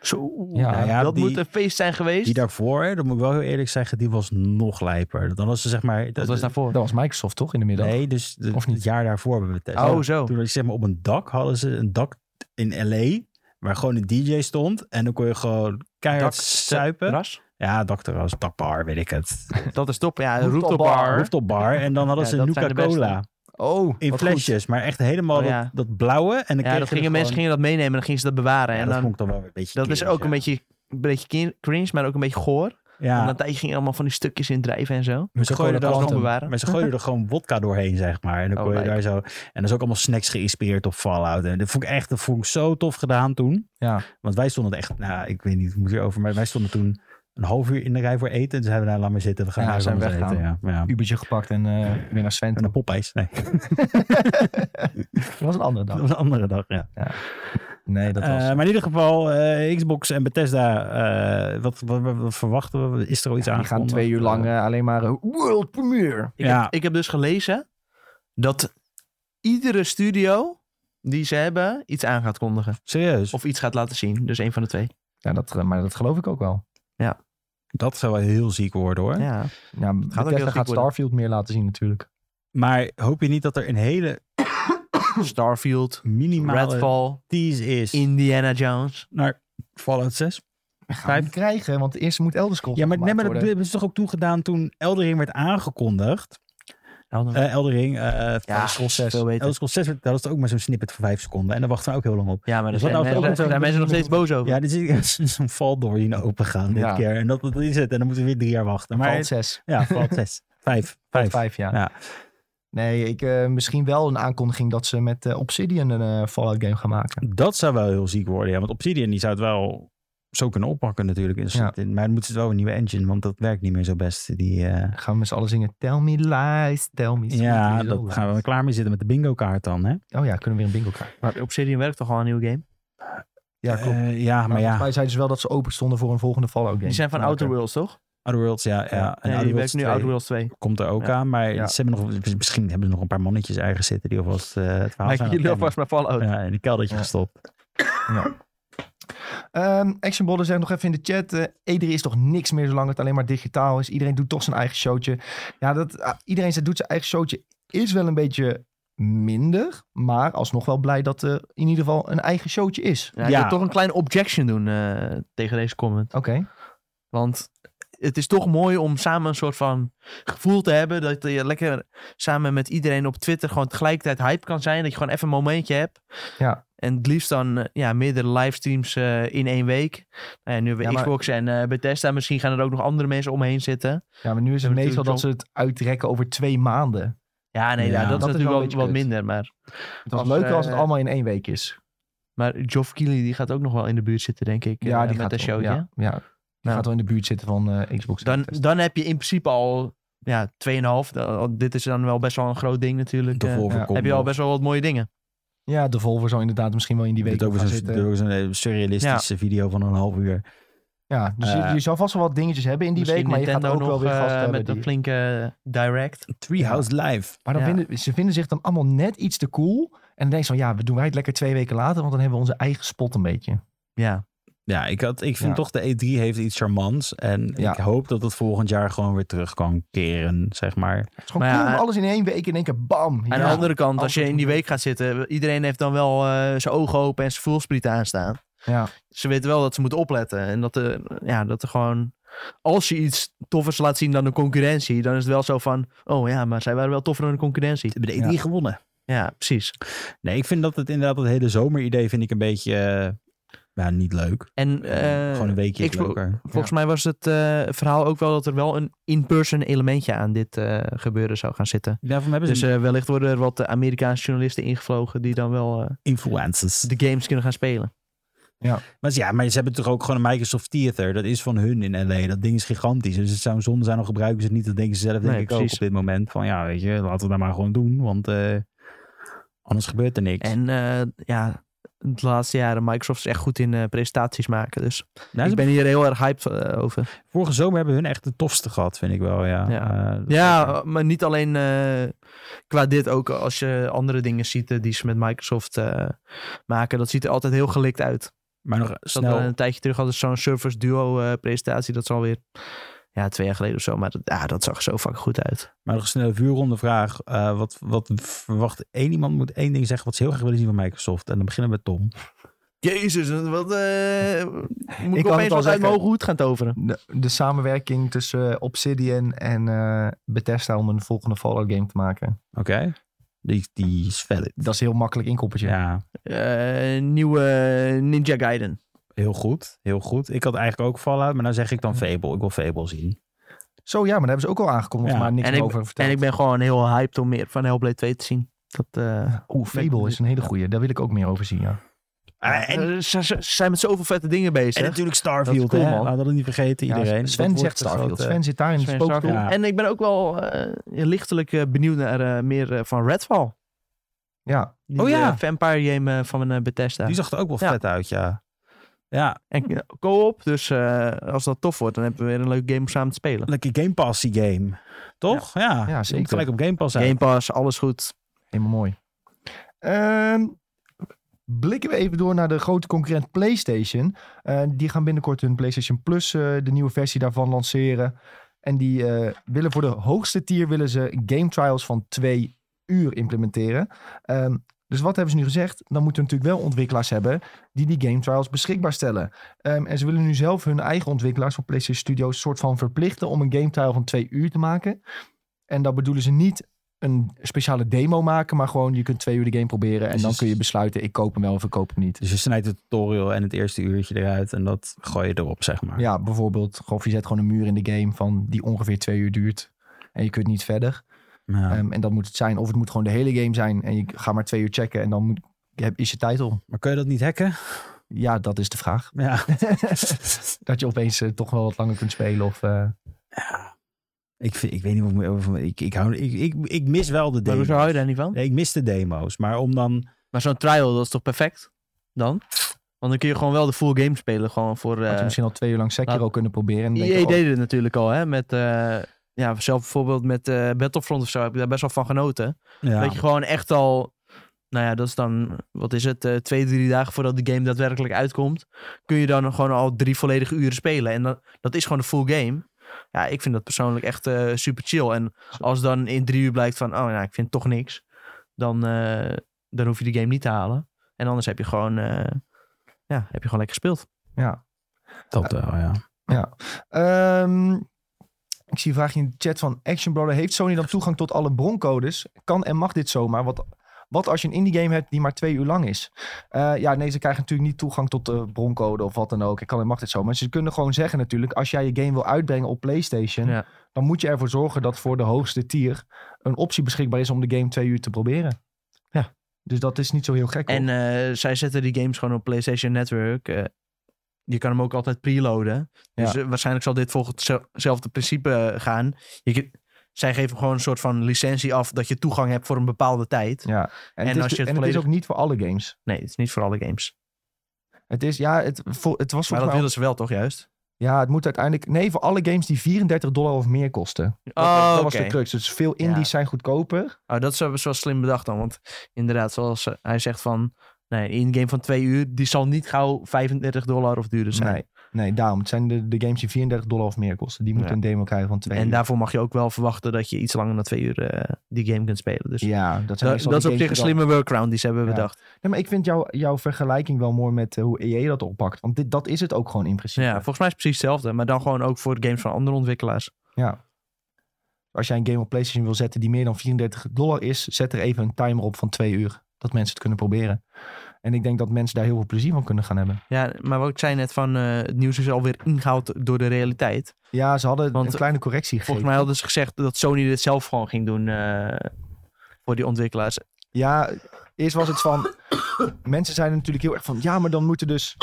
S2: Zo,
S1: Ja.
S2: nou
S3: ja,
S2: dat
S3: die-
S2: moet een feest zijn geweest.
S3: Die daarvoor, hè, dat moet ik wel heel eerlijk zeggen, die was nog lijper. Dan was ze zeg maar...
S2: dat was daarvoor.
S1: Dat was Microsoft toch in de middag?
S3: Nee, dus de-
S1: Of niet?
S3: het jaar daarvoor hebben we Bethesda.
S2: Oh, zo.
S3: Toen had je zeg maar op een dak, hadden ze een dak in L.A. waar gewoon een DJ stond. En dan kon je gewoon keihard suipen.
S2: Ras?
S3: Ja, dakterras, dakbar, weet ik het.
S2: Dat is top. Ja,
S1: Rooftop
S2: rooftop
S1: bar.
S2: bar.
S3: Rooftop bar. En dan hadden
S2: Ja,
S3: ze
S2: dat zijn de beste.
S3: Nuka-Cola
S1: Oh,
S3: in
S1: wat
S3: flesjes. Maar echt helemaal
S2: Oh, ja.
S3: dat, dat blauwe. En dan
S2: Ja, dat gingen mensen gingen dat meenemen en dan gingen ze dat bewaren.
S3: Ja,
S2: en
S3: dat
S2: dan,
S3: vond
S2: dat
S3: ik dan wel weer een beetje
S2: is
S3: cringe,
S2: ook een
S3: ja.
S2: beetje, een beetje kin- cringe, maar ook een beetje goor.
S3: Ja,
S2: Want een tijdje gingen allemaal van die stukjes in drijven en zo.
S3: maar ze,
S1: Coca-Cola
S3: gooiden er
S2: Dat
S1: Quantum.
S2: nog
S3: gewoon,
S2: bewaren.
S3: maar ze gooiden er gewoon wodka doorheen, zeg maar. En dan
S2: Oh,
S3: kon je
S2: lijp.
S3: daar zo... En dat is ook allemaal snacks geïnspireerd op Fallout. En dat vond ik echt dat vond ik zo tof gedaan toen.
S1: Ja.
S3: Want wij stonden echt, nou, ik weet niet hoe het hierover, maar wij stonden toen een half uur in de rij voor eten. En toen zeiden we, nou, laat maar zitten, we gaan
S1: Ja,
S3: naar
S1: zijn
S3: anders eten.
S1: weggegaan.
S3: Ja, maar ja.
S1: Ubertje gepakt en eh, weer naar Sven.
S3: En een Popeyes. Nee,
S1: Dat was een andere
S3: dat
S1: dag.
S3: was een andere dag, ja.
S1: Nee, dat was...
S3: Eh, maar in ieder geval, eh, Xbox en Bethesda, eh, wat, wat, wat- wat verwachten we? Is er al iets aan?
S1: die gaan twee uur lang eh, alleen maar eh, world premiere.
S2: Ik,
S3: Ja.
S2: heb, ik heb dus gelezen dat iedere studio die ze hebben iets aan gaat kondigen.
S3: Serieus?
S2: Of iets gaat laten zien. Dus één van de twee.
S1: Ja, dat, eh, maar dat geloof ik ook wel.
S3: dat zou wel heel ziek worden, hoor.
S2: Ja.
S1: Ja,
S2: heel
S1: Bethesda
S2: ziek
S1: gaat
S2: worden.
S1: Starfield meer laten zien natuurlijk.
S3: Maar hoop je niet dat er een hele
S2: Starfield,
S3: minimale
S2: Redfall,
S3: tease is
S2: Indiana Jones.
S3: naar Fallout 6?
S1: Gaan we niet krijgen, want eerst moet Elder Scrolls
S3: Ja, maar, nee,
S1: gemaakt
S3: maar dat
S1: worden.
S3: hebben ze toch ook toegedaan toen Eldering werd aangekondigd. Eh Eldering, eh
S2: Ja,
S3: Elder Scrolls
S2: veel
S3: 6.
S2: beter.
S3: Elder Scrolls 6, werd- daar was het ook maar zo'n snippet van 5 seconden. En daar wachten we ook heel lang op.
S2: Ja, maar daar
S3: Dus wat
S2: zijn,
S3: nou
S2: mensen-
S3: als het ook-
S2: daar zijn mensen nog steeds boos over.
S3: Ja, dit is zo'n valdoor die nou open gaan dit
S1: Ja.
S3: keer. En dat, dat is het. En dan moeten we weer drie jaar wachten. Maar
S1: Fallout 6.
S3: ja, Fallout 6. Vijf. Vijf.
S1: Vijf, ja.
S3: Ja.
S1: Nee, ik, eh, misschien wel een aankondiging dat ze met eh, Obsidian een eh, Fallout game gaan maken.
S3: Dat zou wel heel ziek worden, ja. Want Obsidian die zou het wel zo kunnen oppakken natuurlijk. In-
S1: Ja.
S3: in- Maar dan moeten ze wel een nieuwe engine, want dat werkt niet meer zo best. Die, eh,
S1: Dan gaan we met z'n allen zingen Tell me lies, tell me
S3: Ja,
S1: sweet
S3: dat
S1: lies.
S3: gaan we wel klaar mee zitten met de bingo kaart dan, hè?
S1: Oh ja, kunnen we weer een bingo kaart.
S2: Maar Obsidian werkt toch al aan een nieuwe game?
S1: Ja, klopt.
S3: Eh, ja,
S1: maar
S3: maar
S1: volgens
S3: ja.
S1: mij zeiden ze wel dat ze open stonden voor een volgende Fallout game.
S2: Die zijn van
S1: Maar
S2: Outer
S1: oké.
S2: Worlds, toch?
S3: Outer Worlds, ja. ja. En
S2: Nee,
S3: Outer
S2: die
S3: Worlds
S2: werkt nu
S3: 2
S2: Outer Worlds 2.
S3: Komt er ook
S2: Ja.
S3: aan, maar
S1: Ja.
S3: ze hebben nog, misschien hebben ze nog een paar mannetjes eigen zitten die alvast eh het verhaal
S2: Maar
S3: zijn aan
S2: jullie
S3: het
S2: alvast maar Fallout.
S3: kennen. Ja, in een keldertje
S1: Ja.
S3: gestopt.
S1: Ja. Ehm Action Bodder zegt nog even in de chat: eh E3 is toch niks meer zolang het alleen maar digitaal is. Iedereen doet toch zijn eigen showtje. Ja, dat, ah, iedereen zegt, doet zijn eigen showtje is wel een beetje minder. Maar alsnog wel blij dat er in ieder geval een eigen showtje is.
S2: Ja, Ik
S3: Ja.
S2: wil toch een kleine objection doen eh, tegen deze comment.
S1: Oké.
S2: Want het is toch mooi om samen een soort van gevoel te hebben. Dat je lekker samen met iedereen op Twitter gewoon tegelijkertijd hype kan zijn. Dat je gewoon even een momentje hebt.
S1: Ja.
S2: En het liefst dan eh, ja, meerdere livestreams eh, in één week. Nou ja, nu hebben we
S1: Ja, maar-
S2: Xbox en eh, Bethesda. Misschien gaan er ook nog andere mensen omheen zitten.
S1: Ja, maar nu is het
S2: Ja, maar
S1: meestal
S2: natuurlijk
S1: dat ze het uitrekken over twee maanden.
S2: Ja, nee, ja,
S3: Ja,
S2: dat,
S1: dat
S2: is
S1: is wel
S2: natuurlijk
S1: een
S2: wel
S1: beetje
S2: wat
S1: kut.
S2: minder. Maar,
S1: Het was
S2: Als,
S1: leuker
S2: eh,
S1: als het allemaal in één week is.
S2: maar Geoff Keighley die gaat ook nog wel in de buurt zitten, denk ik. eh, met dat
S1: wel-
S2: showtje.
S1: Ja, ja. Die
S2: Nou.
S1: gaat wel in de buurt zitten van eh, Xbox.
S2: Dan,
S1: Bethesda.
S2: dan heb je in principe al ja, 2,5. Dan- Dit is dan wel best wel een groot ding natuurlijk.
S3: De
S2: eh,
S3: Volvo
S1: ja.
S3: combo.
S2: heb je al best wel wat mooie dingen.
S1: Ja, de Volvo zou inderdaad misschien wel in die
S3: Die
S1: week
S3: weet ook
S1: gaan
S3: weer zo'n-
S1: zitten.
S3: doet ook zo'n eh, surrealistische video van een half uur.
S1: Ja, dus je,
S3: Eh,
S1: je zou vast wel wat dingetjes hebben in die
S2: Misschien
S1: week, maar je
S2: Nintendo
S1: gaat ook wel
S2: nog,
S1: weer
S2: eh,
S1: vast hebben
S2: met een
S1: die-
S2: flinke direct.
S3: Treehouse Live.
S1: Maar dan
S2: ja.
S1: vinden, ze vinden zich dan allemaal net iets te cool. En dan denk je van, ja, we doen wij het lekker twee weken later, want dan hebben we onze eigen spot een beetje.
S2: Ja,
S3: Ja, ik, had, ik vind
S1: Ja.
S3: toch de E3 heeft iets charmants. En
S1: Ja.
S3: ik hoop dat het volgend jaar gewoon weer terug kan keren, zeg maar.
S1: Het is gewoon
S2: Maar ja, eh,
S1: cool om
S2: aan-
S1: alles in één week in één keer bam.
S2: aan
S1: ja.
S2: de andere kant, als
S1: Alles
S2: je in die
S1: moet-
S2: week gaat zitten, iedereen heeft dan wel eh, zijn ogen open en zijn voelspriet aanstaan.
S1: Ja.
S2: Ze weten wel dat ze moeten opletten. En dat er, ja, dat er gewoon, als je iets toffers laat zien dan de concurrentie, dan is het wel zo van, oh ja, maar zij waren wel toffer dan de concurrentie.
S3: Hebben de
S1: Ja.
S3: E3 gewonnen?
S2: Ja, precies.
S3: Nee, ik vind dat het inderdaad dat hele zomeridee vind ik een beetje eh, ja, niet leuk.
S2: En, eh,
S3: gewoon een weekje is
S2: Xbox-
S3: leuker.
S2: Volgens mij was het eh, verhaal ook wel dat er wel een in-person elementje aan dit eh, gebeuren zou gaan zitten.
S3: Daarvan hebben ze
S2: Dus eh, wellicht worden er wat eh, Amerikaanse journalisten ingevlogen die dan wel eh,
S3: influencers.
S2: de games kunnen gaan spelen.
S3: Maar ja, maar ze hebben toch ook gewoon een Microsoft Theater. Dat is van hun in LA. Dat ding is gigantisch. Dus het zou een zonde zijn, al gebruiken ze het niet. Dat denken ze zelf denk
S2: Nee,
S3: ik ook
S2: precies.
S3: op dit moment. Van ja, weet je, laten we dat maar gewoon doen. Want eh, anders gebeurt er niks.
S2: En eh, ja, de laatste jaren Microsoft is echt goed in eh, presentaties maken. Dus
S3: Nou, ze-
S2: ik ben hier heel erg hyped eh, over.
S3: Vorige zomer hebben hun echt de tofste gehad, vind ik wel. Ja,
S2: Ja.
S3: Eh, dat
S2: Ja, oh,
S3: is-
S2: maar niet alleen eh, qua dit. Ook als je andere dingen ziet eh, die ze met Microsoft eh, maken. Dat ziet er altijd heel gelikt uit.
S3: maar nog
S2: Dat eh,
S3: snel.
S2: we een tijdje terug hadden zo'n Surfers Duo eh, presentatie. Dat is alweer ja, twee jaar geleden of zo. Maar dat, ja, dat zag zo fucking goed uit.
S3: Maar nog een snelle vuurronde vraag. Eh, wat, wat verwacht één iemand moet één ding zeggen wat ze heel graag willen zien van Microsoft? En dan beginnen we met Tom.
S2: Jezus, wat, eh, moet
S1: ik
S2: ik
S1: kan het
S2: opeens
S1: al
S2: wat uit
S1: zeggen.
S2: mijn hoge hoed gaan toveren?
S1: De, de samenwerking tussen eh, Obsidian en eh, Bethesda om een volgende Fallout game te maken.
S3: Oké? Die, die is valid.
S1: Dat is een heel makkelijk inkoppertje.
S3: Ja,
S2: Eh, nieuwe Ninja Gaiden.
S3: heel goed. Heel goed. Ik had eigenlijk ook Fallout, maar nou zeg
S1: Hm.
S3: ik dan Fable. Ik wil Fable zien.
S1: Zo ja, maar daar hebben ze ook al aangekondigd,
S3: Ja.
S1: maar niks
S2: En
S1: meer
S2: ik-
S1: over verteld.
S2: En ik ben gewoon heel hyped om meer van Hellblade 2 te zien. Dat, eh,
S1: Oeh, Fable is een hele goeie. Daar wil ik ook meer over zien, ja.
S3: Ah, en,
S2: eh, ze, ze- ze zijn met zoveel vette dingen
S3: en
S2: bezig.
S3: natuurlijk
S1: Dat
S3: Starfield.
S1: is cool,
S3: hè?
S1: man.
S3: Laten we dat niet vergeten, iedereen.
S1: Ja,
S3: Dat
S1: Sven
S3: wordt
S1: zegt
S3: de grote-
S1: Starfield. Sven zit daar in de
S2: eh, Sven
S1: spookstoel.
S3: Starfield.
S1: Ja.
S3: Ja.
S2: En ik ben ook wel eh, lichtelijk eh, benieuwd naar eh, meer eh, van Redfall. Die,
S3: Oh ja.
S2: eh, Vampire game eh, van eh, Bethesda.
S3: Die zag er ook wel
S2: Ja.
S3: vet uit, ja. Ja,
S2: En ja, co-op, dus eh, als dat tof wordt, dan hebben we weer een leuk game om samen te spelen.
S3: lekker Game Pass die game. Toch? Ja,
S1: Ja,
S3: Je
S1: zeker.
S3: moet gelijk op Game Pass uit.
S2: Game Pass, alles goed.
S1: Helemaal mooi. Ehm, blikken we even door naar de grote concurrent PlayStation. Eh, die gaan binnenkort hun PlayStation Plus, eh, de nieuwe versie daarvan, lanceren. En die eh, willen voor de hoogste tier willen ze game trials van twee uur implementeren. Ehm, dus wat hebben ze nu gezegd? Dan moeten we natuurlijk wel ontwikkelaars hebben die die game trials beschikbaar stellen. Ehm, en ze willen nu zelf hun eigen ontwikkelaars van PlayStation Studios soort van verplichten om een game trial van twee uur te maken. En dat bedoelen ze niet een speciale demo maken, maar gewoon je kunt twee uur de game proberen en
S3: Dus
S1: dan
S3: is-
S1: kun je besluiten ik koop hem wel of ik koop hem niet.
S3: Dus je snijdt het tutorial en het eerste uurtje eruit en dat gooi je erop, zeg maar.
S1: Ja, bijvoorbeeld, of je zet gewoon een muur in de game van die ongeveer twee uur duurt en je kunt niet verder.
S3: Ja.
S1: Ehm, en dat moet het zijn, of het moet gewoon de hele game zijn en je gaat maar twee uur checken en dan moet, heb- is je tijd om.
S3: maar kun je dat niet hacken?
S1: Ja, dat is de vraag.
S3: Ja.
S1: Dat je opeens eh, toch wel wat langer kunt spelen of... eh,
S3: ik, vind- ik weet niet wat ik moet over... Ik, ik, hou, ik, ik, ik mis wel de
S2: Maar
S3: demo's.
S2: hoezo hou je daar niet van?
S3: Nee, ik mis de demo's. Maar om dan...
S2: Maar zo'n trial, dat is toch perfect? Dan? Want dan kun je gewoon wel de full game spelen. Gewoon voor...
S1: Had je
S2: eh
S1: misschien al twee uur lang Sekiro
S2: laat-
S1: kunnen proberen. En dan denk
S2: EA
S1: je, oh,
S2: deed het natuurlijk al, hè? Met, eh, ja, zelf bijvoorbeeld met eh, Battlefront of zo heb ik daar best wel van genoten.
S3: Ja.
S2: Dat je gewoon echt al nou ja, dat is dan, wat is het, eh, twee, drie dagen voordat de game daadwerkelijk uitkomt, kun je dan gewoon al drie volledige uren spelen. En dat, dat is gewoon de full game. Ja, ik vind dat persoonlijk echt eh, super chill. En als dan in drie uur blijkt van, oh nou, ik vind toch niks, dan, eh, dan hoef je de game niet te halen. En anders heb je gewoon, eh, ja, heb je gewoon lekker gespeeld.
S1: Ja.
S3: Dat wel, ja.
S1: Ehm, ik zie een vraagje in de chat van Action Brother. Heeft Sony dan toegang tot alle broncodes? Kan en mag dit zomaar? Wat, wat als je een indie game hebt die maar twee uur lang is? Eh, ja, nee, ze krijgen natuurlijk niet toegang tot de broncode of wat dan ook. Ik kan en mag dit zomaar. Ze kunnen gewoon zeggen natuurlijk, als jij je game wil uitbrengen op PlayStation,
S2: Ja.
S1: dan moet je ervoor zorgen dat voor de hoogste tier een optie beschikbaar is om de game twee uur te proberen.
S2: Ja.
S1: Dus dat is niet zo heel gek. hoor.
S2: En eh, zij zetten die games gewoon op PlayStation Network. eh, je kan hem ook altijd preloaden. Dus eh, waarschijnlijk zal dit volgens hetze- hetzelfde principe eh, gaan. Je, ge- zij geven gewoon een soort van licentie af dat je toegang hebt voor een bepaalde tijd.
S1: ja. en, het, is,
S2: als je het
S1: en het is
S2: volledig-
S1: ook niet voor alle games.
S2: Nee, het is niet voor alle games.
S1: Het is, ja, het, vo- het was volgens
S2: Maar dat
S1: mij
S2: wilden ze wel toch juist?
S1: Ja, het moet uiteindelijk... Nee, voor alle games die 34 dollar of meer kosten. Dat,
S2: Oh,
S1: dat
S2: oké.
S1: was de crux. Dus veel indies
S2: Ja.
S1: zijn goedkoper.
S2: Oh, dat hebben ze wel slim bedacht dan. Want inderdaad, zoals eh, hij zegt van... Nee, een game van twee uur, die zal niet gauw 35 dollar of duurder Dus zijn.
S1: Nee, nee, daarom. Het zijn de, de games die 34 dollar of meer kosten. Die moeten
S2: Ja.
S1: een demo krijgen van twee
S2: en
S1: uur.
S2: daarvoor mag je ook wel verwachten dat je iets langer dan twee uur eh, die game kunt spelen. Dus
S1: Ja, dat zijn
S2: da-
S1: meestal
S2: dat is
S1: de
S2: op zich
S1: games
S2: een
S1: die dan-
S2: slimme workaround die ze hebben
S1: Ja.
S2: bedacht.
S1: Nee, maar ik vind jouw jouw vergelijking wel mooi met eh, hoe EA dat oppakt. Want dit, dat is het ook gewoon in principe.
S2: Ja, volgens mij is het precies hetzelfde. Maar dan gewoon ook voor games van andere ontwikkelaars.
S1: Als jij een game op PlayStation wil zetten die meer dan 34 dollar is... zet er even een timer op van twee uur. Dat mensen het kunnen proberen. En ik denk dat mensen daar heel veel plezier van kunnen gaan hebben.
S2: Ja, maar wat ik zei net van eh, het nieuws is alweer ingehaald door de realiteit.
S1: Ja, ze hadden
S2: Want,
S1: een kleine correctie gegeven.
S2: Volgens mij hadden ze gezegd dat Sony dit zelf gewoon ging doen eh, voor die ontwikkelaars.
S1: Ja, eerst was het van. mensen zijn natuurlijk heel erg van. Ja, maar dan moeten dus.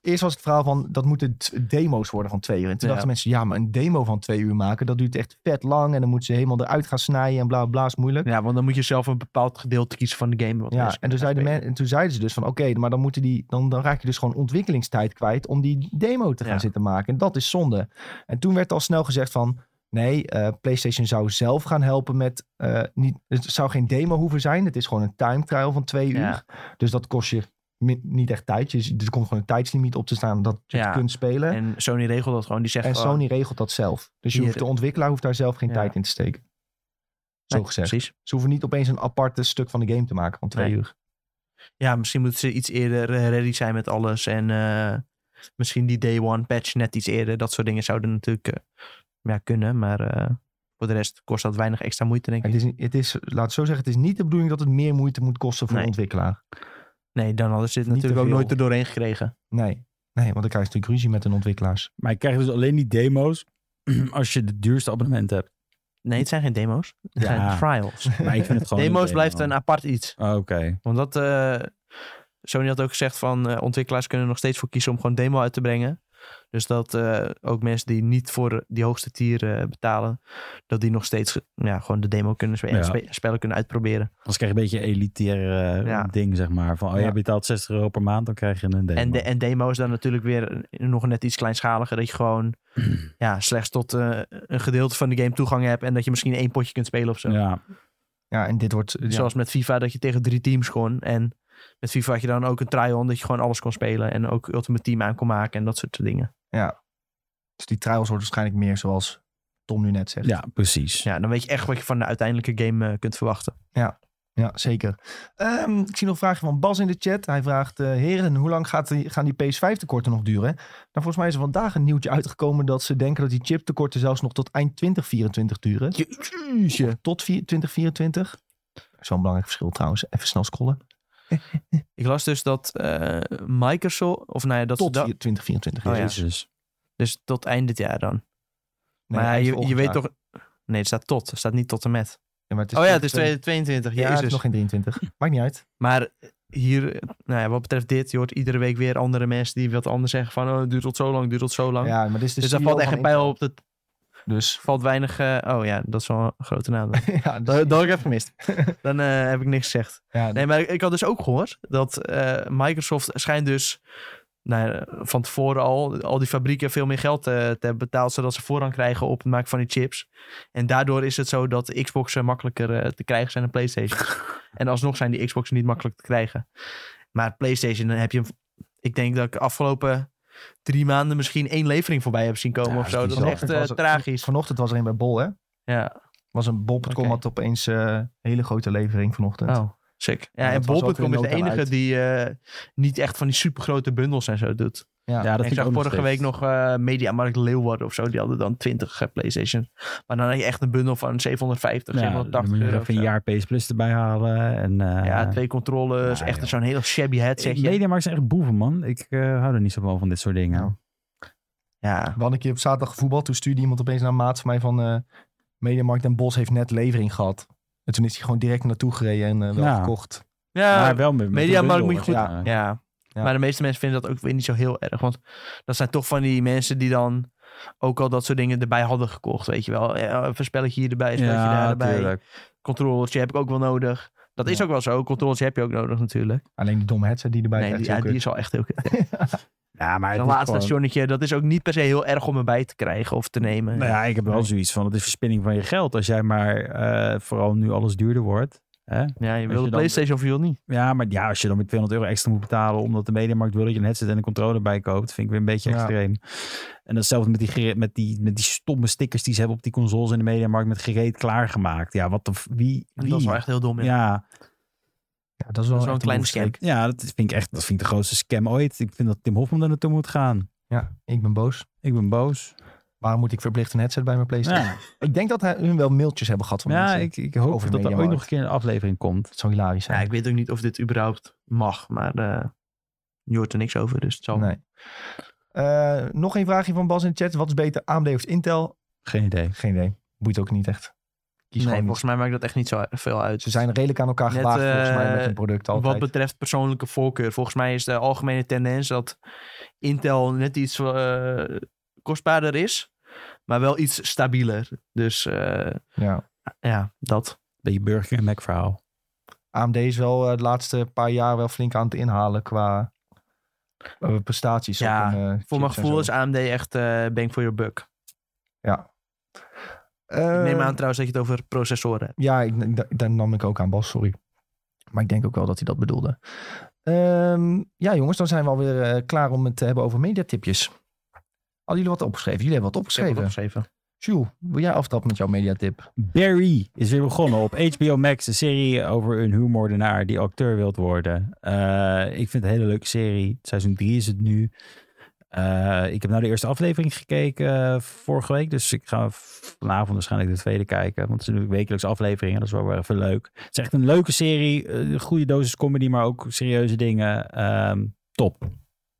S1: Eerst was het verhaal van dat moeten t- demo's worden van twee uur. En toen
S2: Ja.
S1: dachten mensen, ja, maar een demo van twee uur maken, dat duurt echt vet lang. En dan moeten ze helemaal eruit gaan snijden en bla bla, is moeilijk.
S2: Ja, want dan moet je zelf een bepaald gedeelte kiezen van de game. Wat
S1: Ja,
S2: mensen
S1: en toen,
S2: gaan
S1: zeiden men,
S2: spelen.
S1: en toen zeiden ze dus van, oké, maar dan, moeten die, dan, dan raak je dus gewoon ontwikkelingstijd kwijt om die demo te gaan
S2: Ja.
S1: zitten maken. En dat is zonde. En toen werd al snel gezegd van, nee, eh, PlayStation zou zelf gaan helpen met, eh, niet, het zou geen demo hoeven zijn. Het is gewoon een time trial van twee
S2: Ja.
S1: uur. Dus dat kost je mi- niet echt tijd. Je- Er komt gewoon een tijdslimiet op te staan dat je het
S2: Ja.
S1: kunt spelen. En,
S2: En Sony regelt dat gewoon. Die zegt gewoon-
S1: Sony regelt dat zelf. Dus je
S2: Hier-
S1: hoeft, de ontwikkelaar hoeft daar zelf geen
S2: Ja.
S1: tijd in te steken. Zo
S2: Nee,
S1: gezegd.
S2: Precies.
S1: Ze hoeven niet opeens een aparte stuk van de game te maken van twee
S2: Nee.
S1: uur.
S2: Ja, misschien moeten ze iets eerder eh, ready zijn met alles. En eh, misschien die day one patch net iets eerder. Dat soort dingen zouden natuurlijk eh, ja, kunnen. Maar eh, voor de rest kost dat weinig extra moeite, denk ik.
S1: Het is, het is, laat het zo zeggen, het is niet de bedoeling dat het meer moeite moet kosten voor
S2: Nee.
S1: de ontwikkelaar.
S2: Nee, dan hadden ze dit
S1: Niet te
S2: natuurlijk ook
S1: veel.
S2: nooit er doorheen gekregen.
S1: Nee. Nee, want dan krijg je natuurlijk ruzie met de ontwikkelaars.
S3: Maar je krijgt dus alleen die demo's als je de duurste abonnement hebt.
S2: Nee, het zijn geen demo's. Het
S3: Ja.
S2: zijn trials.
S3: Maar ik vind het gewoon... een
S2: demo's
S3: demo.
S2: blijft een apart iets.
S3: Oh, Oké.
S2: Want dat... eh, Sony had ook gezegd van eh, ontwikkelaars kunnen er nog steeds voor kiezen om gewoon demo uit te brengen. Dus dat eh, ook mensen die niet voor die hoogste tier eh, betalen, dat die nog steeds ge- ja, gewoon de demo kunnen spelen
S3: Ja.
S2: spe- spellen kunnen uitproberen.
S3: Anders krijg je een beetje een elitair eh,
S2: Ja.
S3: ding, zeg maar. Van, oh,
S1: Ja.
S3: jij betaalt 60 euro per maand, dan krijg je een demo.
S2: En, de, en demo is dan natuurlijk weer eh, nog net iets kleinschaliger. Dat je gewoon ja, slechts tot eh, een gedeelte van de game toegang hebt. En dat je misschien één potje kunt spelen of zo. Dus
S3: ja,
S1: Ja, en dit wordt... ja.
S2: Zoals met FIFA dat je tegen drie teams kon. En met FIFA had je dan ook een try-on dat je gewoon alles kon spelen. En ook Ultimate Team aan kon maken en dat soort dingen.
S1: Dus die trials wordt waarschijnlijk meer zoals Tom nu net zegt.
S3: ja, precies.
S2: Ja, dan weet je echt wat je van de uiteindelijke game eh, kunt verwachten.
S1: Ja, zeker. Ehm, ik zie nog een vraagje van Bas in de chat. Hij vraagt, eh, heren, hoe lang gaat die, gaan die PS5-tekorten nog duren? Nou, volgens mij is er vandaag een nieuwtje uitgekomen dat ze denken dat die chiptekorten zelfs nog tot eind 2024 duren.
S2: Jeetje.
S1: Tot vier- 2024. Zo'n belangrijk verschil trouwens. Even snel scrollen.
S2: Ik las dus dat eh, Microsoft, of nou ja, dat ze
S1: Tot
S2: dat-
S1: vier- 2024.
S2: Oh ja.
S3: Jezus.
S2: dus tot eind dit jaar dan.
S1: Nee,
S2: maar
S1: eind
S2: ja, je, je
S1: volgend
S2: weet
S1: jaar.
S2: toch... Nee, het staat tot. Het staat niet tot en met.
S1: Ja, maar het is
S2: Oh ja, het is
S1: 2022.
S2: 22.
S1: Ja,
S2: Ja,
S1: het is nog geen 23. Maakt niet uit.
S2: Maar hier, eh, nou ja, wat betreft dit, je hoort iedere week weer andere mensen die wat anders zeggen van oh, het duurt tot zo lang, het duurt tot zo lang.
S1: Ja, maar dit is de
S2: dus daar
S1: CEO
S2: valt echt
S1: van
S2: geen pijl op. Het
S1: Intel. Dus
S2: valt weinig. eh, oh ja, dat is wel een grote naam. dan.
S1: ja, dus-
S2: dat, dat heb ik even gemist. Dan eh, heb ik niks gezegd.
S1: ja,
S2: Nee, maar ik, ik had dus ook gehoord dat eh, Microsoft schijnt dus nou, ja, van tevoren al, al die fabrieken veel meer geld eh, te hebben betaald, zodat ze voorrang krijgen op het maken van die chips. En daardoor is het zo dat Xboxen makkelijker eh, te krijgen zijn dan PlayStation. en alsnog zijn die Xboxen niet makkelijk te krijgen. Maar PlayStation, dan heb je, ik denk dat ik de afgelopen drie maanden misschien één levering voorbij heb zien komen
S3: Ja,
S2: of zo.
S3: dat
S2: Dat
S3: is
S2: is
S1: bizar.
S2: echt eh,
S1: Was het-
S2: tragisch.
S1: dus Vanochtend was er een bij Bol, hè?
S2: Ja,
S1: Was een bol.com
S2: Oké.
S1: had opeens eh, een hele grote levering vanochtend.
S2: oh, sick. Ja,
S1: Ja,
S2: en
S1: dat was ook
S2: Bol.com is de
S1: weer nota
S2: enige
S1: uit.
S2: die eh, niet echt van die supergrote bundels en zo doet.
S1: Ja.
S3: Ja, dat
S2: ik
S3: vind
S2: zag
S3: ook nog
S2: vorige week
S3: steeds.
S2: nog eh Mediamarkt Leeuwarden of zo. Die hadden dan 20 eh, PlayStation. Maar dan had je echt een bundel van 750,
S3: Ja, dan
S2: 780
S3: moet je
S2: euro.
S3: nog
S2: of
S3: even een
S2: zo.
S3: jaar PS Plus erbij halen. En, eh,
S2: ja, twee controllers.
S3: Ja,
S2: echt
S3: joh.
S2: zo'n heel shabby
S3: ik-
S2: headsetje.
S3: Mediamarkt is echt boeven, man. Ik eh, hou er niet zo van van dit soort dingen.
S1: Nou.
S2: Ja,
S1: We hadden een keer op zaterdag voetbal. Toen stuurde iemand opeens naar een maat van mij van... eh Mediamarkt en Bos heeft net levering gehad. En toen is hij gewoon direct naartoe gereden en eh, wel
S3: Ja.
S1: gekocht.
S2: ja,
S3: maar wel met, met
S2: Mediamarkt
S3: een
S2: moet je
S3: bundel,
S1: goed-
S3: ja.
S2: ja.
S1: Ja.
S2: Maar de meeste mensen vinden dat ook weer niet zo heel erg. Want dat zijn toch van die mensen die dan ook al dat soort dingen erbij hadden gekocht. Weet je wel. Ja, even een spelletje hier erbij, een spelletje daar erbij.
S3: tuurlijk.
S2: Controllertje heb ik ook wel nodig. Dat is
S1: Ja.
S2: ook wel zo. Controllertje heb je ook nodig natuurlijk.
S1: Alleen die domme headset die erbij
S2: nee,
S1: is
S2: die,
S1: echt
S2: ja,
S1: zo kut.
S2: die is al echt heel kut.
S3: Ja, maar het
S2: Een
S3: is
S2: laatste
S3: gewoon-
S2: stationnetje, dat is ook niet per se heel erg om erbij te krijgen of te nemen.
S3: Nou ja, ik heb wel zoiets van, het is verspilling van je geld. Als jij maar, eh, vooral nu alles duurder wordt. Hè?
S2: ja, je
S3: je
S2: wil de
S3: dan-
S2: PlayStation of je wil niet.
S3: Ja, maar ja, als je dan met 200 euro extra moet betalen... omdat de mediamarkt wil dat je een headset en een controller bij koopt... vind ik weer een beetje
S1: Ja.
S3: extreem. En datzelfde met die, gere- met, die, met die stomme stickers die ze hebben op die consoles... in de mediamarkt met gereed klaargemaakt. Ja, wat de... f- Wie?
S2: En
S3: wie?
S2: Dat is wel echt heel dom. Ja.
S3: ja,
S1: Ja, dat is
S2: dat
S1: wel
S2: is wel
S1: echt
S2: een kleine
S1: behoefte.
S2: scam.
S3: ja, dat vind ik echt dat vind ik de grootste scam ooit. Ik vind dat Tim Hofman daar naartoe moet gaan.
S1: Ja, ik ben boos.
S3: Ik ben boos.
S1: Waarom moet ik verplicht een headset bij mijn PlayStation?
S3: Ja,
S1: Ik denk dat hij, hun wel mailtjes hebben gehad van
S3: ja
S1: mensen.
S3: ik, ik hoop
S1: Over
S3: dat er ooit
S1: Mediamarkt.
S3: nog een keer een aflevering komt.
S1: Het zou hilarisch zijn.
S2: Ja, ik weet ook niet of dit überhaupt mag, maar eh je hoort er niks over, dus het zal...
S1: Nee. Eh, nog een vraagje van Bas in de chat. Wat is beter, AMD of Intel?
S3: Geen idee.
S1: Geen idee. Boeit ook niet echt. Kies
S2: Nee,
S1: gewoon
S2: volgens mij maakt dat echt niet zo veel uit.
S1: Ze zijn redelijk aan elkaar
S2: Net,
S1: gewaagd volgens mij met
S2: eh,
S1: hun product altijd.
S2: Wat betreft persoonlijke voorkeur, volgens mij is de algemene tendens dat Intel net iets eh, kostbaarder is, maar wel iets stabieler. Dus eh,
S1: ja.
S2: ja, dat.
S3: Beetje burger en Mac verhaal.
S1: AMD is wel eh, de laatste paar jaar wel flink aan het inhalen qua eh, prestaties.
S2: Ja,
S1: op hun, eh,
S2: Voor mijn
S1: chips en
S2: gevoel is
S1: zo.
S2: AMD echt eh bang for your buck.
S1: Eh,
S2: Ik neem aan trouwens dat je het over processoren hebt.
S1: Ja, ik, da- daar nam ik ook aan Bas, sorry. Maar ik denk ook wel dat hij dat bedoelde. Ehm, ja, jongens, dan zijn we alweer eh, klaar om het te hebben over mediatipjes. Hadden jullie wat opgeschreven? Jullie hebben wat opgeschreven. Jules, wil jij aftappen met jouw mediatip?
S3: Barry is weer begonnen op HBO Max. Een serie over een huurmoordenaar die acteur wilt worden. Eh, ik vind het een hele leuke serie. Seizoen 3 is het nu. Eh, ik heb nou de eerste aflevering gekeken eh, vorige week. Dus ik ga vanavond waarschijnlijk de tweede kijken. Want het is natuurlijk wekelijks afleveringen. Dat is wel weer even leuk. Het is echt een leuke serie. eh, Een goede dosis comedy, maar ook serieuze dingen. Ehm, top.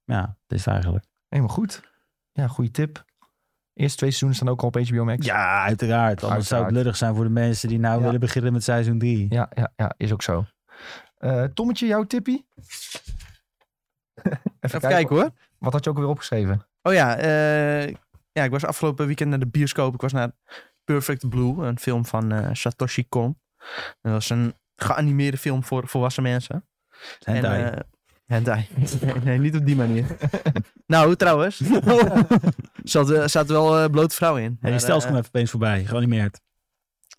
S3: Ja, dit is het eigenlijk.
S1: Helemaal goed. Ja, goede tip. Eerste twee seizoenen staan ook al op HBO Max.
S3: Ja, uiteraard. Anders zou
S1: Uiteraard.
S3: het lullig zijn voor de mensen die nou
S1: Ja.
S3: willen beginnen met seizoen 3.
S1: ja, ja, ja, is ook zo. Eh, Tommetje, jouw tippie? Even,
S2: Even kijken hoor.
S1: Wat had je ook alweer opgeschreven?
S2: Oh ja, eh, ja, ik was afgelopen weekend naar de bioscoop. Ik was naar Perfect Blue, een film van eh, Satoshi Kon. En Dat is een geanimeerde film voor volwassen mensen.
S3: Hentai.
S2: En, eh, hentai. Nee, nee, niet op die manier. nou, trouwens. Er zat, eh, zat wel eh, blote vrouw in.
S3: Harry
S2: Maar,
S3: Styles
S2: eh,
S3: kwam even opeens voorbij, geanimeerd.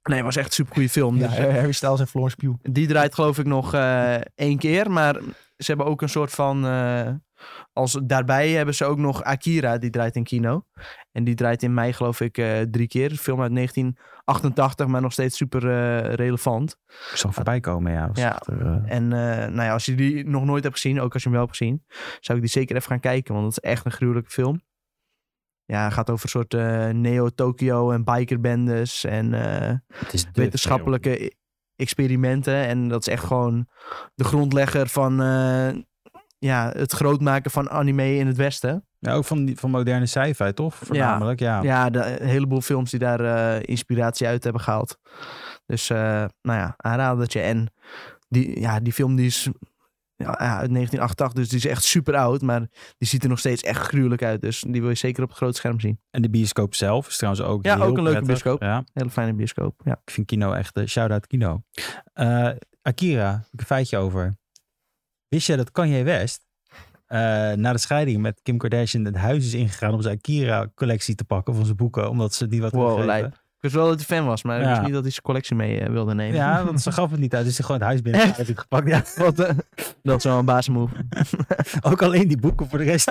S2: Nee, het was echt een supergoeie film.
S1: Ja,
S2: dus,
S1: eh, Harry Styles en Florence Pugh.
S2: Die draait geloof ik nog eh, één keer. Maar ze hebben ook een soort van... eh, als, daarbij hebben ze ook nog Akira, die draait in kino. En die draait in mei geloof ik eh, drie keer. Een film uit 1988, maar nog steeds super eh, relevant.
S3: Ik zal voorbij komen, ja. Was
S2: Ja.
S3: echt, eh, ja.
S2: En eh, nou ja, als je die nog nooit hebt gezien, ook als je hem wel hebt gezien... zou ik die zeker even gaan kijken, want het is echt een gruwelijke film. Ja, het gaat over een soort eh, neo-Tokyo en bikerbendes en... eh,
S3: het is de
S2: wetenschappelijke e- experimenten. En dat is echt gewoon de grondlegger van eh, ja, het grootmaken van anime in het Westen.
S3: film. Ja, ook van, die- van moderne sci-fi, toch? Voornamelijk, ja.
S2: Ja, de, een heleboel films die daar eh, inspiratie uit hebben gehaald. Dus eh, nou ja, aanradertje. En die, ja, die film die is ja, ja, uit 1988, dus die is echt super oud. Maar die ziet er nog steeds echt gruwelijk uit. Dus die wil je zeker op het groot scherm zien.
S3: En de bioscoop zelf is trouwens ook
S2: Ja,
S3: heel
S2: ook een leuke
S3: prettig.
S2: bioscoop.
S3: Ja,
S2: Hele fijne bioscoop, ja.
S3: ik vind kino echt... eh, Shout-out kino. Eh, Akira, heb ik een feitje over. Wist jij dat Kanye West... eh, eh, na de scheiding met Kim Kardashian het huis is ingegaan om zijn Akira-collectie te pakken van zijn boeken, omdat ze die wat
S2: Wow,
S3: teruggeven.
S2: lijp. Ik wist wel dat hij fan was, maar ik
S3: Ja.
S2: wist niet dat hij zijn collectie mee eh, wilde nemen.
S3: Ja, want ze gaf het niet uit, dus hij gewoon het huis binnen heeft het gepakt. Ja,
S2: Wat, eh, dat is wel een baasmove.
S3: ook alleen die boeken voor de rest.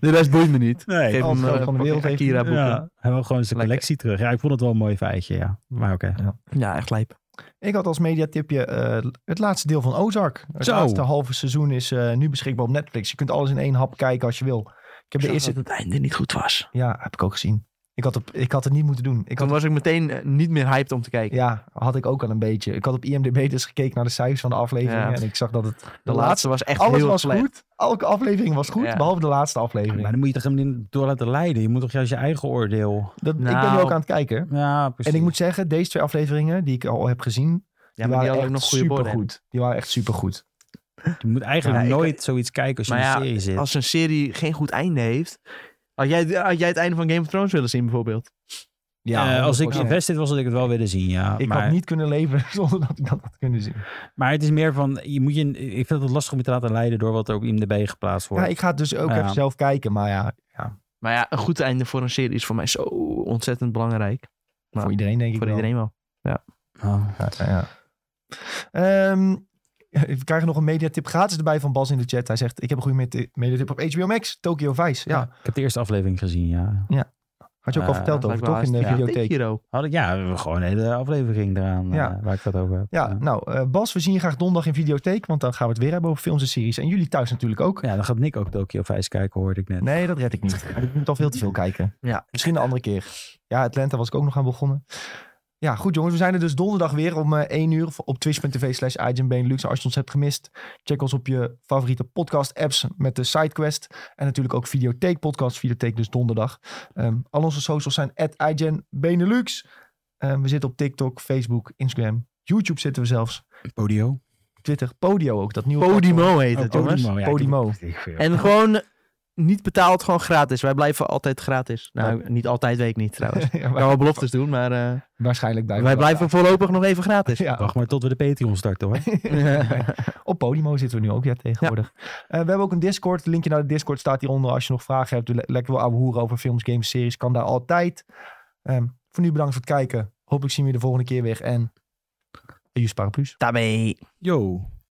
S2: De rest boeit me niet.
S3: Nee,
S2: Geef
S1: al het
S2: hem
S1: geld
S2: eh,
S1: van de
S2: pak
S1: wereld heeft
S2: Akira
S1: hij.
S2: boeken.
S3: Ja,
S2: Ja.
S3: hij wil gewoon zijn
S2: Lekker.
S3: collectie terug. Ja, ik vond het wel een mooi feitje, ja. Maar oké.
S2: echt lijp.
S1: Ik had als mediatipje eh het laatste deel van Ozark. Het
S3: Zo.
S1: laatste halve seizoen is eh, nu beschikbaar op Netflix. Je kunt alles in één hap kijken als je wil. Ik heb de eerste...
S2: het einde niet goed was.
S1: Ja, heb ik ook gezien. Ik had, op, ik had het niet moeten doen. Ik
S2: Toen
S1: had,
S2: was ik meteen eh, niet meer hyped om te kijken.
S1: ja, had ik ook al een beetje. Ik had op IMDb dus gekeken naar de cijfers van de aflevering.
S2: Ja.
S1: En ik zag dat het de,
S2: de laatste
S1: laatste...
S2: was echt
S1: Alles
S2: heel
S1: was
S2: slecht.
S1: goed. Elke aflevering was goed.
S2: Ja.
S1: Behalve de laatste aflevering.
S3: Maar dan moet je toch hem niet door laten leiden. Je moet toch juist je eigen oordeel.
S1: Dat, Ik ben
S2: Nou.
S1: nu ook aan het kijken.
S3: Ja, precies.
S1: En ik moet zeggen, deze twee afleveringen die ik al heb gezien...
S2: Ja,
S1: die
S2: maar die
S1: waren
S2: hadden
S1: echt
S2: ook nog goede borden.
S1: supergoed. Die waren echt supergoed.
S3: Je moet eigenlijk
S2: Ja, ik-
S3: nooit zoiets kijken als je
S2: Maar
S3: in
S2: ja,
S3: een serie zit.
S2: Als een serie geen goed einde heeft... Had jij, had jij het einde van Game of Thrones willen zien bijvoorbeeld?
S3: Eh, als ik
S1: 100%.
S3: invested was, had ik het wel willen zien, ja.
S1: Ik
S3: maar,
S1: had niet kunnen leven zonder dat ik dat had kunnen zien.
S3: maar het is meer van, je moet je, ik vind het lastig om je te laten leiden door wat er op IMDb geplaatst wordt.
S1: Ja, ik ga het dus ook
S3: Ja.
S1: even zelf kijken. Maar
S2: Nou,
S1: ja,
S2: Maar ja, een goed einde voor een serie is voor mij zo ontzettend belangrijk. Nou,
S1: voor iedereen denk ik
S2: Voor
S1: wel.
S2: iedereen wel.
S3: Oh.
S1: Ja, ja. Ehm, we krijgen nog een mediatip gratis erbij van Bas in de chat. Hij zegt, ik heb een goede medi- mediatip op HBO Max, Tokyo Vice. Ja,
S3: Ik heb de eerste aflevering gezien, ja.
S1: had je ook al
S3: Eh,
S1: verteld over,
S2: Lijkt wel
S1: toch? In de
S2: hartstikke- ja,
S1: videotheek.
S2: Tekiro.
S3: Had ik, ja, gewoon een hele aflevering eraan eh,
S1: Ja.
S3: waar ik dat over heb.
S1: Ja, nou, eh, Bas, we zien je graag donderdag in videotheek. Want dan gaan we het weer hebben over films en series. En jullie thuis natuurlijk ook.
S3: Ja, dan gaat Nick ook Tokyo Vice kijken, hoorde ik net.
S1: Nee, dat red ik niet. Ik moet al veel te veel kijken.
S2: Ja.
S1: Misschien een andere keer. Ja, Atlanta was ik ook nog aan begonnen. Ja, goed jongens. We zijn er dus donderdag weer om eh 1 uur op twitch.tv slash Benelux. Als je ons hebt gemist, check ons op je favoriete podcast apps met de SideQuest. En natuurlijk ook Videotheek podcast. Videotheek dus donderdag. Ehm, al onze socials zijn at Benelux. Ehm, we zitten op TikTok, Facebook, Instagram, YouTube zitten we zelfs.
S3: Podio.
S1: Twitter, Podio ook. Dat nieuwe platform.
S2: Podimo heet het, jongens.
S3: Oh, ja,
S1: Podimo.
S3: ik- ik- ik-
S2: En gewoon niet betaald, gewoon gratis. Wij blijven altijd gratis. Nou, niet altijd, weet ik niet trouwens. Ik
S1: Ja,
S2: kan
S1: wa-
S2: wel beloftes doen, maar eh,
S1: waarschijnlijk blijven
S2: wij
S1: we
S2: blijven voorlopig nog even gratis.
S1: Ja.
S3: Wacht maar tot we de Patreon starten, hoor.
S1: Op Podimo zitten we nu ook ja, tegenwoordig. Eh, we hebben ook een Discord. Het linkje naar de Discord staat hieronder. Als je nog vragen hebt, le- lekker wil ouwe hoeren over films, games, series, kan daar altijd. Ehm, voor nu bedankt voor het kijken. Hopelijk zien we je de volgende keer weer. En... Jus eh, Paraplu's.
S2: Daarmee.
S3: Yo.